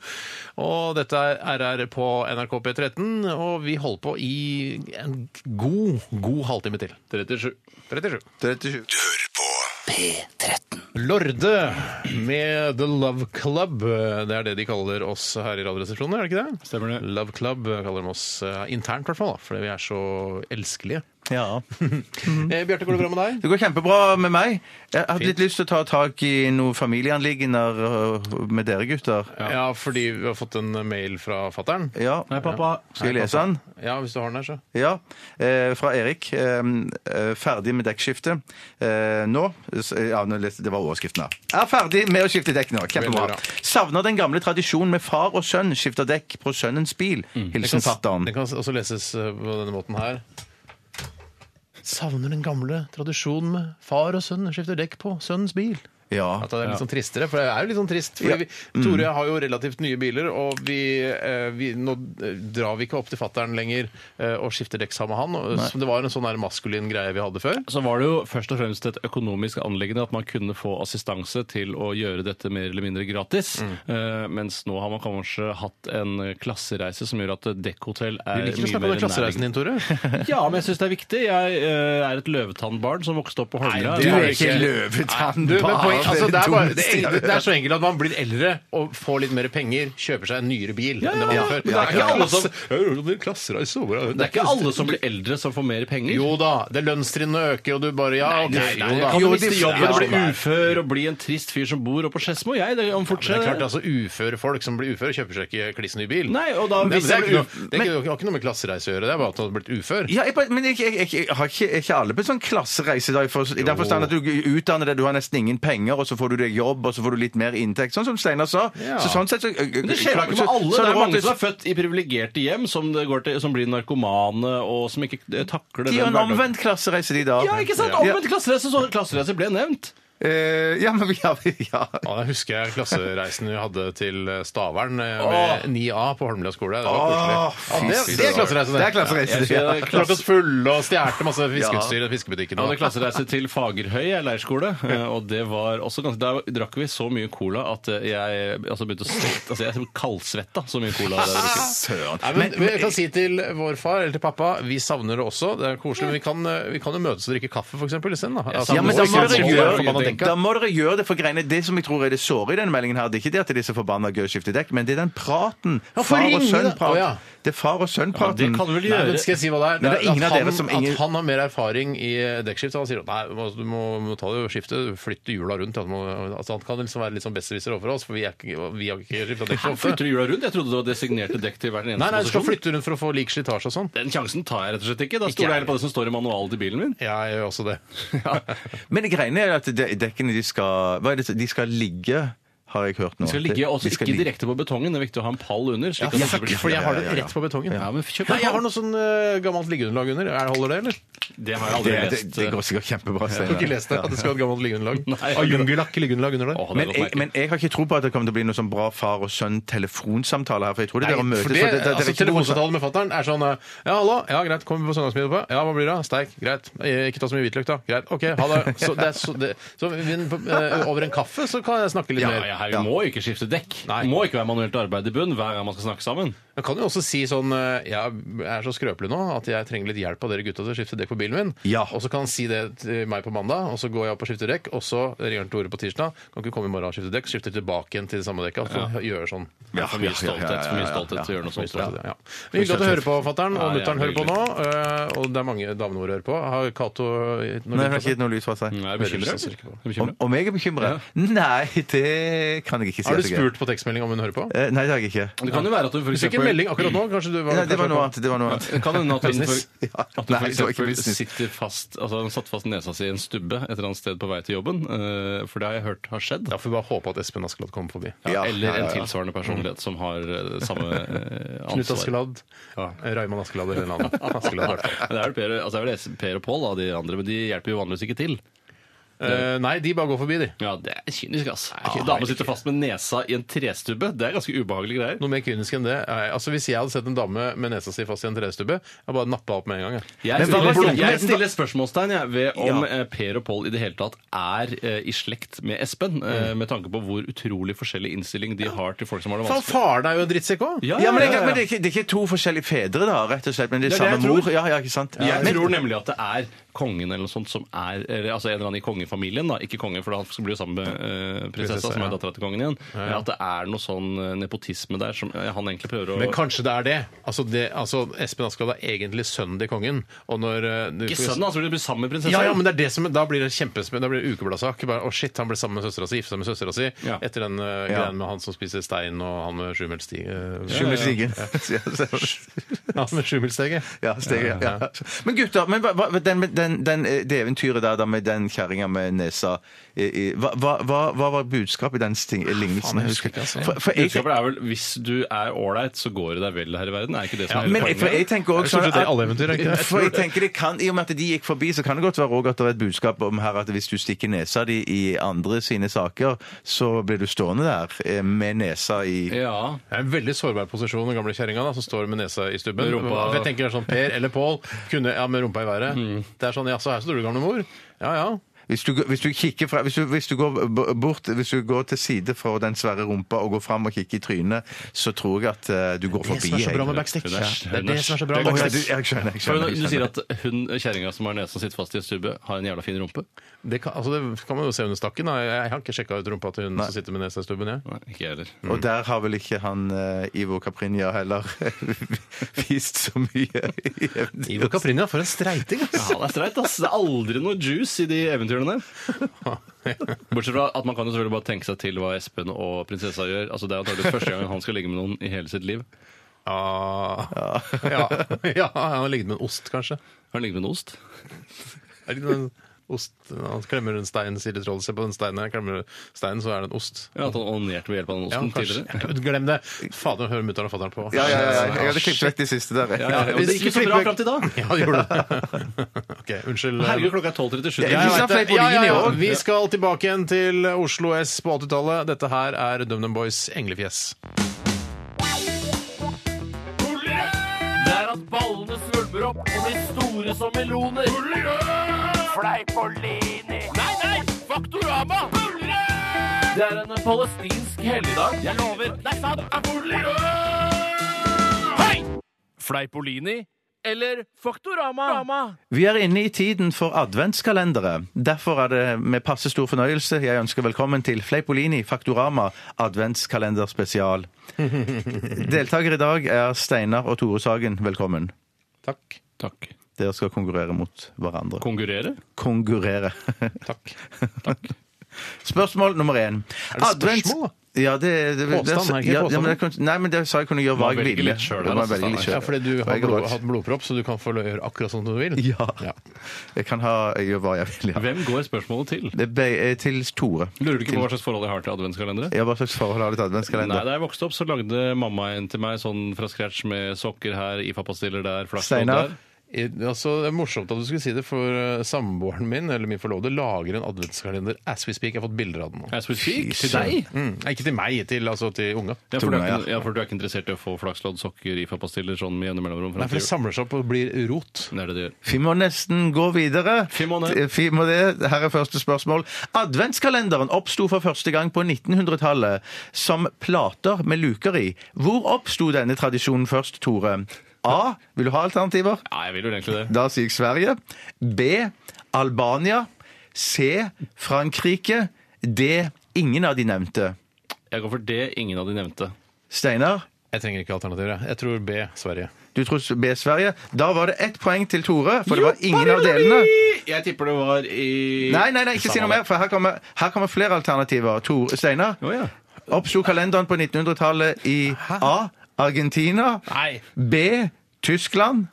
Speaker 8: Og dette er RR på NRK P13, og vi holder på i en god, god halvtime til.
Speaker 9: 37.
Speaker 8: 37.
Speaker 3: 37.
Speaker 8: Lorde med The Love Club. Det er det de kaller oss her i Radioresepsjonen, er det ikke det?
Speaker 9: Stemmer det.
Speaker 8: Love Club kaller de oss eh, internt, i hvert fall, da, fordi vi er så elskelige.
Speaker 3: Ja.
Speaker 8: Eh, Bjarte, går det bra med deg?
Speaker 3: [laughs] Det går kjempebra med meg. Jeg hadde litt lyst til å ta tak i noen familieanliggender øh, med dere gutter.
Speaker 8: Ja. fordi vi har fått en mail fra fattern.
Speaker 3: Ja.
Speaker 9: pappa.
Speaker 3: Skal jeg lese den?
Speaker 8: Ja, hvis du har den her, så.
Speaker 3: Ja. Eh, fra Erik. Ehm, Eh, ferdig med dekkskiftet. Eh, nå s- Ja, nå leste, det var overskriften, da. Er ferdig med å skifte dekk nå.
Speaker 8: Veldig bra.
Speaker 3: Kjempebra. Savner den gamle tradisjonen med far og sønn skifter dekk på sønnens bil.
Speaker 8: Mm.
Speaker 3: Hilsen fattern.
Speaker 8: Den kan også leses eh, på denne måten her. Savner den gamle tradisjonen med far og sønn skifter dekk på sønnens bil.
Speaker 3: Ja.
Speaker 8: At det er litt sånn tristere, for det er jo litt sånn trist. Fordi vi, Tore
Speaker 9: Mm.
Speaker 8: har jo relativt nye biler, og vi, eh, vi, nå eh, drar vi ikke opp til fattern lenger eh, og skifter dekk sammen med han. og- så Det var en sånn der maskulin greie vi hadde før.
Speaker 9: Så var det jo først og fremst et økonomisk anliggende at man kunne få assistanse til å gjøre dette mer eller mindre gratis.
Speaker 8: Mm.
Speaker 9: Eh, mens nå har man kanskje hatt en klassereise som gjør at dekkehotell er
Speaker 8: Vi liker å snakke om den klassereisen din, Tore.
Speaker 9: [laughs] Ja, men jeg syns det er viktig. Jeg eh, er et løvetannbarn som vokste opp på Holmlia.
Speaker 8: det
Speaker 3: Du
Speaker 9: Jeg
Speaker 3: er
Speaker 9: har
Speaker 3: ikke løvetann.
Speaker 8: [laughs]
Speaker 9: [laughs]
Speaker 8: Du, men poen- altså, det, er bare, det,
Speaker 3: dummeste jeg
Speaker 8: er, det er så enkelt at man blir eldre og får litt mer penger, kjøper seg en nyere bil enn det man
Speaker 9: ja,
Speaker 8: har før.
Speaker 9: men det er ikke alle som-
Speaker 8: som
Speaker 9: Det er ikke alle som blir eldre som får mer penger.
Speaker 8: Jo da, det er lønnstrinnet øker, og du bare ja, OK.
Speaker 9: Nei,
Speaker 8: jo
Speaker 9: du
Speaker 8: da.
Speaker 9: kan jo
Speaker 8: Jo,
Speaker 9: miste
Speaker 8: de-
Speaker 9: jobben,
Speaker 8: ja,
Speaker 9: bli
Speaker 8: det er-
Speaker 9: ufør og bli en trist fyr som bor oppe på Skedsmo. Jeg, det
Speaker 8: Men
Speaker 9: om
Speaker 8: det er
Speaker 9: fortsatt
Speaker 8: klart, altså Uføre folk som blir uføre, kjøper seg ikke kliss ny bil.
Speaker 9: Nei, og da-
Speaker 8: Men det, er ikke noe, det, er
Speaker 3: Men-
Speaker 8: ikke, det har ikke noe med klassereise å gjøre, det er bare at man har blitt ufør.
Speaker 3: Ja, jeg, bare- men jeg, jeg, jeg, jeg har ikke, er ikke alle på en sånn klassereise da, i for- i den forstand at du utdanner deg, du har nesten ingen penger, og så får du deg jobb, og så får du litt mer inntekt, sånn som Steinar sa.
Speaker 8: Ja.
Speaker 3: Så sånn sett så... Men
Speaker 9: Det skjer da ikke med alle. Det er mange som er født i privilegerte hjem, som, det går til, som blir narkomane, og som ikke eh, takler
Speaker 3: De har en
Speaker 9: hverdagen.
Speaker 3: omvendt klassereise, de da.
Speaker 9: Ja, ikke sant? Omvendt klassereise, så klassereise ble nevnt.
Speaker 3: Eh, ja, men vi har... Ja.
Speaker 8: Ja, jeg husker jeg klassereisen vi hadde til Stavern eh, med 9A på Holmlia skole. Det var
Speaker 3: Åh,
Speaker 8: koselig. Ja, det, det er klassereise,
Speaker 3: Det er
Speaker 8: det.
Speaker 3: klassereise, det, ja.
Speaker 9: Jeg
Speaker 8: Klarte oss fulle og stjerte masse fiskeutstyr i fiskebutikken.
Speaker 9: hadde klassereise til Fagerhøy jeg, leirskole, eh, og det var også ganske Der drakk vi så mye cola at eh, jeg altså begynte å svette. Altså, jeg kaldsvetta så mye cola. jeg hadde
Speaker 3: [laughs]
Speaker 9: drukket.
Speaker 8: Nei, men, men jeg kan si til vår far eller til pappa vi savner det også. Det er koselig, men vi kan, eh, vi kan jo møtes og drikke kaffe, for eksempel, isteden. da. Altså,
Speaker 3: Ja, men
Speaker 8: nå
Speaker 3: da
Speaker 8: ikke sånn
Speaker 3: må,
Speaker 8: sant,
Speaker 3: dere
Speaker 8: så
Speaker 3: gjøre,
Speaker 8: forbanna dekka.
Speaker 3: da må dere gjøre det for greiene. Det som jeg tror er det såre i denne meldingen her, det er ikke det at det er så forbanna gøy å skifte dekk, men det er den praten.
Speaker 8: for
Speaker 3: Far og
Speaker 8: ringe, da.
Speaker 3: sønn-prat.
Speaker 8: Å, ja.
Speaker 3: Det er far og
Speaker 9: Ja, det
Speaker 3: sønn-praten.
Speaker 9: kan du vel
Speaker 8: Nei,
Speaker 9: gjøre.
Speaker 8: men skal jeg si hva det er?
Speaker 3: Men det er ingen
Speaker 8: at,
Speaker 3: av dere
Speaker 8: han,
Speaker 3: som ingen-
Speaker 8: at han har mer erfaring i dekkskift. så Han sier nei, du må, du må, må ta det og skifte, flytte hjula rundt. Han, må, altså, han kan liksom være litt sånn besserwisser overfor oss, for vi, er, ikke- vi har ikke skifta dekk så
Speaker 9: Flytter
Speaker 8: ofte.
Speaker 9: du hjula rundt? Jeg trodde det var designerte dekk til hver eneste
Speaker 8: Nei, nei, du skal
Speaker 9: posisjon.
Speaker 8: flytte rundt for å få lik slitasje og sånn.
Speaker 9: Den sjansen tar jeg rett og slett ikke. Da
Speaker 8: jeg.
Speaker 9: stoler jeg heller på det som står i manualen til bilen min.
Speaker 8: Ja, jeg gjør også det.
Speaker 3: Men det greiene er at de- dekkene de skal, hva er det, de skal ligge har jeg hørt nå.
Speaker 9: Den skal ligge også
Speaker 3: Vi skal
Speaker 9: ikke
Speaker 3: ligge-
Speaker 9: direkte på betongen. Det er viktig å ha en pall under. Slik at
Speaker 8: Ja,
Speaker 9: det ikke
Speaker 8: fuck,
Speaker 9: blir- sånn-
Speaker 8: for jeg har det
Speaker 3: Ja, ja, ja.
Speaker 8: rett på betongen.
Speaker 9: Ja, men kjøp
Speaker 8: Nei, jeg har noe sånn eh, gammelt liggeunderlag under. Er- Holder det, eller?
Speaker 9: Det eh. har jeg aldri
Speaker 3: Det, det,
Speaker 9: lest.
Speaker 3: det går sikkert kjempebra.
Speaker 8: Jeg har ikke lest det. At det skal ha et gammelt liggeunderlag.
Speaker 9: Nei.
Speaker 8: Har Jungelakk liggeunderlag under
Speaker 9: Åh,
Speaker 8: der?
Speaker 9: det går
Speaker 3: Men jeg,
Speaker 9: merkelig.
Speaker 3: men jeg har ikke tro på at det kommer til å bli noe sånn bra far og sønn telefonsamtale her, for jeg tror det dere møtes
Speaker 8: for
Speaker 3: og
Speaker 8: det,
Speaker 3: det- det- det er
Speaker 8: altså,
Speaker 3: ikke noe sånn-
Speaker 8: Telefonsamtalen med fatter'n er sånn eh, Ja, hallo. Ja, greit. Kommer vi på søndagsmiddag på? Ja, hva blir det? da? Steik. Greit. Eh, Ikke ta så mye hvitløk, da. Greit. OK, ha det. Så, det er så, det, så vi- på- eh, over en kaffe så kan jeg snakke litt
Speaker 9: Ja,
Speaker 8: mer.
Speaker 9: ja, her, vi må jo ikke skifte dekk.
Speaker 8: Nei.
Speaker 9: Det må ikke være manuelt arbeid i bunn hver gang man skal snakke sammen.
Speaker 8: Jeg kan jo også si sånn eh, Jeg er så skrøpelig nå at jeg trenger litt hjelp av dere gutta til å skifte dekk på bilen min.
Speaker 3: Ja.
Speaker 8: Og så kan han si det til meg på mandag, og så går jeg opp og skifter dekk. Og så ringer han Tore på tirsdag. Kan ikke komme i morgen og skifte dekk. Skifter tilbake igjen til det samme dekket. Og så gjør sånn.
Speaker 9: Det er for
Speaker 3: ja,
Speaker 9: mye
Speaker 3: ja, ja,
Speaker 9: stolthet for
Speaker 3: ja,
Speaker 9: mye
Speaker 3: ja,
Speaker 9: stolthet
Speaker 3: ja.
Speaker 9: til å gjøre noe sånt.
Speaker 8: Ja, ja. Men Hyggelig at du hører på, fatter'n.
Speaker 9: Ja,
Speaker 8: Og
Speaker 9: ja,
Speaker 8: mutter'n hører på nå.
Speaker 9: hyggelig.
Speaker 8: eh, Og det er mange damene våre hører på. Har Cato eh,
Speaker 3: Nei, jeg har ikke gitt noe lys fra seg.
Speaker 9: Nei, er du
Speaker 8: Hører
Speaker 9: bekymret?
Speaker 8: du ikke på?
Speaker 9: Er du
Speaker 3: Om,
Speaker 9: bekymret?
Speaker 3: om jeg er bekymret? Nei, det kan jeg ikke si.
Speaker 8: Har
Speaker 3: at
Speaker 8: du
Speaker 3: jeg er.
Speaker 8: spurt på tekstmelding om hun hører på?
Speaker 3: Eh, Nei, det har jeg ikke.
Speaker 9: Det kan jo være at du for
Speaker 8: Hvis ikke en
Speaker 9: eksempel
Speaker 8: melding akkurat nå, kanskje du var
Speaker 3: Nei, det var noe annet. Det var noe annet.
Speaker 9: Det kan hende at hun
Speaker 8: Business?
Speaker 9: for,
Speaker 3: Ja.
Speaker 9: at hun
Speaker 3: Nei,
Speaker 9: for
Speaker 3: det var ikke
Speaker 9: eksempel
Speaker 3: business.
Speaker 9: sitter fast altså hun satt fast nesa si i en stubbe et eller annet sted på vei til jobben. eh, For det har jeg hørt har skjedd.
Speaker 8: Da får vi bare håpe at Espen Askeladd kommer forbi.
Speaker 3: Ja,
Speaker 9: Eller
Speaker 3: ja, ja,
Speaker 9: en
Speaker 3: ja. Mm.
Speaker 9: tilsvarende personlighet som har eh, samme
Speaker 3: [laughs]
Speaker 9: eh,
Speaker 8: Knut
Speaker 9: ansvar.
Speaker 8: Askeladd, Eh, Raymond Askeladd eller en annen. [laughs] Askeladd, i hvert fall.
Speaker 9: Men Det er vel Per, altså det er vel Espen- Per og Pål, da, de andre, men de hjelper jo vanligvis ikke til.
Speaker 8: Eh, nei, de bare går forbi, de.
Speaker 9: Ja, det er kynisk, ass. Dame sitter fast med nesa i en trestubbe. Det er ganske ubehagelige greier.
Speaker 8: Noe mer kynisk enn det. Nei, altså Hvis jeg hadde sett en dame med nesa si fast i en trestubbe, jeg bare nappa opp med en gang. jeg.
Speaker 9: Jeg
Speaker 3: Men hva
Speaker 9: stiller,
Speaker 3: var blunken?
Speaker 9: jeg stiller spørsmålstegn jeg, ved om eh, Per og Pål i det hele tatt er eh, i slekt med Espen, eh,
Speaker 3: Mm.
Speaker 9: med tanke på hvor utrolig forskjellig innstilling de har til folk som har det
Speaker 8: Faen,
Speaker 9: vanskelig.
Speaker 8: faren er jo en drittsekk òg!
Speaker 9: Ja,
Speaker 3: Ja, men, det,
Speaker 9: ja,
Speaker 3: er-
Speaker 9: ja.
Speaker 3: men det, er ikke, det er ikke to forskjellige fedre, da, rett og slett, men det er
Speaker 9: Det er det
Speaker 3: samme
Speaker 9: jeg tror.
Speaker 3: mor. Ja, ja, ikke sant?
Speaker 9: Jeg
Speaker 3: men,
Speaker 9: tror nemlig at det er kongen eller noe sånt som er eller, Altså en eller annen i kongefamilien, da. Ikke kongen, for han skal bli jo sammen med eh, prinsessa,
Speaker 8: Prinsessa,
Speaker 9: som
Speaker 8: ja.
Speaker 9: er dattera til kongen igjen. Men at det er noe sånn eh, nepotisme der som eh, han egentlig prøver å
Speaker 8: Men kanskje det er det. Altså, det, altså Espen Askeladd er egentlig sønnen til kongen. Og når eh, du-
Speaker 9: Ikke sønnen, altså, blir sammen med prinsessa.
Speaker 8: Ja, ja, men det er det som, Da blir det kjempespenn- Da blir det ukebladsak. Bare, Å, shit, han ble sammen med søstera si, gifta seg med søstera si
Speaker 9: Ja.
Speaker 8: etter den uh,
Speaker 3: Ja.
Speaker 8: greien med han som spiser stein, og han med sjumilssteg. Uh,
Speaker 3: Skjul med
Speaker 8: [laughs]
Speaker 3: stigen. [laughs]
Speaker 8: ja, med sjumilssteget.
Speaker 3: Ja, steget. Ja. Men gutter, men hva, hva- den, den, den, eh, det eventyret der da med den kjerringa med nesa eh, eh, hva, hva, hva- hva var budskapet i den sting, lignelsen?
Speaker 8: Ah, Faen, jeg husker ikke, altså.
Speaker 3: For, for jeg,
Speaker 9: Budskapet er vel hvis du er ålreit, så går det deg vel her i verden. Er ikke det som er hele
Speaker 3: men jeg, for jeg tenker
Speaker 8: Det
Speaker 3: også sånn
Speaker 8: er stort sett
Speaker 3: at-
Speaker 8: i alle eventyr, er ikke det?
Speaker 3: [laughs] For jeg tenker det kan, I og med at de gikk forbi, så kan det godt være også at det er et budskap om her at hvis du stikker nesa di i andre sine saker, så blir du stående der eh, med nesa i
Speaker 9: Ja.
Speaker 8: Det er en veldig sårbar posisjon, den gamle kjerringa da, som står med nesa i stubben.
Speaker 9: Med rumpa-
Speaker 8: Jeg tenker det er sånn, Per eller Pål kunne Ja, med rumpa i været. Det er sånn Jaså, her står du, gamle mor. Ja ja.
Speaker 3: Hvis du, hvis du kikker fra, hvis du, hvis du går b- bort, hvis du går til side fra den svære rumpa og går fram og kikker i trynet, så tror jeg at eh, du går forbi. jeg.
Speaker 8: backstick.
Speaker 9: Hun er-
Speaker 8: Det er det som er så bra
Speaker 9: hun
Speaker 8: med
Speaker 9: er-
Speaker 3: Å, ja,
Speaker 8: backstick.
Speaker 3: du, jeg skjønner, jeg
Speaker 9: For hun,
Speaker 3: skjønner. jeg
Speaker 9: du sier
Speaker 3: skjønner.
Speaker 9: at hun kjerringa som har nesa sitt fast i en stubbe, har en jævla fin rumpe?
Speaker 8: Det kan, altså, det kan man jo se under stakken. Da. Jeg har ikke sjekka ut rumpa til hun som sitter med nesa i stubben. Jeg.
Speaker 9: Nei, ikke jeg heller.
Speaker 3: Og der har vel ikke han eh, Ivo Caprinia heller [laughs] vist så mye. i eventyr.
Speaker 8: Ivo Caprinia, for en streiting!
Speaker 9: Ja,
Speaker 8: Altså.
Speaker 9: det er streit, ass. Det er aldri noe juice i de eventyrene der. [laughs] Bortsett fra at man kan jo selvfølgelig bare tenke seg til hva Espen og prinsessa gjør. Altså, det er antakelig første gang han skal ligge med noen i hele sitt liv.
Speaker 8: Ah. Ja. [laughs] ja, han har ligget med en ost, kanskje.
Speaker 9: Har han ligget med en ost?
Speaker 8: Er det ikke noen ost? Han klemmer en stein, sier det trollet. Se på den steinen her. Klemmer steinen, så er det en ost.
Speaker 9: Ja, At han onanerte ved hjelp av den
Speaker 8: Ja,
Speaker 9: osten
Speaker 8: kanskje.
Speaker 9: tidligere?
Speaker 8: Glem det! Fader, hører mutter'n og fatter'n på.
Speaker 3: Ja, ja, ja, ja.
Speaker 8: [laughs]
Speaker 3: Jeg hadde klippet vekk de siste der. jeg.
Speaker 9: Ja, ja, men det gikk jo så bra fram til da.
Speaker 8: Ja, det gjorde det. [laughs] ok, unnskyld. eh,
Speaker 9: Herregud, klokka er 12.37.
Speaker 3: Ja, ja,
Speaker 9: Jeg
Speaker 3: ja.
Speaker 9: vet det.
Speaker 3: snakker litt på linje, jo.
Speaker 8: Vi skal tilbake igjen til Oslo S på 80-tallet. Dette her er DumDum Boys' englefjes.
Speaker 2: Det er at ballene svulmer opp og blir store som meloner. Fleip og lini. Nei, nei! Faktorama! Det er en palestinsk helligdag. Jeg lover. Nei, sant! Hei! Fleipolini eller Faktorama?
Speaker 3: Vi er inne i tiden for adventskalendere. Derfor er det med passe stor fornøyelse jeg ønsker velkommen til Fleipolini Faktorama
Speaker 8: [laughs]
Speaker 3: adventskalenderspesial. Deltaker i dag er Steinar og Tore Sagen. Velkommen.
Speaker 8: Takk.
Speaker 9: Takk.
Speaker 3: Dere skal konkurrere mot hverandre.
Speaker 9: Konkurrere?
Speaker 3: Konkurrere.
Speaker 8: [laughs] Takk.
Speaker 3: Spørsmål nummer én.
Speaker 8: Er det spørsmål, da?
Speaker 3: Ja, det, det,
Speaker 8: Påstand,
Speaker 3: det-
Speaker 8: er ikke
Speaker 3: ja,
Speaker 8: påstand?
Speaker 3: ja, men jeg kunne- Nei, men det sa jeg kunne gjøre
Speaker 9: Man
Speaker 3: hva jeg
Speaker 9: velger
Speaker 3: ville.
Speaker 9: litt selv,
Speaker 3: Ja, man
Speaker 9: altså,
Speaker 3: velger litt
Speaker 9: Steinar.
Speaker 3: selv.
Speaker 8: Ja, fordi du
Speaker 3: Og
Speaker 8: har
Speaker 3: jeg går
Speaker 8: blod,
Speaker 3: ut.
Speaker 8: hatt blodpropp, så du kan få gjøre akkurat sånn som du vil.
Speaker 3: Ja. Jeg kan ha jeg gjør hva jeg vil, ja.
Speaker 9: Hvem går spørsmålet til?
Speaker 3: Det ble, eh, til Tore.
Speaker 9: Lurer du ikke på hva slags forhold jeg har til adventskalendere?
Speaker 3: Ja, hva slags forhold har du til
Speaker 9: Nei,
Speaker 3: adventskalender?
Speaker 9: Da jeg vokste opp, så lagde mamma en til meg sånn fra scratch med sokker her, IFA-pastiller der, flakslodd
Speaker 3: Steinar?
Speaker 9: der.
Speaker 8: I- Altså, det er morsomt at du skulle si det, for eh, samboeren min eller min forlovede lager en adventskalender as we speak. Jeg har fått bilder av den nå.
Speaker 9: As we speak, til
Speaker 3: søren.
Speaker 9: deg?
Speaker 8: Mm. Nei, Ikke til meg, til, altså til unga.
Speaker 9: Ja for, du er
Speaker 3: Tunga,
Speaker 9: ikke, ja, for du er ikke interessert i å få flakslodd, sokker, IFA-pastiller sånn med jevne mellomrom?
Speaker 8: Nei,
Speaker 9: fram
Speaker 8: for
Speaker 9: til
Speaker 8: det
Speaker 9: jul?
Speaker 8: samler seg opp og blir rot.
Speaker 9: Det er det det gjør.
Speaker 3: Vi må nesten gå videre.
Speaker 9: Vi må det.
Speaker 3: Vi må det. Her er første spørsmål. Adventskalenderen oppsto for første gang på 1900-tallet som plater med luker i. Hvor oppsto denne tradisjonen først, Tore? A. Vil du ha alternativer?
Speaker 9: Ja, jeg vil jo egentlig det.
Speaker 3: Da sier jeg Sverige. B. Albania. C. Frankrike. D. Ingen av de nevnte.
Speaker 9: Jeg går for det ingen av de nevnte.
Speaker 3: Steinar,
Speaker 8: Jeg trenger ikke alternativer. jeg. Jeg tror B, Sverige.
Speaker 3: du tror B. Sverige. Da var det ett poeng til Tore, for det var ingen av delene.
Speaker 9: Jeg tipper det var i
Speaker 3: Nei, nei, nei, ikke si noe mer, for her kommer, her kommer flere alternativer. Tor Steinar.
Speaker 9: Å, ja.
Speaker 3: Oppsto kalenderen på 1900-tallet i A. Argentina.
Speaker 8: Nei.
Speaker 3: B. Tyskland.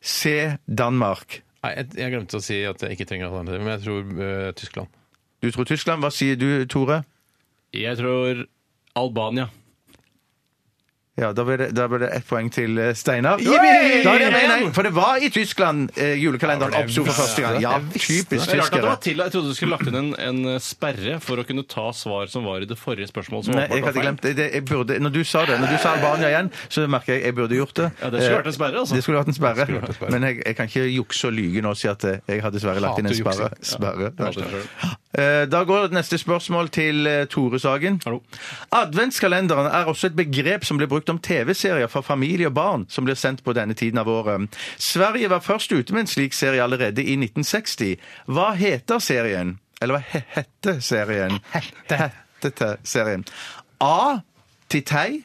Speaker 3: C. Danmark.
Speaker 8: Nei, jeg, jeg glemte å si at jeg ikke trenger alternativer, men jeg tror eh, Tyskland.
Speaker 3: Du tror Tyskland. Hva sier du, Tore?
Speaker 9: Jeg tror Albania.
Speaker 3: Ja, Da ble det, da ble det ett poeng til eh, Steinar.
Speaker 8: Yippee!
Speaker 3: Da er det- nei, nei, For det var i Tyskland eh, julekalenderen
Speaker 8: Ja, for jeg
Speaker 3: oppsto for
Speaker 8: visste
Speaker 3: første gang.
Speaker 8: det.
Speaker 3: Ja,
Speaker 8: Jeg visste
Speaker 3: typisk
Speaker 9: Det er rart at det
Speaker 3: tyskere.
Speaker 9: var til, Jeg trodde du skulle lagt inn en, en sperre for å kunne ta svar som var i det forrige spørsmålet. Som
Speaker 3: Nei,
Speaker 9: åpenbart
Speaker 3: jeg
Speaker 9: var
Speaker 3: hadde
Speaker 9: feil.
Speaker 3: glemt det. det. Jeg burde, når du sa det, når du sa Albania igjen, så merker jeg jeg burde gjort det.
Speaker 9: Ja, det skulle
Speaker 3: Eh,
Speaker 9: vært en sperre, altså.
Speaker 3: Det skulle vært en sperre.
Speaker 8: skulle vært en sperre.
Speaker 3: Men jeg, jeg kan ikke jukse og lyge nå og si at eh, jeg har dessverre lagt inn en
Speaker 8: Hater juksing.
Speaker 3: sperre. sperre.
Speaker 9: Ja, hater det
Speaker 3: Eh, Da går neste spørsmål til eh, Tore Sagen.
Speaker 9: Hallo.
Speaker 3: Adventskalenderen er også et begrep som ble brukt om TV-serier for familie og barn som blir sendt på denne tiden av året. Sverige var først ute med en slik serie allerede i 1960. Hva heter serien? Eller hva he- hette serien? Hette serien. A. Tittei.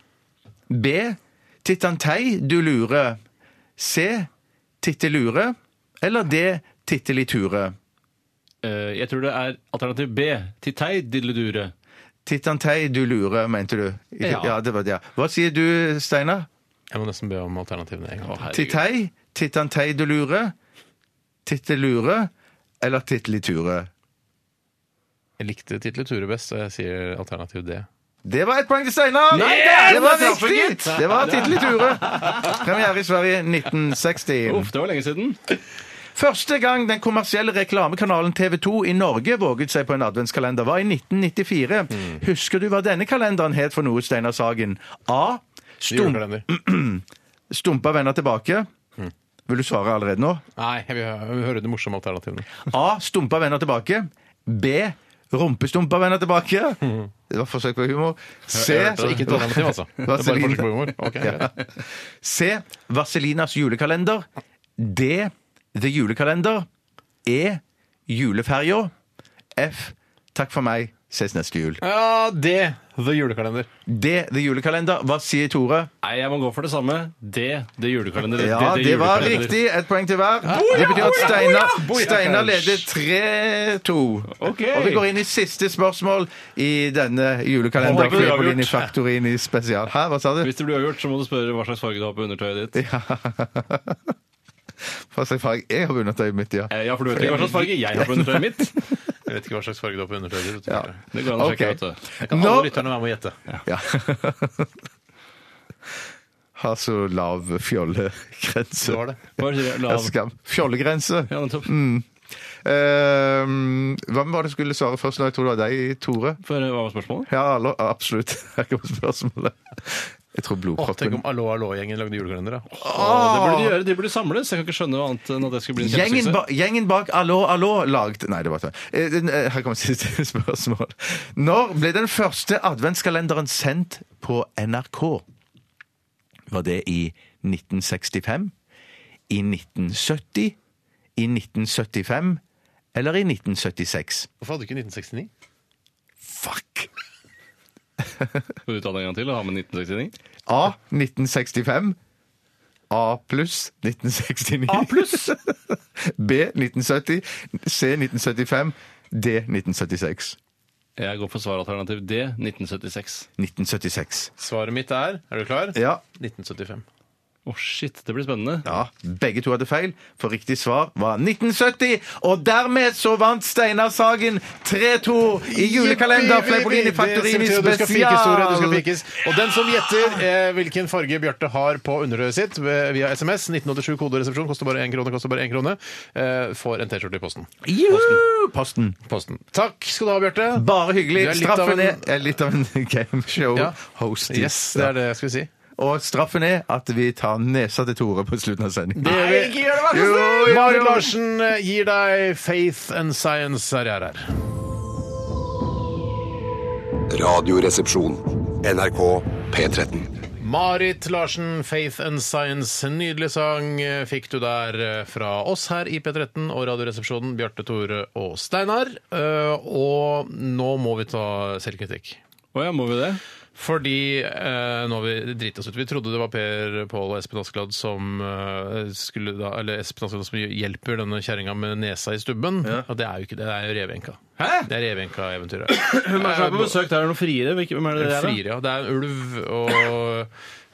Speaker 3: B. Tittantei du lure. C. Tittelure. Eller D. Titteliture.
Speaker 9: Eh, jeg tror det er alternativ B. Tittei dilledure.
Speaker 3: Tittantei du lure, mente du.
Speaker 9: Ja.
Speaker 3: det var det. ja. Hva sier du, Steinar?
Speaker 8: Jeg må nesten be om alternativene en gang.
Speaker 3: Tittei, tittantei du lure, tittelure eller titteliture.
Speaker 8: Jeg likte titlet Ture best, så jeg sier alternativ D.
Speaker 3: Det var ett poeng til Steinar!
Speaker 9: Yes!
Speaker 3: Det var
Speaker 9: Det traff jeg,
Speaker 3: riktig!
Speaker 9: gitt.
Speaker 3: Det var titteliture. Premiere i Sverige 1960.
Speaker 9: Uff, det var lenge siden.
Speaker 3: Første gang den kommersielle reklamekanalen TV 2 i Norge våget seg på en adventskalender, var i 1994.
Speaker 9: Hmm.
Speaker 3: Husker du hva denne kalenderen het for noe, Steinar Sagen? A. Stum
Speaker 8: Julekalender.
Speaker 3: Stumpa vender tilbake.
Speaker 9: Hmm.
Speaker 3: Vil du svare allerede nå?
Speaker 8: Nei, jeg vil, jeg vil høre de morsomme alternativene.
Speaker 3: A. Stumpa vender tilbake. B. Rumpestumpa vender tilbake. Det var forsøk på humor. C.
Speaker 8: Så ikke et alternativ, [laughs] altså. Det er bare
Speaker 3: Vaseline.
Speaker 8: forsøk på humor. Ok,
Speaker 3: Ja.
Speaker 8: greit.
Speaker 3: C. Vaselinas julekalender. D. The Julekalender. E. Juleferja. F. Takk for meg. Ses neste jul.
Speaker 8: Ja, D. The julekalender.
Speaker 3: D. The Julekalender. Hva sier Tore?
Speaker 9: Nei, jeg må gå for det samme. D. Det julekalenderet.
Speaker 3: Ja, det var
Speaker 9: julekalenderet.
Speaker 3: riktig. Ett poeng til hver. Det betyr at Steinar
Speaker 8: Boja!
Speaker 3: Steinar leder 3-2.
Speaker 9: Ok.
Speaker 3: Og vi går inn i siste spørsmål i denne julekalenderen.
Speaker 9: Håper det blir
Speaker 3: Fleipolini
Speaker 9: avgjort.
Speaker 3: Faktorini spesial. Hæ, hva sa du?
Speaker 9: Hvis det blir avgjort, så må du spørre hva slags farge du har på undertøyet ditt.
Speaker 3: Ja. Få se, fag. Jeg har vunnet øyet mitt, ja.
Speaker 9: Eh, Ja, for du vet ikke hva slags farge jeg har på undertøyet [laughs] mitt.
Speaker 8: Jeg vet ikke hva slags farge du har på undertøyet. vet du.
Speaker 3: Ja.
Speaker 9: Det går an å sjekke,
Speaker 3: Ok.
Speaker 9: vet du.
Speaker 8: Kan
Speaker 3: Nå-
Speaker 8: alle lytterne være med å gjette?
Speaker 3: Ja. [laughs] Har så lav fjollegrense.
Speaker 8: Det var det.
Speaker 9: Bare sier jeg
Speaker 3: Ja,
Speaker 9: lav.
Speaker 3: skam. Fjollegrense.
Speaker 9: Ja, nettopp.
Speaker 3: Eh, hva var det jeg skulle svare først? nå? Jeg tror det var deg, Tore.
Speaker 9: For, eh, hva var spørsmålet?
Speaker 3: Ja, allo, absolutt. [laughs] Her kommer spørsmålet. Jeg
Speaker 8: Åh,
Speaker 3: tror
Speaker 8: tenk
Speaker 3: blodproppen
Speaker 8: om Allo Allo-gjengen lagde julekalender, da.
Speaker 9: Åh, det burde de gjøre. De burde samles. Jeg kan ikke skjønne annet enn at det skulle bli en
Speaker 3: Gjengen,
Speaker 9: kjempesuksess.
Speaker 3: ba, gjengen bak Allo Allo lagd Nei, det var ikke Eh, den, eh, Her kommer siste [laughs] spørsmål. Når ble den første adventskalenderen sendt på NRK? Var det i 1965? I 1970? I 1975? Eller i 1976?
Speaker 8: Hvorfor hadde du ikke 1969?
Speaker 3: Fuck!
Speaker 9: Skal du ta det en gang til og ha med 1969?
Speaker 3: A. 1965. A pluss 1969.
Speaker 9: A
Speaker 3: [laughs]
Speaker 9: pluss!
Speaker 3: B 1970, C 1975, D 1976.
Speaker 9: Jeg går for svaralternativ D 1976.
Speaker 3: 1976.
Speaker 8: Svaret mitt er Er du klar?
Speaker 3: Ja.
Speaker 8: 1975.
Speaker 9: Å, shit, det blir spennende.
Speaker 3: Ja, Begge to hadde feil, for riktig svar var 1970. Og dermed så vant Steinar Sagen 3-2 i julekalender Fleipolini Faktorini
Speaker 8: Det sier til at Du skal fikes, Tore. Du skal
Speaker 3: spesial!
Speaker 8: fikes. Og den som gjetter eh, hvilken farge Bjarte har på underøyet sitt ved- via SMS, 1987 koderesepsjon, koster bare én krone, koster bare én krone, eh, får en T-skjorte i posten.
Speaker 3: Juhu! Posten.
Speaker 8: posten. Takk skal du ha, Bjarte.
Speaker 3: Bare hyggelig.
Speaker 8: Du er litt av
Speaker 3: Straffen
Speaker 8: en-
Speaker 3: er, er litt av en [laughs] gameshow-host.
Speaker 8: Yes, det er det jeg skulle si.
Speaker 3: Og straffen er at vi tar nesa til Tore på slutten av sendingen.
Speaker 8: gjør vi.
Speaker 3: ikke gjør det, vær så snill!
Speaker 8: Marit Larsen eh, gir deg Faith and Science her jeg er her.
Speaker 1: Radioresepsjon. NRK P13.
Speaker 8: Marit Larsen, 'Faith and Science'. En Nydelig sang eh, fikk du der eh, fra oss her i P13 og Radioresepsjonen. Bjarte, Tore og Steinar. Eh, Og nå må vi ta selvkritikk.
Speaker 9: Å ja, må vi det?
Speaker 8: Fordi eh, nå har vi driti oss ut. Vi trodde det var Per Pål og Espen Askeladd som eh, skulle da, eller Espen Askeladd som hjelper denne kjerringa med nesa i stubben. Og det er jo ikke det. Det er jo Revenka.
Speaker 9: Hæ?
Speaker 8: Det er Revenka-eventyret.
Speaker 9: [clears throat] Hvem er det som er på besøk? Det er noen friere? Hvem- Hvem er Eh, det det er, da?
Speaker 8: Frier, ja. Det er en ulv og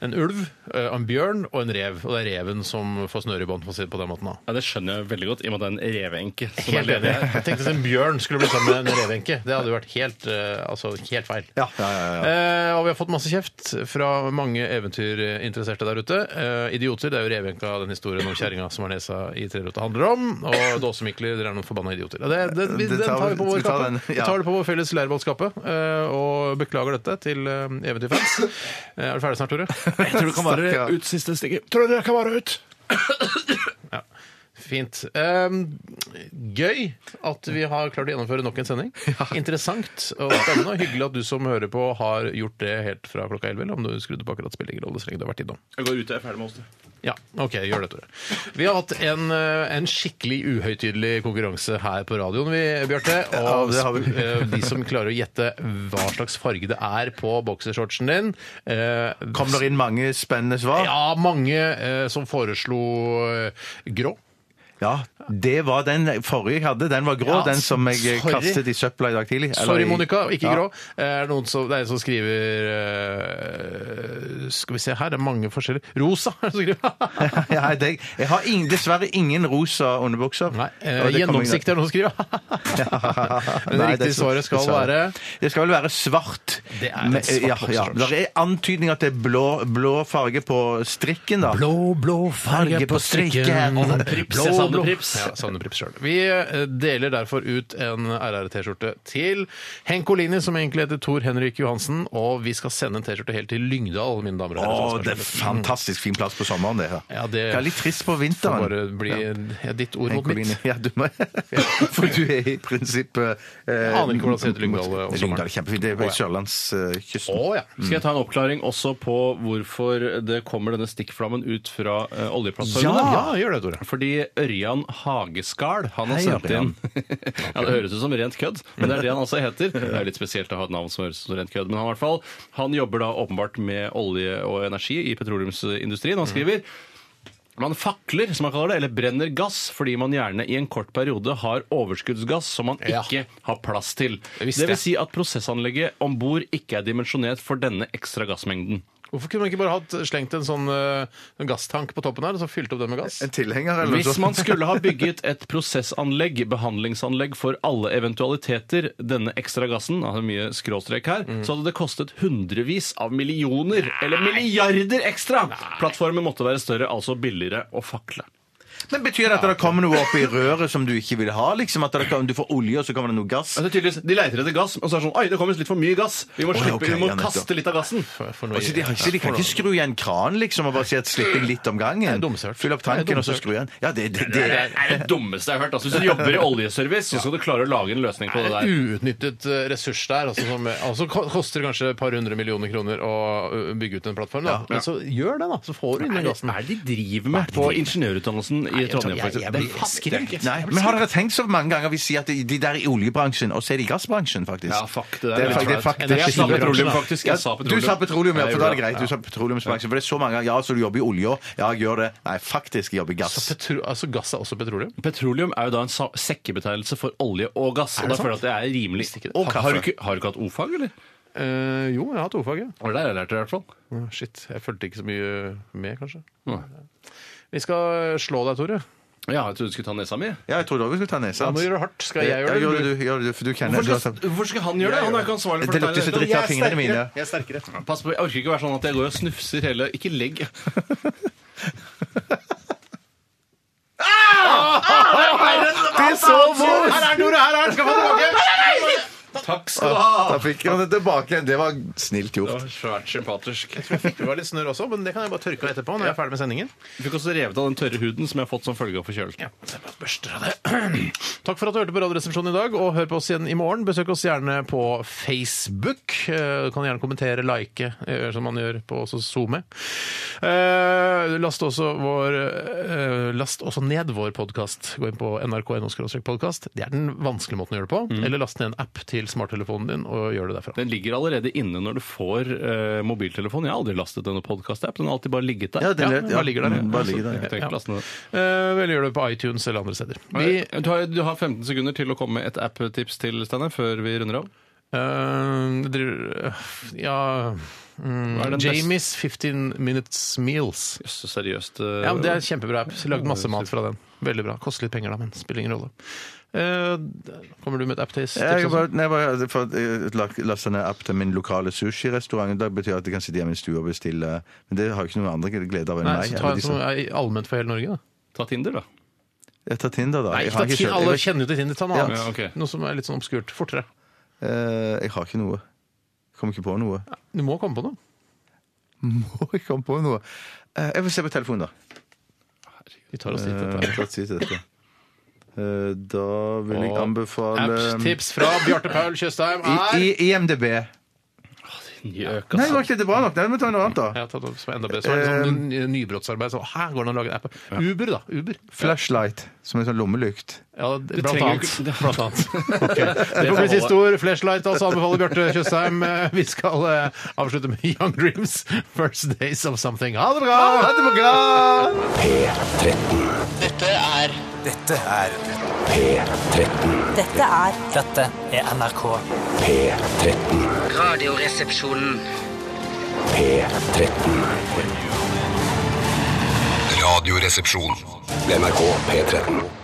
Speaker 8: en ulv, eh, en bjørn og en rev. Og det er reven som får snøre i bånd, for å si det på den måten. da.
Speaker 9: Ja, det skjønner jeg veldig godt, i og med at det er en reveenke. som er
Speaker 8: Helt enig.
Speaker 9: ledig her.
Speaker 8: Jeg tenkte at en bjørn skulle bli sammen med en revenke. Det hadde jo vært helt, eh, altså, helt feil. Eh, og vi har fått masse kjeft fra mange eventyrinteresserte der ute. Eh, idioter, det er jo revenka, den historien om kjerringa som har nesa i trerota, handler om. Og dåsemikler, dere er noen forbanna idioter. Ja, det, det, vi,
Speaker 3: Det
Speaker 8: den
Speaker 3: tar
Speaker 8: tar vi
Speaker 3: vi-
Speaker 8: på vår
Speaker 3: vi tar
Speaker 8: kappe.
Speaker 3: den,
Speaker 8: Vi
Speaker 3: ja.
Speaker 8: tar det på vår felles leirbålskappe. eh, og beklager dette til eh, eventyrfans. Eh, er du ferdig snart, Tore?
Speaker 9: Jeg tror det kan være
Speaker 3: Stakkar.
Speaker 9: ut siste stikket. Tror dere kan være ut?
Speaker 8: Fint. Ehm, gøy at vi har klart å gjennomføre nok en sending.
Speaker 3: [laughs]
Speaker 8: Interessant og spennende. og Hyggelig at du som hører på, har gjort det helt fra klokka 11. Eller om du skrudde på akkurat spiller ingen rolle, så lenge du har vært innom.
Speaker 9: Jeg går ut, jeg er ferdig med oss. du.
Speaker 8: Ja, ok, gjør det, Tore. Vi har hatt en, eh, en skikkelig uhøytidelig konkurranse her på radioen, vi, Bjarte.
Speaker 3: Ja, det har vi.
Speaker 8: sp- eh, de som klarer å gjette hva slags farge det er på boksershortsen din eh,
Speaker 3: Kommer det inn mange spennende svar?
Speaker 8: Ja, mange eh, som foreslo eh, grå.
Speaker 3: Ja, det var den forrige jeg hadde. Den var grå,
Speaker 8: Ja,
Speaker 3: den som jeg
Speaker 8: sorry.
Speaker 3: kastet i søpla i dag tidlig. Eller
Speaker 8: Sorry,
Speaker 3: i-
Speaker 8: Monica. Ikke
Speaker 3: Ja.
Speaker 8: grå. Er det, noen som, det er en som skriver eh, Skal vi se her, det er mange forskjellige Rosa! [laughs] er det som skriver.
Speaker 3: [laughs] ja, jeg, jeg har ingen, dessverre ingen rosa underbukser. [laughs]
Speaker 8: Nei, eh,
Speaker 3: Og det kommer
Speaker 8: gjennomsikt er det noen som skriver. [laughs]
Speaker 3: [laughs]
Speaker 8: Men det
Speaker 3: Nei,
Speaker 8: riktige
Speaker 3: er så-
Speaker 8: svaret skal
Speaker 3: dessverre.
Speaker 8: være
Speaker 3: Det skal vel være svart.
Speaker 8: Det er en
Speaker 3: Men,
Speaker 8: svart
Speaker 3: ja, ja.
Speaker 8: boksershorts.
Speaker 3: Det er antydning at det er blå, blå farge på strikken, da.
Speaker 8: Blå, blå
Speaker 3: farge på strikken.
Speaker 8: Og [laughs]
Speaker 3: Å, prips,
Speaker 9: jeg savner prips.
Speaker 8: Ja, savner prips selv. Vi eh, deler derfor ut en RR-T-skjorte til Henk Olini, som egentlig heter Tor Henrik Johansen, og vi skal sende en T-skjorte helt til Lyngdal, mine damer og herrer. Sånn
Speaker 3: Å, det er
Speaker 8: Mm.
Speaker 3: fantastisk fin plass på sommeren, det. her.
Speaker 8: Ja, det-
Speaker 3: er litt trist på
Speaker 8: Får bare
Speaker 3: vinteren.
Speaker 8: bli ja, ditt ord mot mitt.
Speaker 3: Enkoline. Ja, du må, [laughs] for du er i prinsippet eh,
Speaker 8: aner ikke hvordan det ser ut i Lyngdal, eh,
Speaker 3: mot-
Speaker 8: om
Speaker 3: Lyngdal
Speaker 8: sommeren.
Speaker 3: er kjempefint. Det er
Speaker 8: Å, ja.
Speaker 3: på sørlandskysten.
Speaker 8: Å ja.
Speaker 9: Skal jeg ta en oppklaring også på hvorfor det kommer denne stikkflammen ut fra eh, oljeplattformen?
Speaker 8: Ja, gjør det, Tore.
Speaker 9: Fordi Ørjan Hageskal han har
Speaker 3: Hei,
Speaker 9: sendt
Speaker 3: Ørjan.
Speaker 9: inn [laughs] ja, Det høres ut som rent kødd, men det er det han altså heter. Det er litt spesielt å ha et navn som høres ut som rent kødd, men han i hvert fall Han jobber da åpenbart med olje og energi i petroleumsindustrien. Han skriver man fakler, som man kaller det, eller brenner gass fordi man gjerne i en kort periode har overskuddsgass som man
Speaker 8: Ja.
Speaker 9: ikke har plass til.
Speaker 8: Det
Speaker 9: Det
Speaker 8: visste
Speaker 9: vil
Speaker 8: jeg.
Speaker 9: si at prosessanlegget om bord ikke er dimensjonert for denne ekstra gassmengden.
Speaker 8: Hvorfor kunne man ikke bare hatt slengt en sånn eh, en gasstank på toppen her, og så fylt opp den med gass?
Speaker 3: En tilhenger, eller noe
Speaker 9: Hvis
Speaker 3: sånt?
Speaker 9: man skulle ha bygget et prosessanlegg, behandlingsanlegg for alle eventualiteter, denne ekstra gassen, altså mye skråstrek her, så hadde det kostet hundrevis av millioner, eller milliarder ekstra! Plattformen måtte være større, altså billigere å fakle.
Speaker 3: Men Betyr det at det kommer noe opp i røret som du ikke vil ha? liksom at det kan, Du får olje, og så kommer det noe gass?
Speaker 9: Altså, tydeligvis, De leiter etter gass, og så er det sånn Oi, det kommer litt for mye gass! Vi må,
Speaker 3: Å,
Speaker 9: slippe,
Speaker 3: ok,
Speaker 9: vi må
Speaker 3: ja, nettopp.
Speaker 9: kaste litt av gassen!
Speaker 8: For noe-
Speaker 3: Altså, de, har ikke- de kan ikke skru igjen kranen liksom, og bare si at slipp inn litt om gangen?
Speaker 8: Det er dumsølt.
Speaker 3: Fyll opp
Speaker 8: Det er
Speaker 3: tanken, og så
Speaker 8: dumsølt.
Speaker 3: skru igjen? Ja, det, det,
Speaker 9: Det
Speaker 3: det,
Speaker 9: er det dummeste jeg har hørt. Altså, [laughs] hvis du jobber i oljeservice, så skal du klare å lage en løsning på det der.
Speaker 8: uutnyttet eh, ressurs der. Altså som, altså ko- koster det kanskje et par hundre millioner kroner å Altså, ø, bygge ut en plattform. Da. Men så gjør det, da. Så får du inn den
Speaker 9: Hva
Speaker 8: gassen.
Speaker 9: er det de driver med på ingeniørutdannelsen i Trondheim. for
Speaker 8: jeg-
Speaker 9: eksempel.
Speaker 8: jeg blir skremt.
Speaker 3: Nei, men har dere tenkt så mange ganger vi sier at de de der i oljebransjen, og så er de i gassbransjen, faktisk?
Speaker 9: Ja, fuck, det der er
Speaker 3: Det
Speaker 9: litt
Speaker 3: er, fakt- det er
Speaker 9: flaut.
Speaker 3: fakt-
Speaker 9: Jeg
Speaker 3: det er
Speaker 9: sa
Speaker 3: skikkelig
Speaker 9: petroleum,
Speaker 3: bransje.
Speaker 9: faktisk. Jeg
Speaker 3: Ja,
Speaker 9: sa petroleum.
Speaker 3: Du sa petroleum, ja,
Speaker 9: Jeg
Speaker 3: for da er det
Speaker 9: gjorde det,
Speaker 3: greit. Du sa petroleumsbransjen. For det er så mange ganger Ja, så du jobber i olje òg? Ja, jeg gjør det. Nei, faktisk, jeg jobber i
Speaker 8: Så
Speaker 3: gass.
Speaker 8: petro altså gass er også petroleum?
Speaker 9: Petroleum er jo da en sa- sekkebetegnelse for olje og gass. Og da føler jeg at det er rimelig
Speaker 3: Og
Speaker 9: Har-
Speaker 3: kaffe.
Speaker 9: Har du ikke, har du ikke hatt o-fag, eller?
Speaker 8: Eh, jo, jeg har hatt ordfag, ja.
Speaker 9: Det er det jeg har lært det, i hvert fall.
Speaker 8: Å, Shit, jeg fulgte ikke så mye med, kanskje.
Speaker 9: Nei.
Speaker 8: Vi skal eh, slå deg, Tore.
Speaker 9: Ja, jeg trodde du skulle ta nesa mi.
Speaker 3: Ja, jeg trodde òg vi skulle ta nesa.
Speaker 8: Ja, nå gjør du hardt. Skal jeg gjøre det?
Speaker 3: Ja, gjør det du, gjør det du, for du kjenner
Speaker 9: Hvorfor skal, hvorfor skal han gjøre det? Han er ikke ansvarlig for
Speaker 3: Det lukter så
Speaker 9: dette.
Speaker 3: dritt av fingrene mine.
Speaker 8: Jeg er sterkere.
Speaker 9: Pass på, Jeg orker ikke å være sånn at jeg går og snufser hele Ikke legg
Speaker 3: Det er så vondt!
Speaker 8: Her er Tore! Her er han! Skal få tilbake! Takk skal du ha.
Speaker 3: Da fikk han det tilbake igjen. Det var snilt
Speaker 9: Det
Speaker 3: gjort.
Speaker 9: var svært sympatisk.
Speaker 8: Jeg fikk det var litt snørr også, men det kan jeg bare tørke av etterpå når jeg er ferdig med sendingen.
Speaker 9: Du fikk også revet av den tørre huden som jeg har fått som følge av forkjølelse.
Speaker 8: [clears throat] Takk for at du hørte på Radioresepsjonen i dag, og hør på oss igjen i morgen. Besøk oss gjerne på Facebook. Eh, Du kan gjerne kommentere, like, eh, som man gjør på også SoMe. Eh, Last også, vår, eh, last også ned vår podkast. Gå inn på nrk.no podkast. Det er den vanskelige måten å gjøre det på. Eller last ned en app til smarttelefonen din og gjør det derfra.
Speaker 9: Den ligger allerede inne når du får eh, mobiltelefon. Jeg har aldri lastet denne podkast-app. Den har alltid bare ligget der.
Speaker 3: Ja, den-
Speaker 9: den
Speaker 3: ja,
Speaker 9: bare ligger der.
Speaker 3: den bare ligger der, ja.
Speaker 9: Jeg trenger ikke laste den Eh, ned.
Speaker 8: Eh, Eller gjør det på iTunes eller andre steder. Vi,
Speaker 9: Vi, du, har, du har 15 sekunder til å komme med et app-tips til Steinar før vi runder av.
Speaker 8: eh, driver, ja
Speaker 9: Hva er
Speaker 8: mm,
Speaker 9: den beste-
Speaker 8: Jamies 15 Minutes Meals.
Speaker 9: Jøss, så seriøst. eh,
Speaker 8: Ja, men Det er en kjempebra app. Så Lagd masse mat fra den. Veldig bra. Koster litt penger, da, men spiller ingen rolle. Eh, kommer du med et app-tips?
Speaker 3: Jeg bare, nei, bare for, eh, la- laste ned app til min lokale sushirestaurant. Det betyr at jeg kan sitte hjemme i stua og bestille Men det har jo ikke noen andre glede av enn
Speaker 8: Nei,
Speaker 3: meg.
Speaker 8: så
Speaker 3: eller
Speaker 8: ta
Speaker 3: de
Speaker 8: en
Speaker 3: som-
Speaker 8: som er allment for hele Norge, da.
Speaker 9: Ta Tinder, da.
Speaker 3: Jeg tar Tinder, da.
Speaker 8: Nei,
Speaker 3: jeg,
Speaker 8: ikke
Speaker 3: har
Speaker 8: ta
Speaker 3: ikke
Speaker 8: ti,
Speaker 3: selv-
Speaker 8: alle
Speaker 3: jeg,
Speaker 8: kjenner jo til Tinder. Ta noe
Speaker 3: Ja.
Speaker 8: annet.
Speaker 9: Ja, ok.
Speaker 8: Noe som er litt sånn obskurt. Fortere.
Speaker 3: Eh, jeg har ikke noe. Kommer ikke på [laughs] noe.
Speaker 8: Du må komme på noe.
Speaker 3: Må jeg komme på noe? Eh, jeg får se på telefonen, da.
Speaker 8: Vi tar oss dit.
Speaker 3: Eh,
Speaker 8: dette.
Speaker 3: godt si til dette. Eh, da vil jeg
Speaker 8: Og
Speaker 3: anbefale
Speaker 8: Apps-tips fra Bjarte Paul Tjøstheim
Speaker 3: um, I,
Speaker 8: er
Speaker 3: i, IMDb.
Speaker 9: Njøk,
Speaker 3: Nei,
Speaker 9: altså.
Speaker 3: var ikke det bra nok? Nei, vi må ta noe annet, da.
Speaker 8: ja, ta det som er enda bedre. Så er det
Speaker 3: Um,
Speaker 8: sånn ny- nybrottsarbeid. Så, hæ, går det an å lage en app? Uber, da. Uber.
Speaker 3: Flashlight, som er sånn lommelykt.
Speaker 8: Ja, det- blant annet.
Speaker 9: trenger jo ikke- [laughs] det-
Speaker 8: Blant annet. Det får bli siste ord. Flashlight altså anbefaler Bjarte Tjøstheim. Eh, Vi skal eh, avslutte med Young Dreams, First Days of Something. Ha det bra! Ha det bra!
Speaker 10: Dette er
Speaker 7: Dette er
Speaker 10: Dette er NRK.
Speaker 6: Radioresepsjonen.
Speaker 7: Radioresepsjon.
Speaker 1: NRK P13.